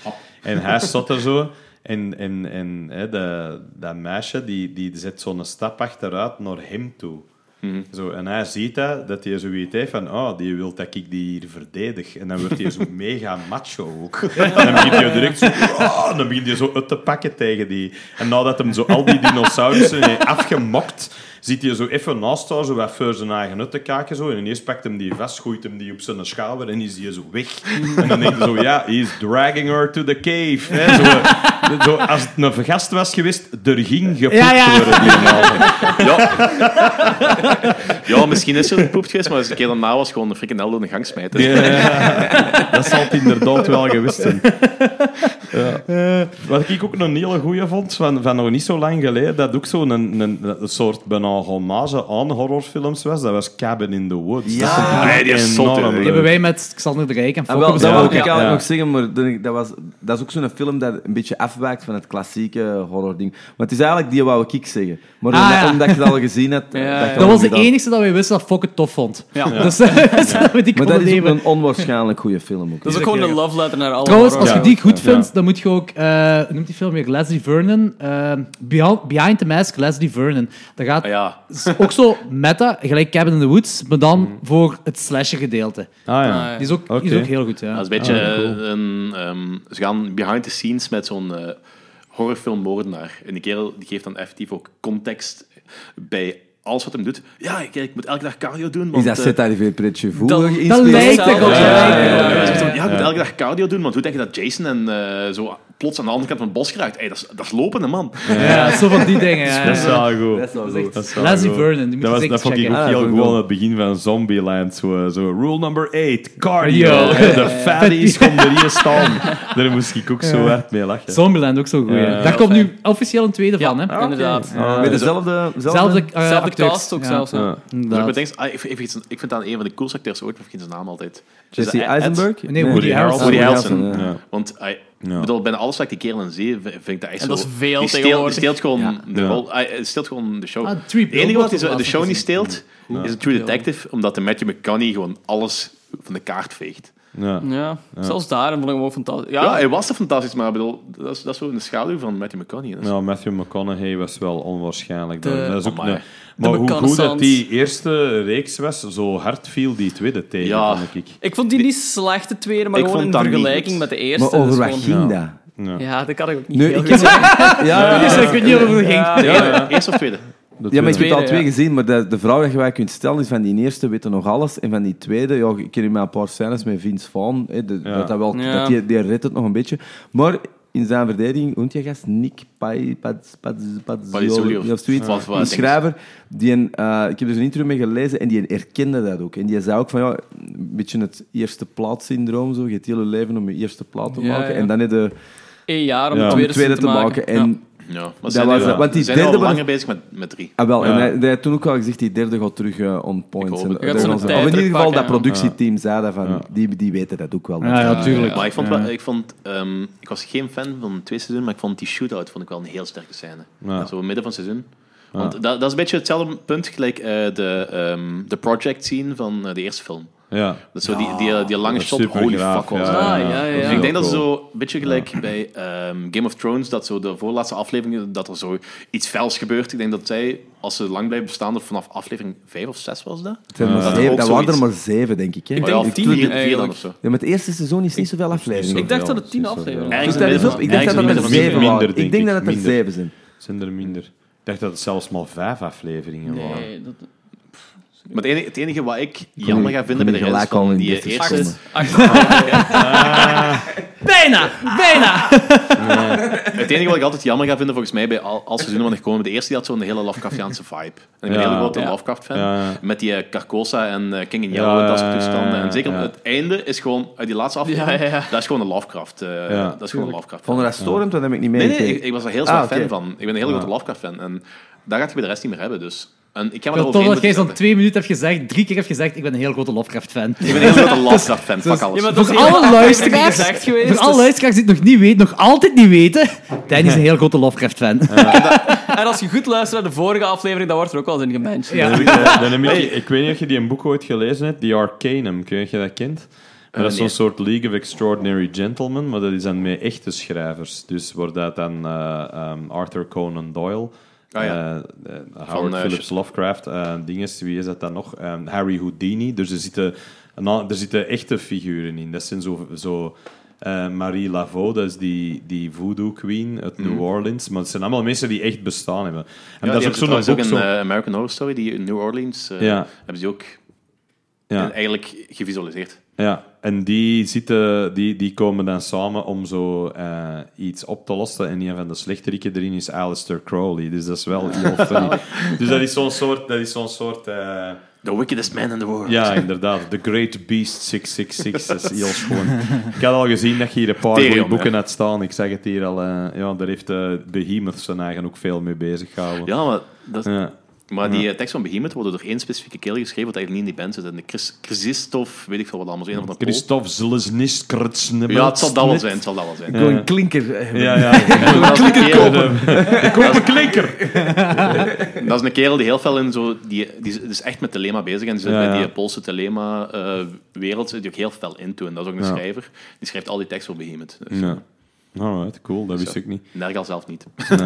En hij zat er zo. En, en, en hè, de, dat meisje die, die zet zo'n stap achteruit naar hem toe. Mhm. Zo, en hij ziet dat, dat hij zoiets heeft van, oh, die wil dat ik die hier verdedig. En dan wordt hij zo mega macho ook. En dan begint hij direct zo, oh, en dan begint hij zo uit te pakken tegen die. En nadat hem zo al die dinosaurussen heeft afgemokt, ziet hij zo even naast haar, zo wat voor zijn eigen uit te kijken. Zo. En ineens pakt hem die vast, gooit hem die op zijn schouder en is die zo weg. En dan denkt hij zo, ja, he is dragging her to the cave. Hè, zo, zo, als het een gast was geweest, er ging gepoept Ja, ja. worden die avond. Ja. ja, misschien is er een poep geweest, maar als de keer daarna was gewoon een frikandel door de gang smijten. Ja, dat zal het inderdaad wel gewist zijn. Ja. Eh. Wat ik ook een hele goeie vond, van, van nog niet zo lang geleden, dat ook zo'n een, een, een soort bijna hommage aan horrorfilms was, dat was Cabin in the Woods. Ja, dat vond ik Nee, die is zot, hè. enorm Die hebben leuk. wij met Xander de Rijk en En Ah, wel, Fokker dat ja. wil ik Ja. eigenlijk Ja. nog zeggen, maar dat, dat was, dat is ook zo'n film dat een beetje afwijkt van het klassieke horror-ding. Maar het is eigenlijk die wou ik zeggen. Maar Ah, omdat, ja. omdat je het al gezien eh, hebt... ja. je Dat al was de gedaan. enige dat we wisten dat Fokker tof vond. Ja. Dus dat is dat we die Maar konden dat is ook nemen. een onwaarschijnlijk goede film. Ook. Dat is ook gewoon een love letter naar alle Trouwens, als horror. je Ja. die goed Ja. vindt, dan moet je ook... eh, hoe noemt die film weer? Leslie Vernon. eh, Behind- Behind the Mask, Leslie Vernon. Dat gaat Ah, ja. is ook zo meta, gelijk Cabin in the Woods, maar dan voor het slasher gedeelte. Ah, ja. Ah, ja. Die is ook, die is Oké. Ah, ook heel goed, ja. Dat is een beetje eh, een, ehm, ze gaan behind the scenes met zo'n eh, horrorfilmmoordenaar. En die kerel die geeft dan effectief ook context bij alles wat hem doet. Ja, ik, ik moet elke dag cardio doen. Is Want, dat eh, ZTV Pretje Voel? Dat- geïnspireerd? dat lijkt er wel. Ja, ja, ja, ja, ja, ja. ja, ik moet elke dag cardio doen, want hoe denk je dat Jason en eh, zo plots aan de andere kant van het bos geraakt? Hey, dat, is, dat is lopende man. Ja, zo van die dingen. Ja. Dat is wel goed. Dat is wel Dat goed. is wel Leslie goed. Vernon, die moet Dat, je was, zeker dat vond ik checken. ook Ah, heel dat gewoon vond aan ik het begin van Zombieland. Zo, eh, zo, rule number 8, cardio. Cardio. En de fatties komt er hier staan. Daar moest ik ook zo hard mee lachen. Zombieland ook zo goed. Ja. Daar komt nu officieel een tweede van, hè? Ja, inderdaad. Met dezelfde... Zelfde, eh, Zelfde acteurs. cast ook Ja, zelfs. hè. Ja. Maar ik, inderdaad. bedenk, ah, ik, ik, ik vind het aan een van de coolste acteurs ooit, maar ik vergeet zijn naam altijd. Jesse Dus, eh, Ed- Eisenberg? Nee, Woody Harrelson. Woody Harrelson. ja. Ja. Want ah, ik Ja. bedoel, bijna alles wat ik die kerel in zie, v- vind ik dat echt En zo... dat is veel die steelt- tegenwoordig. Die steelt gewoon, de, Ja. rol- hij- hij steelt gewoon de show. Ah, het Three enige wat Billboards hij zo- was de dat show niet gezien. steelt, is een True Detective, omdat de Matthew McConaughey gewoon alles van de kaart veegt. Ja. Ja. Zelfs daar vond ik hem ook fantastisch. Ja, Ja, hij was er fantastisch, maar ik bedoel, dat is, dat is zo in de schaduw van Matthew McConaughey. Dat is- Nou, Matthew McConaughey was wel onwaarschijnlijk. De- dat is ook Amai. een- maar hoe goed dat McConaissance. die eerste reeks was, zo hard viel die tweede tegen, Ja. vond ik. ik vond die niet slecht, de tweede, maar Ik gewoon in vond dat niet vergelijking goed. met de Maar eerste. over dus wat gewoon- ging dat? Ja. Ja. Ja, dat kan ik ook niet. Nu, heel ik goed heb... zeggen. Ja, ja, Dus ik weet niet of het ging. Ja, ja, Eerst of tweede? De Ja, maar ik tweede. heb het al Tweede, twee ja. gezien, maar de, de vraag die je kunt stellen is van die eerste weten nog alles en van die tweede, ja, ik ken hier maar een paar scènes met Vince Vaughn, hè, de- Ja. dat, dat wel, Ja. dat die, die redt het nog een beetje. Maar in zijn verdediging, hoe heet die gast? Nick Pai- Paz- Paz- Pazzioli Pazzioli of- of zoiets, wat- wat die denk je? schrijver, die, een, eh, ik heb dus een intro mee gelezen en die herkende dat ook. En die zei ook van, ja, een beetje het eerste plaatsyndroom, zo, je hebt heel je leven om je eerste plaat te Ja, maken ja. en dan heb je Eén jaar om de Ja. om tweede, de tweede zin te maken. En Ja, maar ze zijn, was nu- het. Want die ze zijn nu al derde was- langer bezig met, met drie. Ah, wel, Ja. en hij, hij had toen ook al gezegd, die derde gaat terug eh, on point. hoop zijn. het. Gaat Dat zijn was- tijd of in ieder geval dat terugpakken, ja. productieteam zei dat van, Ja. die, die weten dat ook wel. Ja, ja, tuurlijk. Maar ik vond, wel, ik, vond ehm, ik was geen fan van het tweede seizoen, maar ik vond die shootout vond ik wel een heel sterke scène. Ja. Zo midden van het seizoen. Want dat, dat is een beetje hetzelfde punt gelijk eh, de, ehm, de project scene van eh, de eerste film. Ja. Dat is zo die, die, die lange Dat is shot, super holy graaf, fuck was ja, dat. Ah, ja, ja. Dus ik denk dat cool. ze zo een beetje gelijk bij ehm, Game of Thrones, dat zo de voorlaatste aflevering, dat er zo iets fels gebeurt. Ik denk dat zij, als ze lang blijven bestaan, dat vanaf aflevering 5 of 6 was dat. Het zijn maar Ja. zeven- Ook dat waren er zoiets. maar zeven, denk ik. Hè? Ik denk ja, tien vier- hier vier dan eigenlijk. of zo. Ja, maar het eerste seizoen is niet zoveel afleveringen. Ik dacht dat het tien afleveringen Ik Ergens in dacht het midden dat het- van- ik dacht ergens dat in het het er midden van- zeven Minder, waren. Ik denk denk ik. dat het er Minder. zeven zijn. Zijn er minder? Ik dacht dat het zelfs maar vijf afleveringen waren. Nee, dat... Maar het enige, het enige wat ik jammer ga vinden bij de Gelijk rest al van in die 30 eerste... seconden. Bijna! Bijna! Het enige wat ik altijd jammer ga vinden, volgens mij, bij al, als seizoenen van de gekomen, de eerste die had zo'n hele Lovecraftiaanse vibe. En ik ben een Ja. hele grote Ja. Lovecraft-fan. Ja. Met die eh, Carcosa en eh, King in Yellow Ja, en dat ja, soort ja, toestanden. ja, En zeker ja. het einde is gewoon, uit die laatste aflevering, Ja, ja, ja. dat is gewoon een Lovecraft. eh, Ja. Dat is gewoon een Lovecraft. Vond je dat storend? Dat heb ik niet Nee, mee. nee, ik, gekeken. ik was er heel zwaar Ah, oké. fan van. Ik ben een hele grote Lovecraft-fan. En daar gaat je bij de rest niet meer hebben, dus... En ik ga me Ik wil erover toch heen dat jij moeten zo'n twee minuten hebt gezegd, drie keer hebt gezegd, ik ben een heel grote Lovecraft-fan. zetten. Ik ben een hele grote Lovecraft-fan, fuck alles. Ja, maar dat Voor is heel alle vaak luisteraars, gezegd geweest, voor alle dus- luisteraars die het nog niet weten, nog altijd niet weten, Danny is een heel grote Lovecraft-fan. En als je goed luistert naar de vorige aflevering, dan wordt er ook wel eens in gemensd. Ja. Dan heb ik, eh, dan heb ik, ik weet niet of je die een boek ooit gelezen hebt, die Arcanum, kun je dat kent? Maar dat is Eh, nee. zo'n soort League of Extraordinary Gentlemen, maar dat is dan met echte schrijvers. Dus wordt dat dan eh, ehm, Arthur Conan Doyle, Ah, ja. eh, eh, Howard eh, Phillips Lovecraft, eh dinges, wie is dat dan nog? Ehm, Harry Houdini. Dus er zitten, een a- er zitten echte figuren in. Dat zijn zo... zo eh, Marie Laveau, dat is die, die voodoo queen uit New Orleans. Maar het zijn allemaal mensen die echt bestaan hebben. En Mhm. Ja, dat is die ook hebben zo'n trouwens boek. ook zo- een eh, American Horror Story, die in New Orleans, eh, Ja. hebben ze ook ja. eh, eigenlijk gevisualiseerd. Ja, en die, zitten, die, die komen dan samen om zo eh, iets op te lossen. En een van de slechteriken erin is Alistair Crowley. Dus dat is wel heel funny. Dus dat is zo'n soort... Dat is zo'n soort eh, The wickedest man in the world. ja, inderdaad. The Great Beast 666. Dat is heel schoon. Ik had al gezien dat je hier een paar Therion, goede boeken hè? had staan. Ik zeg het hier al. eh, ja, daar heeft eh, Behemoth zijn eigen ook veel mee bezig gehouden. Ja, maar, dat, Ja. maar die eh, tekst van Behemoth wordt door één specifieke kerel geschreven, wat eigenlijk niet in die band zit. En de Chris, Christophe, weet ik veel wat allemaal, zo een van de Pool. Christophe Zlesniskrts. Ja, het zal dat wel zijn, het zal dat wel zijn. Gewoon een klinker. eh, Ja, ja. Dat is een kerel- Ik koop een klinker. Dat is een kerel die heel veel in zo... Die, die is- is echt met telema bezig en die zit Ja, met ja. die Poolse eh, telema-wereld zit die ook heel fel in toe. En dat is ook een schrijver. Die schrijft al die tekst voor Behemoth. Dus. Ja. Alright, cool. Dat wist Zo. ik niet. Nergal zelf niet. Ga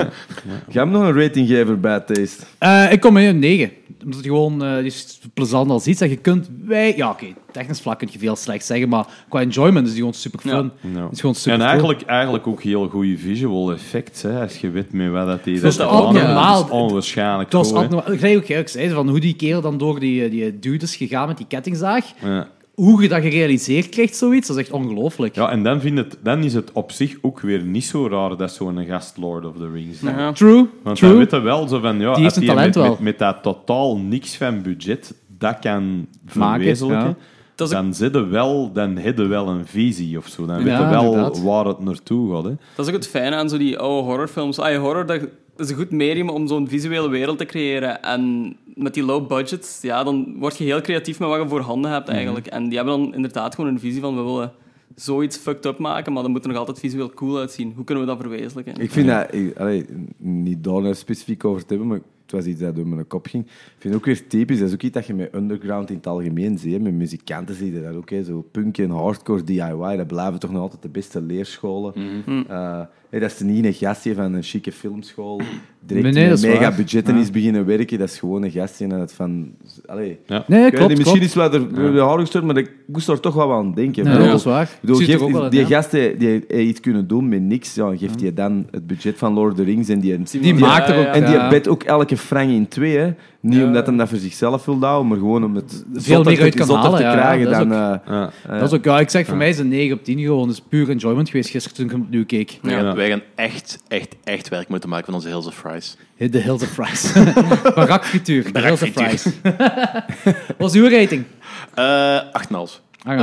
hem nog een rating geven bij Taste. Eh, ik kom met een 9. Omdat het gewoon eh, die is plezant als iets. En je kunt wij. Ja, oké, technisch vlak kun je veel slecht zeggen, maar qua enjoyment is die gewoon super fun. Nou. Het is gewoon super En cool. eigenlijk, eigenlijk ook heel goede visual effects, hè, als je weet met wat dat die Dat is dat altijd gedaan hebben. normaal. Dat is onwaarschijnlijk Dat was goed, hè. abnormaal. Gelijk ook jij ook zei, van hoe die kerel dan door die, eh, die dude is gegaan met die kettingzaag. Ja. Hoe je dat gerealiseerd krijgt, zoiets, dat is echt ongelooflijk. ja, en dan, vind het, dan is het op zich ook weer niet zo raar dat zo'n gast Lord of the Rings is. Ja. True, Want dan true. weet je wel zo van, ja, Die heeft als een die met, talent wel. met, met dat totaal niks van budget dat kan Maken, verwezenlijken, ja. Dat is ook- dan zitten wel, dan hebben wel een visie of zo. Dan Ja, weten weet je wel inderdaad. waar het naartoe gaat. Hè. Dat is ook het fijne aan zo die oude horrorfilms. Ah, horror, dat, dat is een goed medium om zo'n visuele wereld te creëren. En met die low budgets, ja, dan word je heel creatief met wat je voor handen hebt Mhm. eigenlijk. En die hebben dan inderdaad gewoon een visie van, we willen zoiets fucked up maken, maar dat moet er nog altijd visueel cool uitzien. Hoe kunnen we dat verwezenlijken? Ik vind dat, ik, allee, niet daar specifiek over te hebben, maar het was iets dat door mijn kop ging. Ik vind het ook weer typisch, dat is ook iets dat je met underground in het algemeen ziet. hè. Met muzikanten zie je dat ook, hè. zo punk en hardcore DIY, dat blijven toch nog altijd de beste leerscholen. Mhm. Eh, hè, dat is niet een gastje van een chique filmschool, direct Nee, nee, dat met is mega waar. budgetten is beginnen werken, dat is gewoon een gastje en het van... Allee, Nee, ik weet klopt, niet, klopt. misschien is het wel de, de hard gestort, maar ik moest er toch wel aan denken. Nee, Ik bedoel, dat is waar. ik bedoel, Zit er geeft- ook wel in, die ja. gasten die heeft iets kunnen doen met niks, ja, geeft hij dan het budget van Lord of the Rings en die, Die maakt er ook... en die ja. bed ook elke frank in twee. Hè. Niet omdat hij dat voor zichzelf wil houden, maar gewoon om het zotter meer te- uit kan zotter te halen, ja, krijgen dat is dan... eh, Ja. Dat is ook, ja, ik zeg, voor mij is een 9 op 10 gewoon. Dat is puur enjoyment geweest gisteren toen ik hem opnieuw keek. Wij Ja. gaan, wij gaan echt, echt, echt werk moeten maken van onze Hills of Fries. Hit the Hills of Fries. Barakfrituur, de Hills of Fries. Wat is uw rating? Ah, Eh 8,5. Aangehaald.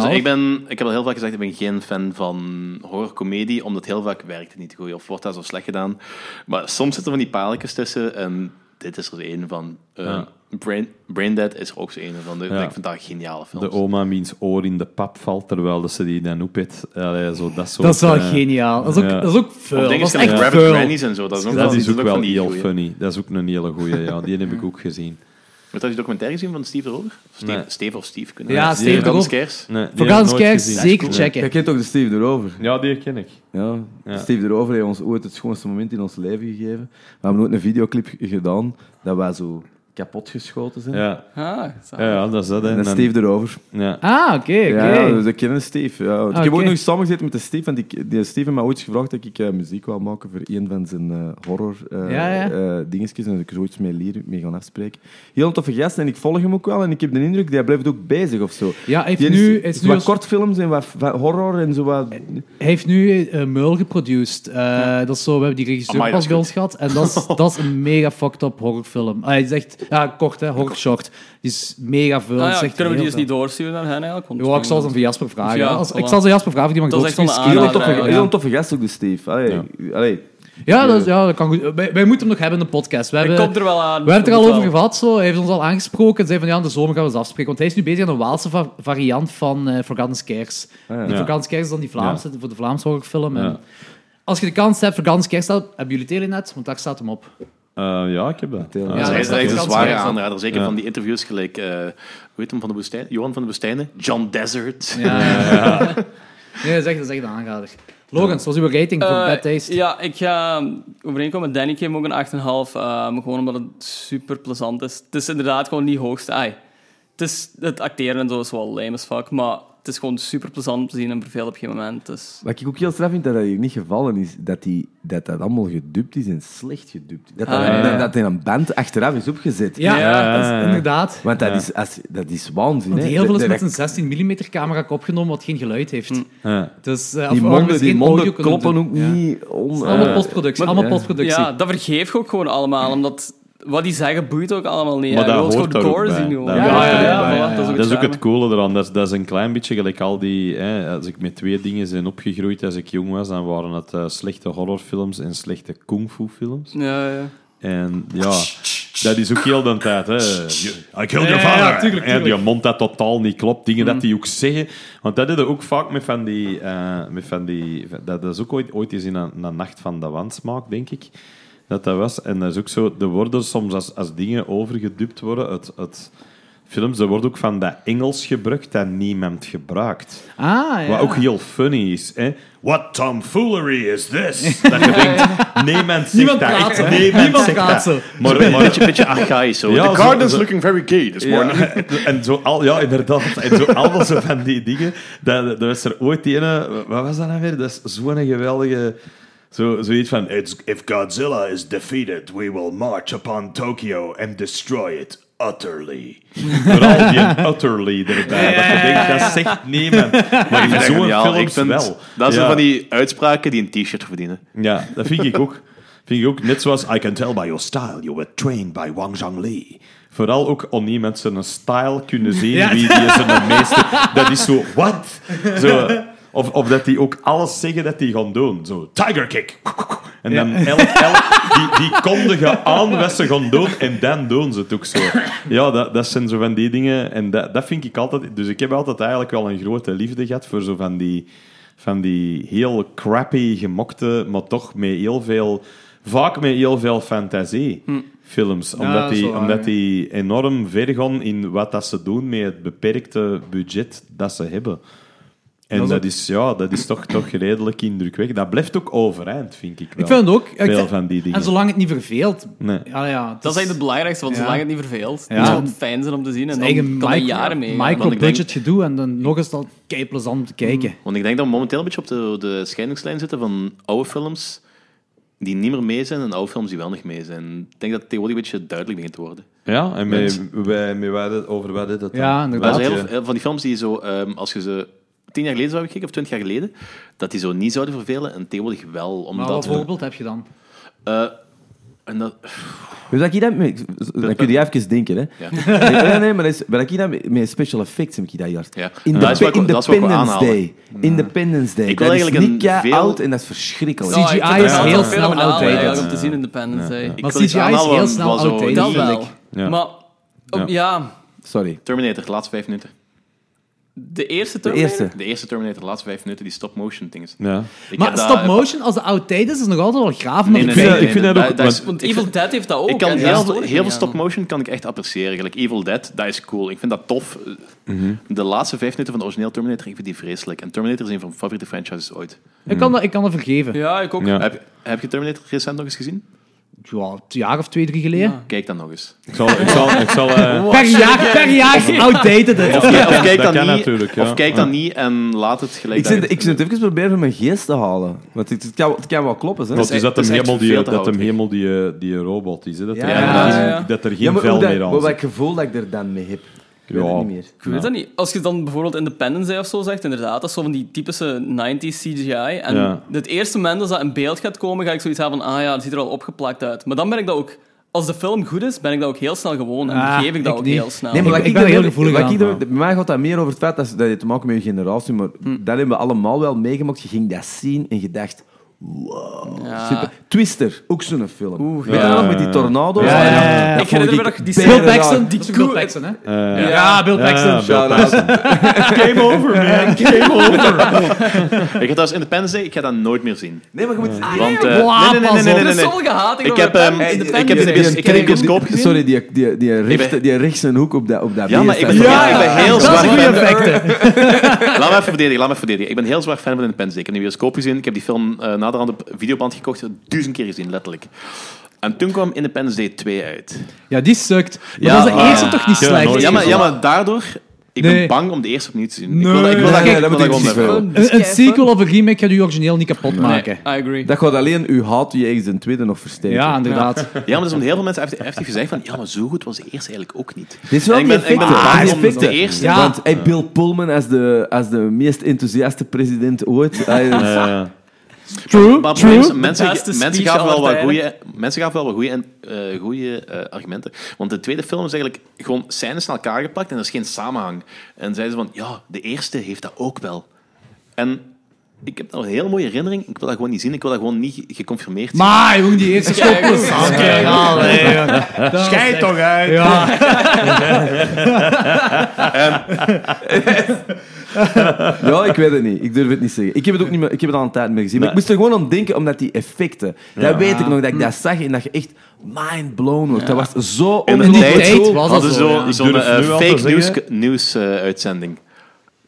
Dus ik, ben, ik heb al heel vaak gezegd, ik ben geen fan van horrorcomedie, omdat heel vaak werkt het niet goed of wordt dat zo slecht gedaan. Maar soms zitten er van die paletjes tussen en dit is er een van. Eh, Ja. Brain, Braindead is er ook zo een van. Dus Ja. Ik vind dat een geniale films. De oma wiens oor in de pap valt terwijl dat ze die dan oepet. Allee, zo, dat, soort, Dat is wel eh, geniaal. Dat is ook, ja. dat is ook Of vuil. Dat dingen is gelijk echt Rabbit vuil. Grannies en zo. Dat is ook, Dat is van- ook van wel die heel goeie. funny. Dat is ook een hele goeie. Ja. Die heb ik ook gezien. Heb je die documentaire gezien van Steve erover? Of Steve, Nee. Steve of Steve kunnen Ja, we- Steve Forgotten erover. Scares. Nee, die heb ik Forgotten nooit Scares, gezien. zeker Jij checken. kent toch de Steve erover? Ja, die ken ik. Ja. Ja. Steve erover heeft ons ooit het schoonste moment in ons leven gegeven. We hebben ooit een videoclip g- gedaan dat wij zo kapot geschoten zijn. Ja, Eh, Ah, zalig. ja, ja, dat is dat. hè. En dat is En- Steve erover. Ja. Ah, oké, oké. Ja, ze kennen Steve. Ja. Ik heb Oké. ook nog eens samengezeten met de Steve. Want die, die Steve heeft mij ooit gevraagd dat ik eh, muziek wou maken voor een van zijn eh, horror eh Ja, ja. eh, dingetjes. En dat ik er ooit mee, leer, mee gaan afspreken. Heel toffe gast. En ik volg hem ook wel. En ik heb de indruk dat hij blijft ook bezig of zo. Ja, hij Die heeft nu, hij is nu wat als- kortfilms en wat, wat horror en zo wat... hij heeft nu eh, Meul geproduced. Eh, Dat is zo, we hebben die regisseur Amai, dat pas is bij goed. ons gehad. En dat is, dat is een mega fucked up horrorfilm. Ah, hij is echt, ja, kort hè, horror short. Die is mega vuil. Ah, is ja, echt kunnen we die heel dus niet doorsturen naar hen eigenlijk? Want vuil. Ja, ik zal ze aan Jasper vragen. Ja, hè. Als- Ik voilà. zal ze Jasper vragen, die mag Dat is echt wel een doodspiezen. Heel, aanrader toffe, eigenlijk, heel ja. toffe gast ook, de Steve. Allee, allee. Ah, Ja, dat, is- ja, dat kan goed. Wij, wij moeten hem nog hebben in de podcast. We Ik hebben, kom er wel aan. we hebben het er Dat al moet over wel. gehad. Zo. Hij heeft ons al aangesproken en zei van ja, in de zomer gaan we eens afspreken. Want hij is nu bezig aan een Waalse va- variant van eh, Forgotten Scares. ja. De Ja. Forgotten Scares is dan die Vlaamse, voor de Vlaamse horrorfilm. En Ja. Als je de kans hebt, Forgotten Scares, staat, hebben jullie tele net? Want daar staat hem op. Eh, ja, ik heb dat. Ja, Ah, Ja, dat dat is is echt een kans zware geweest, hè. aanrader. Zeker Ja. van die interviews gelijk... eh, hoe heet hem van de woestijn? Johan van de Woestijnen? John Desert. Ja, Nee, dat is echt, dat is echt een aanrader. Logans, wat is uw rating voor Eh, Bad Taste? Ja, ik ga overeenkomen met Danny. Ik geef hem ook een 8,5. ehm, gewoon omdat het super plezant is. Het is inderdaad gewoon niet hoogste. Ai, het, is, het acteren en zo is wel lame as fuck. Maar het is gewoon super plezant om te zien en verveelt op geen moment. Dus. Wat ik ook heel straf vind, dat dat hier niet gevallen is, dat die, dat, dat allemaal gedubt is en slecht gedubt. Dat dat, Ah, ja. dat, dat in een band achteraf is opgezet. Ja, ja, dat is ja, ja. inderdaad. Want dat, is, als, dat is waanzin. Want hè. heel veel is Dat- met dat- een 16 mm camera opgenomen wat geen geluid heeft. Mm. Ja. Dus, eh, Die of- of monden, misschien die geen monden audio kunnen kloppen doen. ook Ja. niet on. Allemaal eh, postproductie. maar- Allemaal ja. postproductie. Ja, dat vergeef ik ook gewoon allemaal. Omdat wat die zeggen boeit ook allemaal niet. Maar hè. Je dat wilt hoort daar gewoon ook gore bij. zien. Dat gewoon. hoort Ja, ja, er ja, ook bij. voilà, dat is ook Dat is ook charme. het coole eraan. Dat is, dat is een klein beetje gelijk al die... Hè, als ik met twee dingen zijn opgegroeid als ik jong was, dan waren het eh, slechte horrorfilms en slechte kungfu films. Ja, ja. En ja, dat is ook heel de tijd. Hè. ah, I killed ja, your father. ja, tuurlijk, En die tuurlijk. Mm. mond dat totaal niet klopt. Dingen dat die ook zeggen. Want dat deden ook vaak met van die... eh, met van die dat dat is ook ooit, ooit eens in een, een nacht van de wansmaak, denk ik. Dat dat was. En dat is ook zo... Er worden soms als, als dingen overgedubt worden uit... uit films, er wordt ook van dat Engels gebruikt dat niemand gebruikt. Ah, ja. Wat ook heel funny is. Hè? What tomfoolery is this? Dat je denkt, niemand zegt Niemand dat. praat zo. echt, niemand Niemand zegt praat dat. zo. Maar, Een maar, beetje, beetje archaïs. Zo. Ja, De zo- garden's zo- looking very gay this morning. ja, en zo al, ja, inderdaad. En zo allemaal zo van die dingen. Dat, dat, was er ooit die ene... Wat was dat nou weer? Dat is zo'n geweldige... Zo, zoiets van... It's, if Godzilla is defeated, we will march upon Tokyo and destroy it utterly. Vooral die utterly erbij. Dat je denkt, dat zegt niemand. Maar in Ja, zo'n geniaal. Ik films vind- wel. Dat zijn Ja. van die uitspraken die een t-shirt verdienen. Ja, dat vind ik ook. Vind ik ook. Net zoals... I can tell by your style you were trained by Wang Zhongli. Vooral ook om iemand zijn style kunnen zien wie die is zijn meester... Dat is zo... Wat? Zo, of, of dat die ook alles zeggen dat die gaan doen. Zo, Tiger kick. En dan elk, elk, die, die kondigen aan wat ze gaan doen en dan doen ze het ook zo. Ja, dat, dat zijn zo van die dingen. En dat, dat vind ik altijd... Dus ik heb altijd eigenlijk wel een grote liefde gehad voor zo van die, van die heel crappy gemokte, maar toch met heel veel... Vaak met heel veel fantasie films. Omdat, dat is die, wel waar, omdat Hm. ja. die enorm ver gaan in wat dat ze doen met het beperkte budget dat ze hebben. En dat is, ja, dat is toch, toch redelijk indrukwekkend. Dat blijft ook overeind, vind ik wel. Ik vind het ook. Ik- Veel van die dingen. En zolang het niet verveelt. Nee. Ja, ja, het Dat is eigenlijk het belangrijkste, want Ja. zolang het niet verveelt, Ja. ja. zou het fijn zijn om te zien. En is dan eigen kan dat micro- jaren mee. gaan. Want ik denk- micro-budget gedoe en dan nog eens dat kei plezant om te kijken. Want ik denk dat we momenteel een beetje op de, de scheidingslijn zitten van oude films die niet meer mee zijn en oude films die wel nog mee zijn. Ik denk dat het tegenwoordig een beetje duidelijk begint te worden. Ja, en met, wij, met wat het- over wat dit dat dan? Ja, inderdaad. Maar Wat zo je- heel veel- heel veel van die films die zo, ehm, als je ze tien jaar geleden zou hebben gekeken, of twintig jaar geleden, dat die zo niet zouden vervelen en tegenwoordig wel. Maar Omdat, wat voorbeeld heb je dan? eh, en dat, Dus dat ik dat mee, dan kun je even denken, hè. Ja. Nee, nee, nee, maar dat is, maar dat ik dat mee- met special effects heb ik dat juist. Ja. Inde- Dat is wat ik- dat is wat ik wou Independence Day. aanhalen. Independence Day. Ik wil dat is eigenlijk niet een kei-oud veel- en dat is verschrikkelijk. Nou, CGI ik vond is dat heel wel snel fenomenaal outdated. eigenlijk om te zien Independence Day. ik Maar wil iets CGI is aanhalen heel wat- snel wat zo outdated. niet- Dat wel. Ja. Maar op- ja, Sorry. Terminator, de laatste vijf minuten. de eerste De Terminator? eerste. De eerste Terminator, de laatste vijf minuten, die stop-motion dingen. Ja. Ik Maar heb dat- stop-motion, als de outdated is, is nog altijd wel graaf. om Nee, te nee, vind nee, dat- ik vind nee, dat ook- is- Want ik- Evil Dead heeft dat ook. Ik kan en daar heel, stoor veel- ik heel me veel niet aan. stop-motion kan ik echt appreciëren. Gelijk Evil Dead, dat is cool. Ik vind dat tof. De laatste vijf minuten van de origineel Terminator, ik vind die vreselijk. En Terminator is een van mijn favoriete franchises ooit. Ik kan dat, ik kan dat vergeven. Ja. Ja, ik ook. Ja. Heb, heb je Terminator recent nog eens gezien? een jaar of twee, drie geleden. Kijk dan nog eens. Ik zal... Ik zal, ik zal eh, Per jaar, per jaar is outdated. het. Of, kijk- of kijk dat kan dan niet, natuurlijk, ja. of kijk dan niet en laat het gelijk... Ik zit, dat- ik zit even proberen van mijn geest te halen. Want het, het, kan, het kan wel kloppen, hè. dat echt- is dat dat hem is echt helemaal die, veel te dat hem houden. helemaal die, eh, die robot is. Hè? Dat, er, Ja, geen- ja, ja. dat er geen Ja, maar vel hoe dat- meer aan wat zit. welk gevoel dat ik er dan mee heb. Ik weet Ja. het niet meer. Ik weet dat niet. Als je dan bijvoorbeeld Independence Day of zo zegt, inderdaad, dat is zo van die typische 90s CGI. En Ja. het eerste moment dat dat in beeld gaat komen, ga ik zoiets hebben van, ah ja, het ziet er al opgeplakt uit. Maar dan ben ik dat ook... Als de film goed is, ben ik dat ook heel snel gewoon. En Ah, vergeef ik dat ik ook niet. heel snel. Nee, maar Ik- wat ik ben er er heel wel- gevoelig wat aan. ik er- Bij mij gaat dat meer over het feit dat, dat je te maken met je generatie, maar Hm. dat hebben we allemaal wel meegemaakt. Je ging dat zien en je dacht... Wow, Ja. super. Twister, ook zo'n film. Oeh, Weet je ja. nog, met die tornado's. Ja, ja, ja, ja. Dat Ik vond herinner me nog die bijna Bill Paxton, raar. die Die Bill crew- Paxton, hè? Eh, Ja, Bill Paxton. ja, Bill Paxton. Game over, man. Game over. Ik ga trouwens Independence Day, ik ga dat nooit meer zien. Nee, maar je Ah, moet... Ah, Want, eh, Wow, nee, nee, nee, pas nee, nee, op. nee, Er nee, is nee. zoveel gehaat. Ik heb, ehm, in de ik heb in de bios- ik heb in de bioscoop gezien. Sorry, die, die, die, rechte, die rechtse hoek op dat, op dat Ja, maar beest, ik dat ben, is- ik ben heel Dat zwaar is een goede fan. effecten. Laat me even verdedigen, laat me even verdedigen. Ik ben heel zwaar fan van Independence Day. Ik heb die bioscoop gezien. Ik heb die film eh, naderhand op videoband gekocht. Duizend keer gezien, letterlijk. En toen kwam Independence Day 2 uit. Ja, die sukt. Maar Ja, dat is de ah. eerste toch niet Ja, slecht? nooit. Ja, maar, ja, maar daardoor... Ik Nee. ben bang om de eerste opnieuw te zien. Ik wil Nee. dat, ik wil dat, Nee, ik wil dat dat moet gewoon ik niet hebben. veel. Een, een sequel of een remake gaat je origineel niet kapot maken. I agree. Dat gaat alleen uw haat die je ergens een tweede nog versterken. Ja, inderdaad. Ja, maar dat is omdat heel veel mensen heeft, heeft gezegd van... Ja, maar zo goed was de eerste eigenlijk ook niet. Dit is wel En ik ben, die ik ben effecten. bang Die om de effecten. eerste... Ja. Want hey, Bill Pullman als de, als de meest enthousiaste president ooit. Hij is- Eh, True, Maar het probleem is, true. mensen, beste mensen, speech gaven wel wat aller goeie, mensen gaven wel wat goede goede eh, argumenten. Want de tweede film is eigenlijk gewoon scènes naar elkaar geplakt en er is geen samenhang. En zeiden ze van, ja, de eerste heeft dat ook wel. En ik heb daar een heel mooie herinnering. Ik wil dat gewoon niet zien. Ik wil dat gewoon niet ge- geconfirmeerd zien. Maar, jongen, die eerste stop was... nou, Kijk toch uit! Ja, ja, ik weet het niet. Ik durf het niet zeggen. Ik heb het ook niet Hm. meer, ik heb het al een tijd niet meer gezien. Maar ik moest er gewoon aan denken, omdat die effecten. Dat weet ik nog, dat ik dat zag en dat je echt... mind blown wordt. Dat was zo In de ongelooflijk tijd cool. hadden ze zo, ja. zo'n Durf eh, nu al te fake zeggen. news, news eh, uitzending.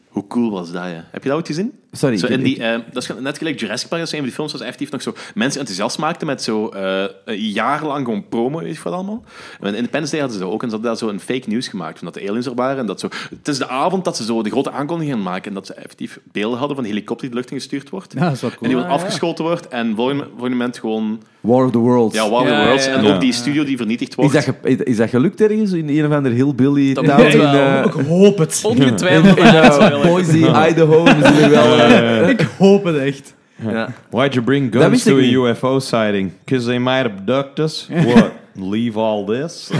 Hoe cool was dat, ja. Heb je dat ooit gezien? Sorry, Zo ik- in die, ik- eh, dat is net gelijk Jurassic Park, dat is een van die films dat effectief nog zo mensen enthousiast maakte met zo eh, een jarenlang gewoon promo, weet je wat allemaal. En in Independence Day hadden ze dat ook en ze hadden daar zo een fake news gemaakt van dat de aliens er waren en dat zo... Het is de avond dat ze zo de grote aankondiging gaan maken en dat ze effectief beelden hadden van een helikopter die de lucht in gestuurd wordt. Ja, dat is wel cool. En die wordt Ah, ja. afgeschoten wordt en volgende, volgende moment gewoon... War of the Worlds. Ja, War of the Ja, Worlds. ja, En ja. ook die studio die vernietigd Is wordt. dat, ge- is dat gelukt ergens in een of ander hillbilly Dat town moet in, wel. eh, Ik hoop het. Ongetwijfeld. in, maar dat is wel eh, leuk. Boise, Idaho? Misschien wel, eh, Ik hoop het echt. ja. Why'd you bring Dat guns wist to ik a niet. UFO sighting? Because they might abduct us. What? Leave all this?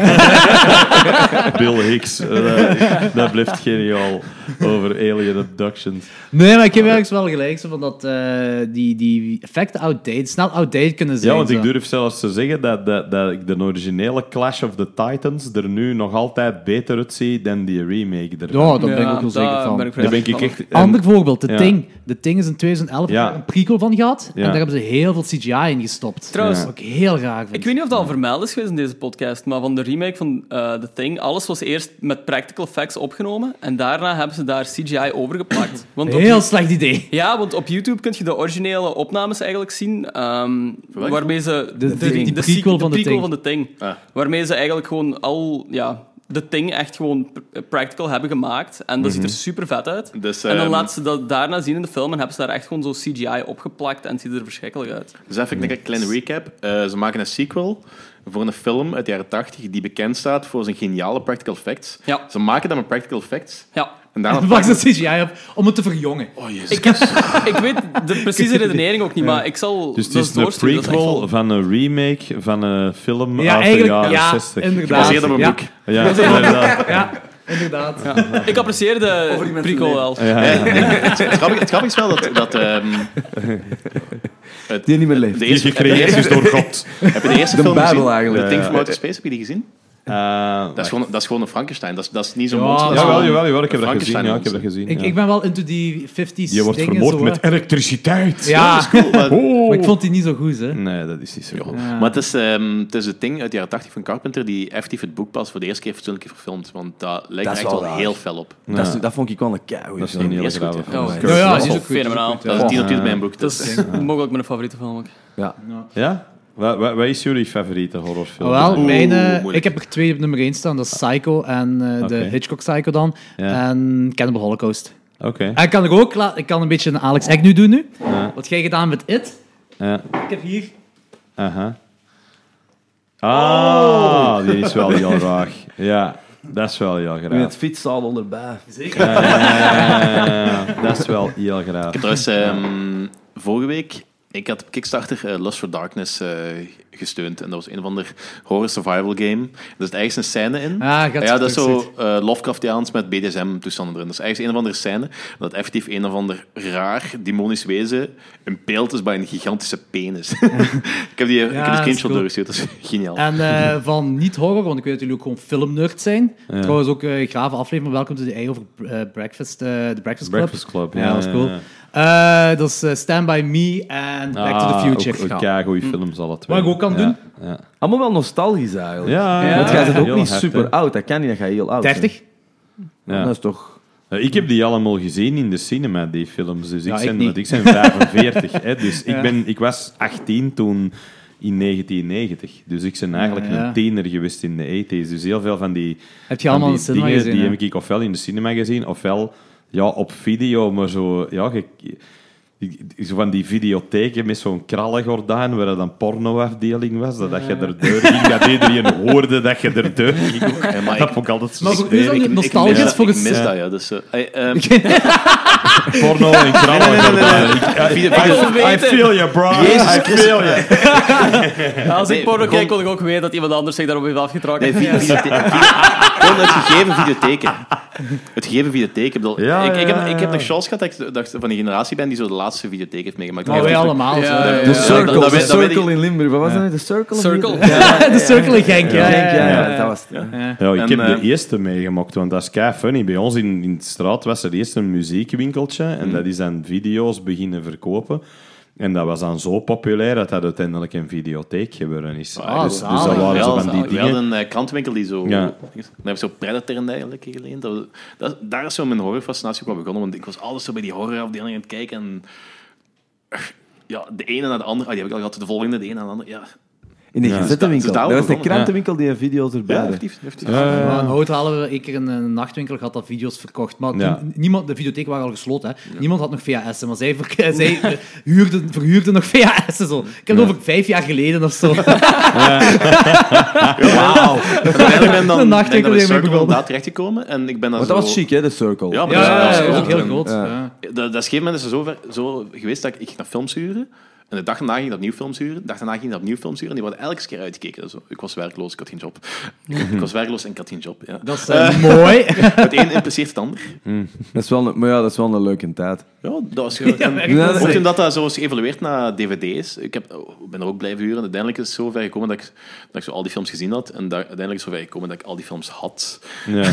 Bill Hicks. eh, dat- dat blijft geniaal over alien abductions. Nee, maar ik heb ergens wel gelijk. Zo van dat eh, die, die effecten outdated, snel outdated kunnen zijn. Ja, want zo. ik durf zelfs te zeggen dat, dat, dat ik de originele Clash of the Titans er nu nog altijd beter uitzie dan die remake ervan. Ja, daar ben ik Ja, ook wel zeker daar van. ben ik vrij Daar ben ik van. echt... ehm, en- Ander voorbeeld, de ja. Ting. De Ting is in 2011 Ja. daar een prequel van gehad. Ja. En daar hebben ze heel veel CGI in gestopt. Trouwens, Dat is ook heel raar. vind Ik weet niet of dat al vermeld is geweest in deze podcast, maar van de remake van eh, The Thing, alles was eerst met practical effects opgenomen en daarna hebben ze daar CGI overgeplakt. Want op- Heel slecht idee. ja, want op YouTube kun je de originele opnames eigenlijk zien, ehm, welke waarmee ze de, die- sequel- die prequel van The prequel Thing. van The Thing, Ah. waarmee ze eigenlijk gewoon al, ja, The Thing echt gewoon pr- practical hebben gemaakt en dat ziet er super vet uit. Mhm. Dus, en dan ehm, laten ze dat daarna zien in de film en hebben ze daar echt gewoon zo CGI opgeplakt en het ziet er verschrikkelijk uit. Dus even denk ik, een kleine recap. Eh, ze maken een sequel voor een film uit de jaren 80 die bekend staat voor zijn geniale practical effects. Ja. Ze maken dat met practical effects. Ja. En daarna Dan pak ze CGI op om het te verjongen. Oh, jezus. Ik, heb, ik weet de precieze redenering ook niet, maar ik zal Dus het dat is een doorsturen, dat is echt prequel wel- van een remake van een film Ja, uit de eigenlijk. jaren Ja, 60. inderdaad. Gebaseerd op een ja. boek. Ja, inderdaad. Ja, inderdaad. Ik apprecieer de prequel wel. Eh, Het grappige, het grappige is wel dat... dat ehm, het, Die niet meer leeft. de Die eerste, heb je de gecreëerd eerste, is dus door God. heb je de eerste De film Bijbel gezien? eigenlijk. The Thing Ja, from ja. Outer Space, heb je die gezien? Eh, Dat is gewoon, dat is gewoon een Frankenstein. Dat is, dat is niet zo'n Ja, monster. dat is Jawel, gewoon jawel, jawel, ik een heb dat gezien. Frankenstein Ja, ik heb dat monster. gezien. Ik, ja. ik ben wel into die 50s Je wordt dingen. vermoord zo, met hè. elektriciteit. Ja, Dat is cool, maar- maar ik vond die niet zo goed, hè. Nee, dat is niet zo. goed. Maar het is, ehm, het is het ding uit de jaren 80 van Carpenter die effectief het boek pas voor de eerste keer fatsoenlijk heeft verfilmd. Want dat lijkt Dat me is echt wel, wel raar. heel fel op. Dat, is- dat vond ik wel een kei Dat is een Die hele is goed, grave ja. film. Oh, Curse Ja, ja, of die is Love. ook goed, die is ook fenomenaal. goed, ja. Dat is tien op tien bij mijn boek. Dat Dus. is mogelijk mijn favoriete film ook. Ja? Wa- wa- Wat is jullie favoriete horrorfilm? Wel, Oeh, mijn, eh, moeilijk. ik heb er twee op nummer 1 staan. Dat is Psycho en eh, de Oké. Hitchcock Psycho dan. Ja. En Cannibal Holocaust. Oké. En ik kan ik ook la- ik kan een beetje een Alex Eck nu doen nu. Wat jij gedaan met It. Ja. Ik heb hier... Aha. Oh. Ah, die is wel heel graag. Ja, dat is wel heel Met het graag. fietszaal onderbij. Ja, dat is wel heel graag. Trouwens, ehm, vorige week, ik had op Kickstarter eh, Lust for Darkness eh, gesteund. En dat was een of ander horror survival game. Er zit ergens een scène in. Ah, gaat ja, dat is goed, zo eh Lovecraftiaans met BDSM-toestanden erin. Dat is ergens een of andere scène. Dat effectief een of ander raar demonisch wezen een peelt is bij een gigantische penis. ik heb die, eh, ik dat heb die is screenshot cool. doorgestuurd, dat is geniaal. En eh, van niet-horror, want ik weet dat jullie ook gewoon filmnerds zijn. Trouwens ook eh grave aflevering, maar welkom to the A over eh, breakfast, eh, de breakfast Club. Breakfast Club, ja, dat is ja, cool. ja. Eh, dat is eh, Stand By Me en Back to the Future. Ah, Ook, ja, goede films alle twee. Wat Hm. ik ook kan Ja, doen? Ja. Allemaal wel nostalgisch eigenlijk. Ja, Want jij bent ook Heel niet hard, super hè. oud. Dat kan niet, dat ga je heel oud 30? zijn. Ja. Dat is toch... Ja, Ik heb die allemaal gezien in de cinema, die films. Dus ik, ik zijn, niet. ik zijn 45. hè, dus ik, ben, ik was 18 toen in 1990. Dus ik ben eigenlijk Ja, ja. een tiener geweest in de 80s. Dus heel veel van die, Heb je van allemaal in de die cinema dingen gezien, die hè? heb ik ofwel in de cinema gezien, ofwel ja, op video. Maar zo, ja, je- ik- zo van die videotheken met zo'n krallengordijn waar dat een pornoafdeling was. Dat, dat je er deur ging, dat iedereen hoorde dat je er deur ging. Ja, maar Dat ik- vond ik altijd zo Maar voor u is dat smerig. niet nostalgisch? mis, voor ik het- mis Ja. dat, ja. Dus, eh, ey, ehm, Porno en krallengordijnen. video- wil I weten. feel you, bro. I feel you. Als ik Nee, porno gewoon- kijk, wil ik ook weten dat iemand anders zich daarop heeft afgetrokken. Nee, video- video- video- Gewoon het gegeven videotheken. Het gegeven videotheken. Ik, bedoel, Ja, ik, ik, ja, heb, ik heb ja. nog chance gehad dat ik, dat ik van die generatie ben die zo de laatste videotheek heeft meegemaakt. Maar wij allemaal. Ja, zo. ja, ja. De dat- Circle, dat de weet- dat weet Circle ik- in Limburg. Wat was dat? De Circle? of Circle. niet? Ja, De cirkel in Genk, ja. ja, ja, ja. ja, dat was... Ja, ik En, heb eh, de eerste meegemaakt, want dat is kei funny. Bij ons in, in de straat was er eerst een muziekwinkeltje en dat is aan video's beginnen verkopen. En dat was dan zo populair dat dat uiteindelijk een videotheek geworden is. Ah, dus, dus zalig. dat waren Wel zo van die zalig. dingen. We hadden een eh, krantwinkel die zo... Ja. Daar heb ik zo Predator en dergelijke geleend. Dat, we- dat- daar is zo mijn horrorfascinatie ook wel begonnen. Want ik was alles zo bij die horrorafdeling aan het kijken. En, ja, de ene naar de andere. Ah, die heb ik al gehad. De volgende, de ene naar de andere. Ja, In de Ja. gazettenwinkel. Dus daar- Dat dus daar was de ook begonnen. krantenwinkel die video's erbij ja had. effectief. effectief. Eh, Maar in Hout hadden we een keer een, een nachtwinkel gehad dat video's verkocht. Maar toen- Ja. niemand, de videotheek waren al gesloten. Hè. Niemand had nog VHS'en, maar zij, verk- zij eh, huurden, verhuurden nog VHS'en. Zo. Ik heb het over vijf jaar geleden of zo. Wauw. En uiteindelijk ben ik De dan, ben ik nachtwinkel dan die bij ermee Circle begonnen. inderdaad terechtgekomen. En ik ben dan Want zo... dat was chic, hè, de Circle. Ja, maar Ja, ja, ja, dat ja, is dat is ook heel groot. groot. Ja. ja. Dat, dat is op een gegeven moment is het zo, ver- zo geweest dat ik, ik ging naar films huren. En de dag daarna ging ik opnieuw films huren. De dag daarna ging ik opnieuw films huren. En die worden elke keer uitgekeken. Dus ik was werkloos, ik had geen job. ik was werkloos en ik had geen job. Ja. Dat is eh, mooi. Het een impliceert het ander. Dat is wel een, maar ja, dat is wel een leuke tijd. Ja, dat is goed. En Ja, dat- ook omdat dat zo is geëvalueerd naar dvd's. Ik heb, oh, ben er ook blijven huren. En uiteindelijk is het zo ver gekomen dat ik, dat ik zo al die films gezien had. En daar, uiteindelijk is het zo ver gekomen dat ik al die films had. Ja.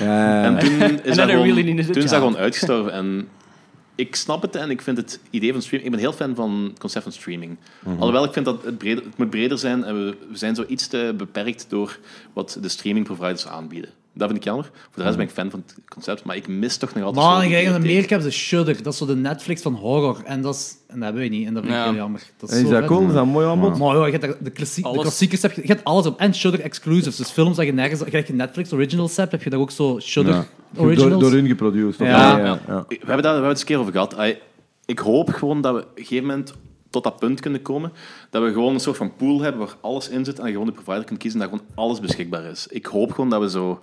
Ja. En toen is dat I gewoon, really needed a toen is dat job. gewoon uitgestorven. En ik snap het en ik vind het idee van streaming... Ik ben heel fan van het concept van streaming. Alhoewel, ik vind dat het, breder, het moet breder zijn. En we, we zijn zo iets te beperkt door wat de streaming providers aanbieden. Dat vind ik jammer. Voor de rest ben ik fan van het concept. Maar ik mis toch nog altijd... zo'n Maar in Amerika bibliotheek. hebben ze Shudder. Dat is zo de Netflix van horror. En dat, is, en dat hebben wij niet. En dat vind ik Ja. heel jammer. Dat is, Is zo dat vet. cool? Is dat mooi aanbod? Maar joh, je hebt daar de, klassie- de Alles. klassiekers, heb je, je hebt alles op. En Shudder exclusives. Dus films dat je nergens... Gelijk je Netflix originals hebt, heb je daar ook zo Shudder Ja. originals. Door, door hun geproduced. of- Ja. ja, ja. We hebben daar we hebben het eens een keer over gehad. Ai, Ik hoop gewoon dat we op een gegeven moment tot dat punt kunnen komen dat we gewoon een soort van pool hebben waar alles in zit en je gewoon de provider kunt kiezen en dat gewoon alles beschikbaar is. Ik hoop gewoon dat we zo...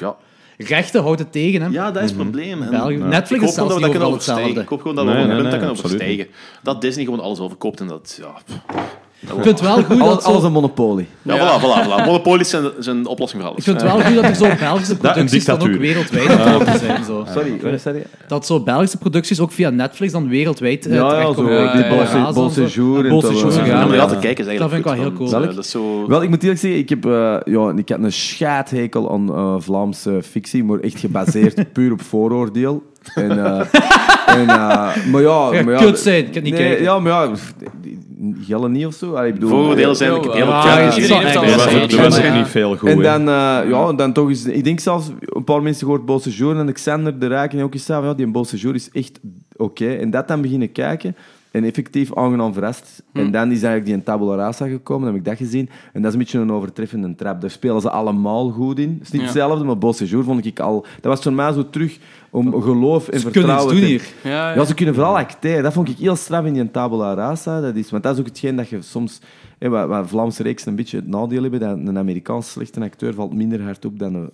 Ja, Rechten houdt het tegen, hè. ja dat is het probleem. En Mhm. België- Netflix ik is hoop zelfs gewoon dat we niet dat overal kunnen overstijgen. hetzelfde. Ik hoop gewoon dat we Nee, gewoon een nee, punt dat nee, kunnen absoluut overstijgen. Dat Disney gewoon alles overkoopt en dat... Ja, pff. Ik vind het wel goed dat Alles, zo... alles een monopolie. ja, voilà, voilà, voilà. Monopolies zijn, zijn de oplossing voor alles. Ik vind het wel goed dat er zo Belgische producties dan ook dictatuur. wereldwijd aan het worden zijn. Zo. Sorry, wat is dat? hier? Dat zo Belgische producties ook via Netflix dan wereldwijd eh, Ja, ja, zo. terechtkomen. die Gelijk de Bolse- Razen Bolse en zo. Jour en Bolse dat Jour, wel. ja. Ja, maar Ja. laten kijken is Dat eigenlijk vind ik wel heel cool. want, Zal eh, ik? dat is zo... Wel, ik moet eerlijk zeggen, ik, heb, eh, ja, ik had een schaadhekel aan eh, Vlaamse fictie, maar echt gebaseerd puur op vooroordeel. En, eh, en, eh, maar ja... Ja, maar ja kut zijn, ik kan niet nee, kijken. Ja, maar ja... pff, Gillen niet of zo. Allee, ik bedoel, Vooroordelen zijn ik Ja, heb heel ja, wat eh, ja, jaren ja, geleden ja, echt ja, Er was, bij- ook- er was ook Ja. niet veel goed En in. dan, eh, ja, en dan toch is... Ik denk zelfs, een paar mensen gehoord Bolse Jour en Alexander de Rijk en ook eens zei van, ja, die Bolse Jour is echt oké. En dat dan beginnen kijken en effectief aangenaam verrast. Hm. En dan is eigenlijk die in Tabula Rasa gekomen, dan heb ik dat gezien. En dat is een beetje een overtreffende trap. Daar spelen ze allemaal goed in. Het is niet hetzelfde, maar Bolse Jour vond ik al... Dat was voor mij zo terug om geloof en Ze kunnen iets vertrouwen doen te- hier. Ja, ja, ze kunnen vooral acteren. Dat vond ik heel straf in die tabula rasa. Dat is, want dat is ook hetgeen dat je soms... Hè, waar, waar Vlaamse reeksen een beetje het nadeel hebben, dat een Amerikaans slechte acteur valt minder hard op dan een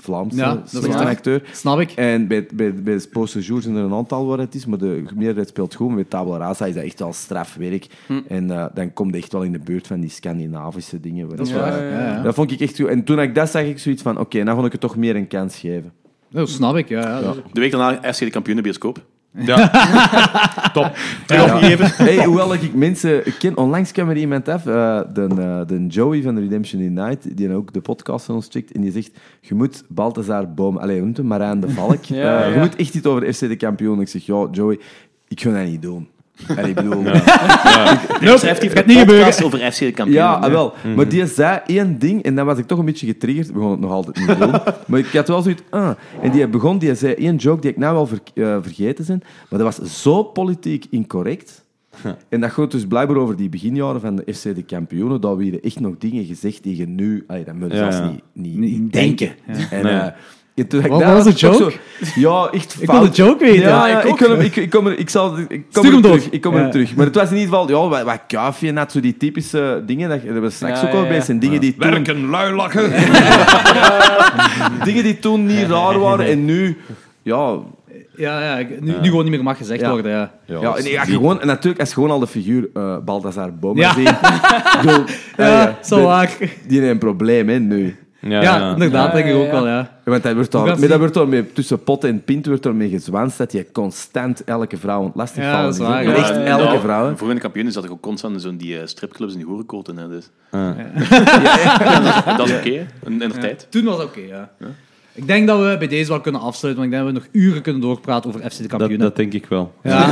Vlaamse Ja, dat is slechte waar. acteur. Snap ik. En bij, bij, bij Post Jour zijn er een aantal waar het is, maar de meerderheid speelt goed. Maar bij tabula rasa is dat echt wel strafwerk. Hm. En eh, dan komt het echt wel in de buurt van die Scandinavische dingen. waar- Dat is Ja. waar. Ja, ja. Dat vond ik echt goed. En toen ik dat zag, ik zoiets van... Oké, nou vond ik het toch meer een kans geven. Dat snap ik, ja. ja. Dat is- De week daarna FC de kampioenenbioscoop. Hey, hoewel ik mensen ken, onlangs kwam er iemand af, eh, de, eh, de Joey van Redemption Unite, die ook de podcast van ons checkt, en die zegt, je moet Balthazar Boom, allee, hoe noemt hem, Marijn de Valk, Ja, Eh, je ja. moet echt iets over FC de kampioen. Ik zeg, ja, Joey, ik ga dat niet doen. Allee, ik bedoel... Ja, Nope, heeft gaat een niet podcast over FC de kampioen. ah, wel. Mhm. Maar die zei één ding, en dan was ik toch een beetje getriggerd. We gaan het nog altijd niet doen. maar ik had wel zoiets... Ah. En die begon, die zei één joke die ik nou wel ver- eh, vergeten ben, maar dat was zo politiek incorrect... En dat gaat dus blijkbaar over die beginjaren van de FC de kampioenen. Dat we hier echt nog dingen gezegd die je nu... Allee, dat moet je Ja, zelfs ja. niet, niet, Niet niet denken. denken. En, eh, en toen had ik Wat daar- was de ik toch joke? zo- ja, echt Ik wil de fout. joke weten. Ja, Ja, ja, ik ik, ook. wil hem- ik, ik kom er, ik zal, ik kom Stuur er hem door. terug. Ik kom Ja. er terug. Maar het was in ieder geval, ja, wat, wat kuifje net, zo die typische dingen. Dat, dat we straks Ja, ook al ja, bij ja. zijn. Dingen die, toen, Werken, luilakken. dingen die toen niet raar waren en nu... Ja, Ja, ja, ik- nu, nu gewoon niet meer mag gezegd Ja. worden. Ja. ja, en, ja, gewoon, en natuurlijk, als je gewoon al de figuur eh Balthazar Boom Ja. ziet... ik bedoel, ah, Ja, zo de- waar. Die heeft een probleem, hè, nu. Ja, Ja, inderdaad, denk ik ook wel, ja. Want dat wordt Hoe al, gaat maar die- dat wordt al mee, tussen pot en pint wordt er mee gezwanst dat je constant elke vrouw aan het lastig Ja, vallen dat is is, waar, hè. ja. Echt Ja, elke nou, vrouw. hè. Voor in de kampioenen zat ik ook constant in zo'n die eh, stripclubs en die hoerenkoten. Hè, dus. Ah. Ja, dat, dat is oké, hè, in, in de tijd. Toen was het oké, ja. Ik denk dat we bij deze wel kunnen afsluiten, want ik denk dat we nog uren kunnen doorpraten over FC de Dat, kampioenen. dat denk ik wel. Ja.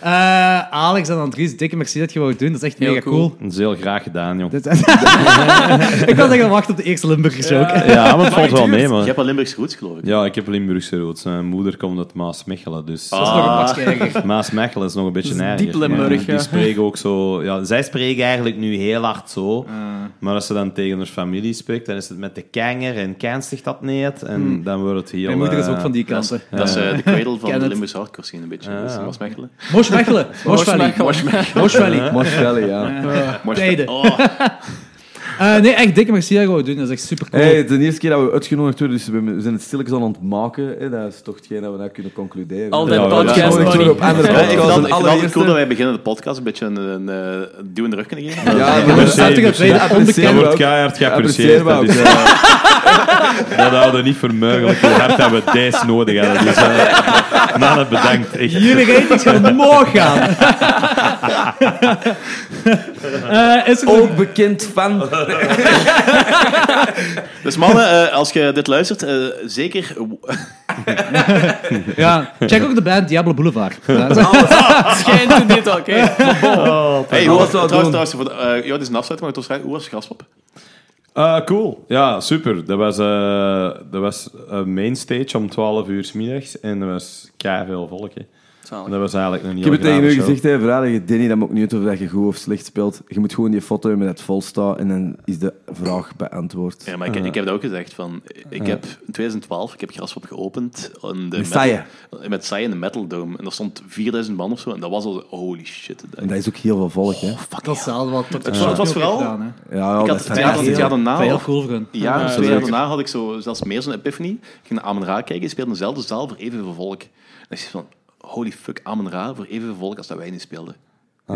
Eh, Alex en Andries, dikke merci dat je wou doen. Dat is echt Heel mega cool. cool. Dat is heel graag gedaan, jong. Dit- ik was echt aan wachten op de eerste Limburgers ook. Ja, maar het valt wel mee, Je man. hebt wel Limburgse roots, geloof ik. Ja, ik heb Limburgse roots. Mijn moeder komt uit Maasmechelen, dus... Dat is nog een pakje erger. Maasmechelen is nog een beetje Dat is nergens. diep Limburg, Die ja. spreken ook zo... Ja, zij spreken eigenlijk nu heel hard zo. Maar als ze dan tegen haar familie spreekt, dan is het met de kanger en kenstig dat niet. En dan wordt het heel... Mijn moeder is eh, ook van die kant. hè. Dat is eh, de cradle van Ken de het. Limburgse hardcore scene, een beetje. Ah, Dat is ja. was Mechelen. Mosh Mechelen. Mosh Valley. Mosh Valley. Mosh Valley, ja. Maar- Tijden. Oh, Eh, nee, echt dikke merci dat je wou doen. Dat is echt super cool. Hey, het is de eerste keer dat we uitgenodigd worden, dus we we zijn het stilletjes aan aan het maken. hè. dat is toch hetgeen dat we nou kunnen concluderen. Al Ja, dat Ja, we podcast zijn money. nog op andere ja, ik podcasts. vind het altijd- ik vind en het altijd allereerste- cool dat wij beginnen de podcast een beetje een, een, eh, duw in de rug kunnen geven. Ja, Ja, we dat hebben is natuurlijk het tweede dus. Dat appreciëren we wordt ook. keihard geapprecieerd. Appreciëren we Dat, ook, is, eh, dat houden we niet voor mogelijk. Hoe hard dat we deze nodig hadden. Dus, eh, man, het bedankt. Echt. Jullie ratings gaan omhoog gaan. Eh, is er nog- Ook bekend van... Dus mannen, eh, als je dit luistert, eh, zeker... ja, check ook de band Diablo Boulevard. Ja, dat is- Schijnt te dit, oké. Hey, hoe was dat trouwens, trouwens, voor de- eh, ja, dit is een afsluiting, maar het was vrij- hoe was Graspop? Eh, cool. Ja, super. Dat was, eh dat was een mainstage om 12 uur 's middags. En er was veel volk. Hè. Zalig. Dat was eigenlijk een Ik heel heb het tegen grave u show. gezegd, hè, vraag je Danny, dat maakt niet uit of dat je goed of slecht speelt. Je moet gewoon die foto hebben met het vol staan en dan is de vraag beantwoord. Ja, maar ik, ik heb dat ook gezegd. Van, ik heb in 2012, ik heb Graspop geopend. In de Met Saie. metal- Met Saie in de Metal Dome. En er stond 4000 man of zo. En dat was al, holy shit. Dat, En dat is ook heel veel volk, hè. Dat is wel wat tot de Het was vooral- gedaan, Ja, ja, ik dat had is het jaar, heel- het jaar daarna, hè. Heel of cool voor hun. een jaar of Ja, twee leuk. jaar daarna, had ik zo, zelfs meer zo'n epiphany. Ik ging naar Amen Ra kijken, die speelde in dezelfde zaal voor evenveel volk. En ik zei van, holy fuck, Amen Ra voor evenveel volk als dat wij niet speelden.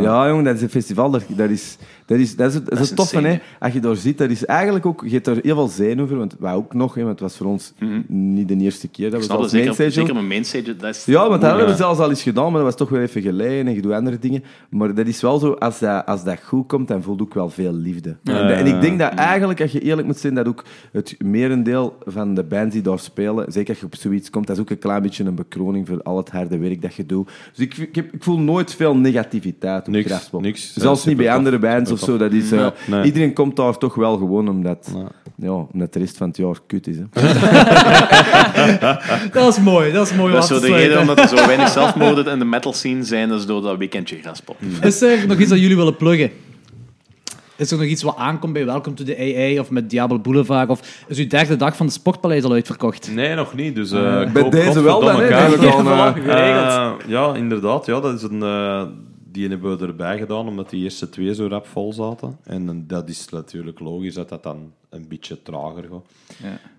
Ja, jong, dat is een festival. Dat, dat is, dat is, dat is, het- dat is is het toffe, insane, hè. Als je daar zit, dat is eigenlijk ook... Je hebt er heel veel zijn over, want wij ook nog, hè, want het was voor ons niet de eerste keer dat Mhm. Ik snap we zelfs dat, zeker, mainstage zeker hadden. mijn mainstage. Dat is, Ja, want dat hebben we zelfs al eens gedaan, maar dat was toch wel even geleden en je doet andere dingen. Maar dat is wel zo, als dat, als dat goed komt, dan voelt ook wel veel liefde. En, dat- en ik denk dat eigenlijk, als je eerlijk moet zijn, dat ook het merendeel van de bands die daar spelen, zeker als je op zoiets komt, dat is ook een klein beetje een bekroning voor al het harde werk dat je doet. Dus ik, ik, heb- ik voel nooit veel negativiteit op Niks, Graspop. niks. Ja, Zelfs niet bij supertof, andere bands of zo. supertof. Dat is, eh, Nee. Iedereen komt daar toch wel gewoon omdat, ja, omdat de rest van het jaar kut is. Hè. Dat is mooi, dat is mooi om Dat is af te zo de sluiten. reden omdat er zo weinig zelfmoorden in de metal scene zijn, dat is door dat weekendje graspop. Is er nog iets dat jullie willen pluggen? Is er nog iets wat aankomt bij Welcome to the AA of met Diablo Boulevard? Of is uw derde dag van de Sportpaleis al uitverkocht? Nee, nog niet. Dus, eh, Bij koop deze wel dan, godverdomme hè. kaarten. Eigenlijk al, eh, Eh, ja, inderdaad. Ja, dat is een, eh, die hebben we erbij gedaan, omdat die eerste twee zo rap vol zaten. En dan- dat is natuurlijk logisch dat dat dan een beetje trager gaat.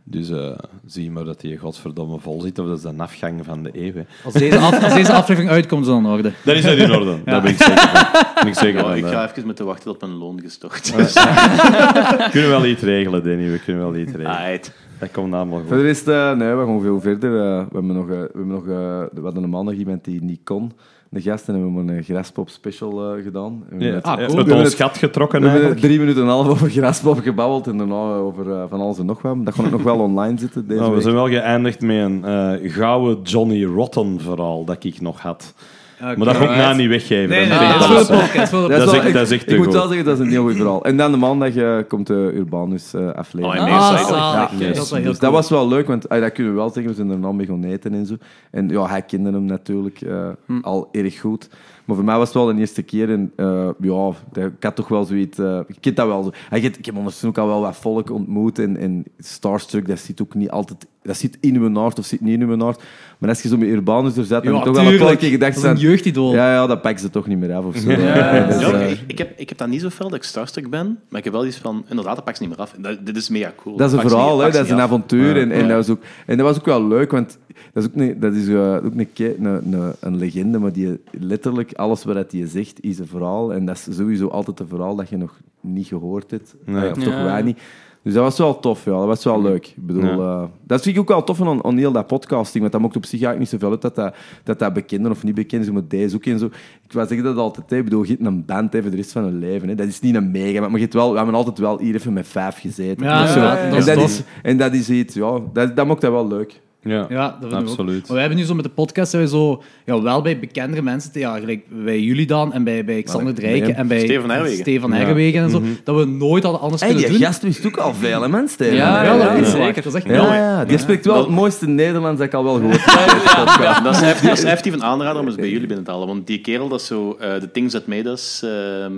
Dus eh, zie maar dat die godverdomme vol zit, of dat is een afgang van de eeuw. hè. Als deze, af- als deze aflevering uitkomt, is dat in orde. Dan is dat in orde. Daar ben ik zeker van. Daar Ben ik zeker Ja, van. ik eh. ga even moeten wachten tot mijn loon gestort is. We kunnen wel iets regelen, Danny. We kunnen wel iets regelen. Alright. Dat komt allemaal goed. Voor de rest, eh, nee, we gaan veel verder. Eh, we hebben nog, eh, we hebben nog eh, we hadden een maandag iemand die niet kon. De gasten hebben we een graspop special eh, gedaan. We hebben Ja, het- Ah, cool. het uit We hebben ons het- gat getrokken. we hebben eigenlijk. drie minuten en een half over graspop gebabbeld en daarna over eh, van alles en nog wat. Dat gaat ook nog wel online zitten deze Nou, we week. zijn wel geëindigd met een eh gouden Johnny Rotten verhaal dat ik nog had. Maar dat ga ik na niet weggeven. Nee, nee, Dat nee, vind dat ik is Ah, voor de wel eens- podcast. voor de Dat is wel- echt- dat is echt ik, te ik moet goed. wel zeggen, dat is een heel goed verhaal. En dan de maandag eh, komt de Urbanus eh aflevering. Oh, en podcast. Ah, zalig. zalig. Ja, Dat is wel heel Dus dat was wel leuk, want ah, dat kunnen we wel zeggen. We zijn er dan mee gaan eten en zo. En ja, hij kende hem natuurlijk eh, Hm. al erg goed. Maar voor mij was het wel de eerste keer. En eh, ja, dat- ik had toch wel zoiets... eh, ik ken dat wel zo. Ah, ik heb- ik heb ondertussen ook al wel wat volk ontmoet. En, en Starstruck, dat zit ook niet altijd... Dat zit in uw hart of zit niet in uw hart. Maar als je zo met Urbanus er zat, dan Ja, heb je toch wel een tuurlijk. paar keer gedacht... Dat is een van, jeugdidool. Ja, ja, dat pakken ze toch niet meer af of zo. Dus, Ja, eh, ik, ik, heb, ik heb dat niet zo fel dat ik starstruck ben, maar ik heb wel iets van, inderdaad, dat pak ze niet meer af. Dat, dit is mega cool. Dat is een Pak ze verhaal, niet- hè? pak ze dat is niet een af. avontuur. En, en, dat was ook, en dat was ook wel leuk, want dat is ook, een, dat is, eh, ook een, ke- een, een, een legende, maar die, letterlijk alles wat hij zegt is een verhaal. En dat is sowieso altijd een verhaal dat je nog niet gehoord hebt, Eh, of toch Ja. wij niet. Dus dat was wel tof, ja. Dat was wel leuk. Ik bedoel, Ja. eh, dat vind ik ook wel tof aan, aan heel dat podcasting, want dat maakt op zich eigenlijk niet zoveel uit dat dat, dat, dat bekender of niet bekend is, maar deze zoeken en zo. Ik wou zeggen dat altijd, hè. ik bedoel, je hebt een band hè, voor de rest van je leven. Hè. Dat is niet een mega, maar je hebt wel, we hebben altijd wel hier even met vijf gezeten. Dus- Ja, of zo. ja, ja, dat en, is dat tof. is, en dat is iets, ja, dat, dat maakt dat wel leuk. Ja, Ja, dat vinden we ook. absoluut. Maar wij hebben nu zo met de podcast zijn we zo, ja, wel bij bekendere mensen, te, ja, gelijk bij jullie dan en bij, bij Xander Drijken en bij Steven Herwegen. Stefan Herwegen en zo, Mhm. dat we nooit hadden anders En kunnen die eh, doen. gast wist ook al veel, hè, man, Steven? Ja, Ja, dat Ja, is ja. zeker. Dat is echt Ja, ja, die spreekt wel het mooiste Nederlands dat ik al wel gehoord heb. Ja, dat is heft- dat is effectief een aanrader om eens bij jullie binnen te halen. Want die kerel, dat is zo... eh the Things That Made Us ehm,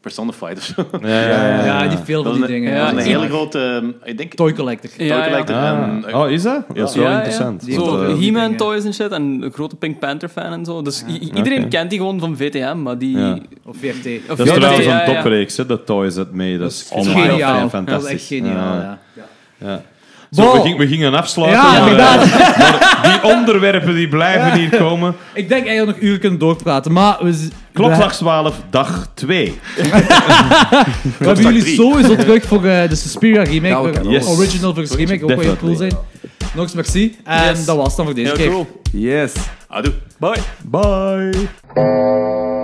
Personified of zo. Ja, ja, ja. Ah. Ja, die veel van Dat is die een, dingen. dat is Ja, een ja. hele grote... ehm, ik denk... Toy Collector. Ja, ja. Collector Ah. en, eh, Oh, is dat? Dat is eh, Ja, wel ja. interessant. Die- Zo, Ja, die He-Man dingen. toys en shit en een grote Pink Panther fan en zo. Dus i- iedereen oké. kent die gewoon van VTM, maar die... Ja. Of VRT. of Dat is VTM, trouwens ja, een ja. topreeks, hè, de Toys That Made Us. Dat is geniaal. Dat is echt geniaal, ja. Zo, we, Bon. gingen, we gingen afsluiten, Ja, maar, eh, maar die onderwerpen die blijven hier komen. Ik denk eigenlijk nog uren kunnen doorpraten, maar we, z- we, Klokslag 12, dag 2. we hebben jullie sowieso terug voor eh, de Suspiria remake. Ja, we We- yes. Original versus remake, ook wel heel cool Definitely. zijn. Nog eens merci. En Yes. dat was het dan voor deze heel keer. cool. Yes. Adieu. Bye. Bye.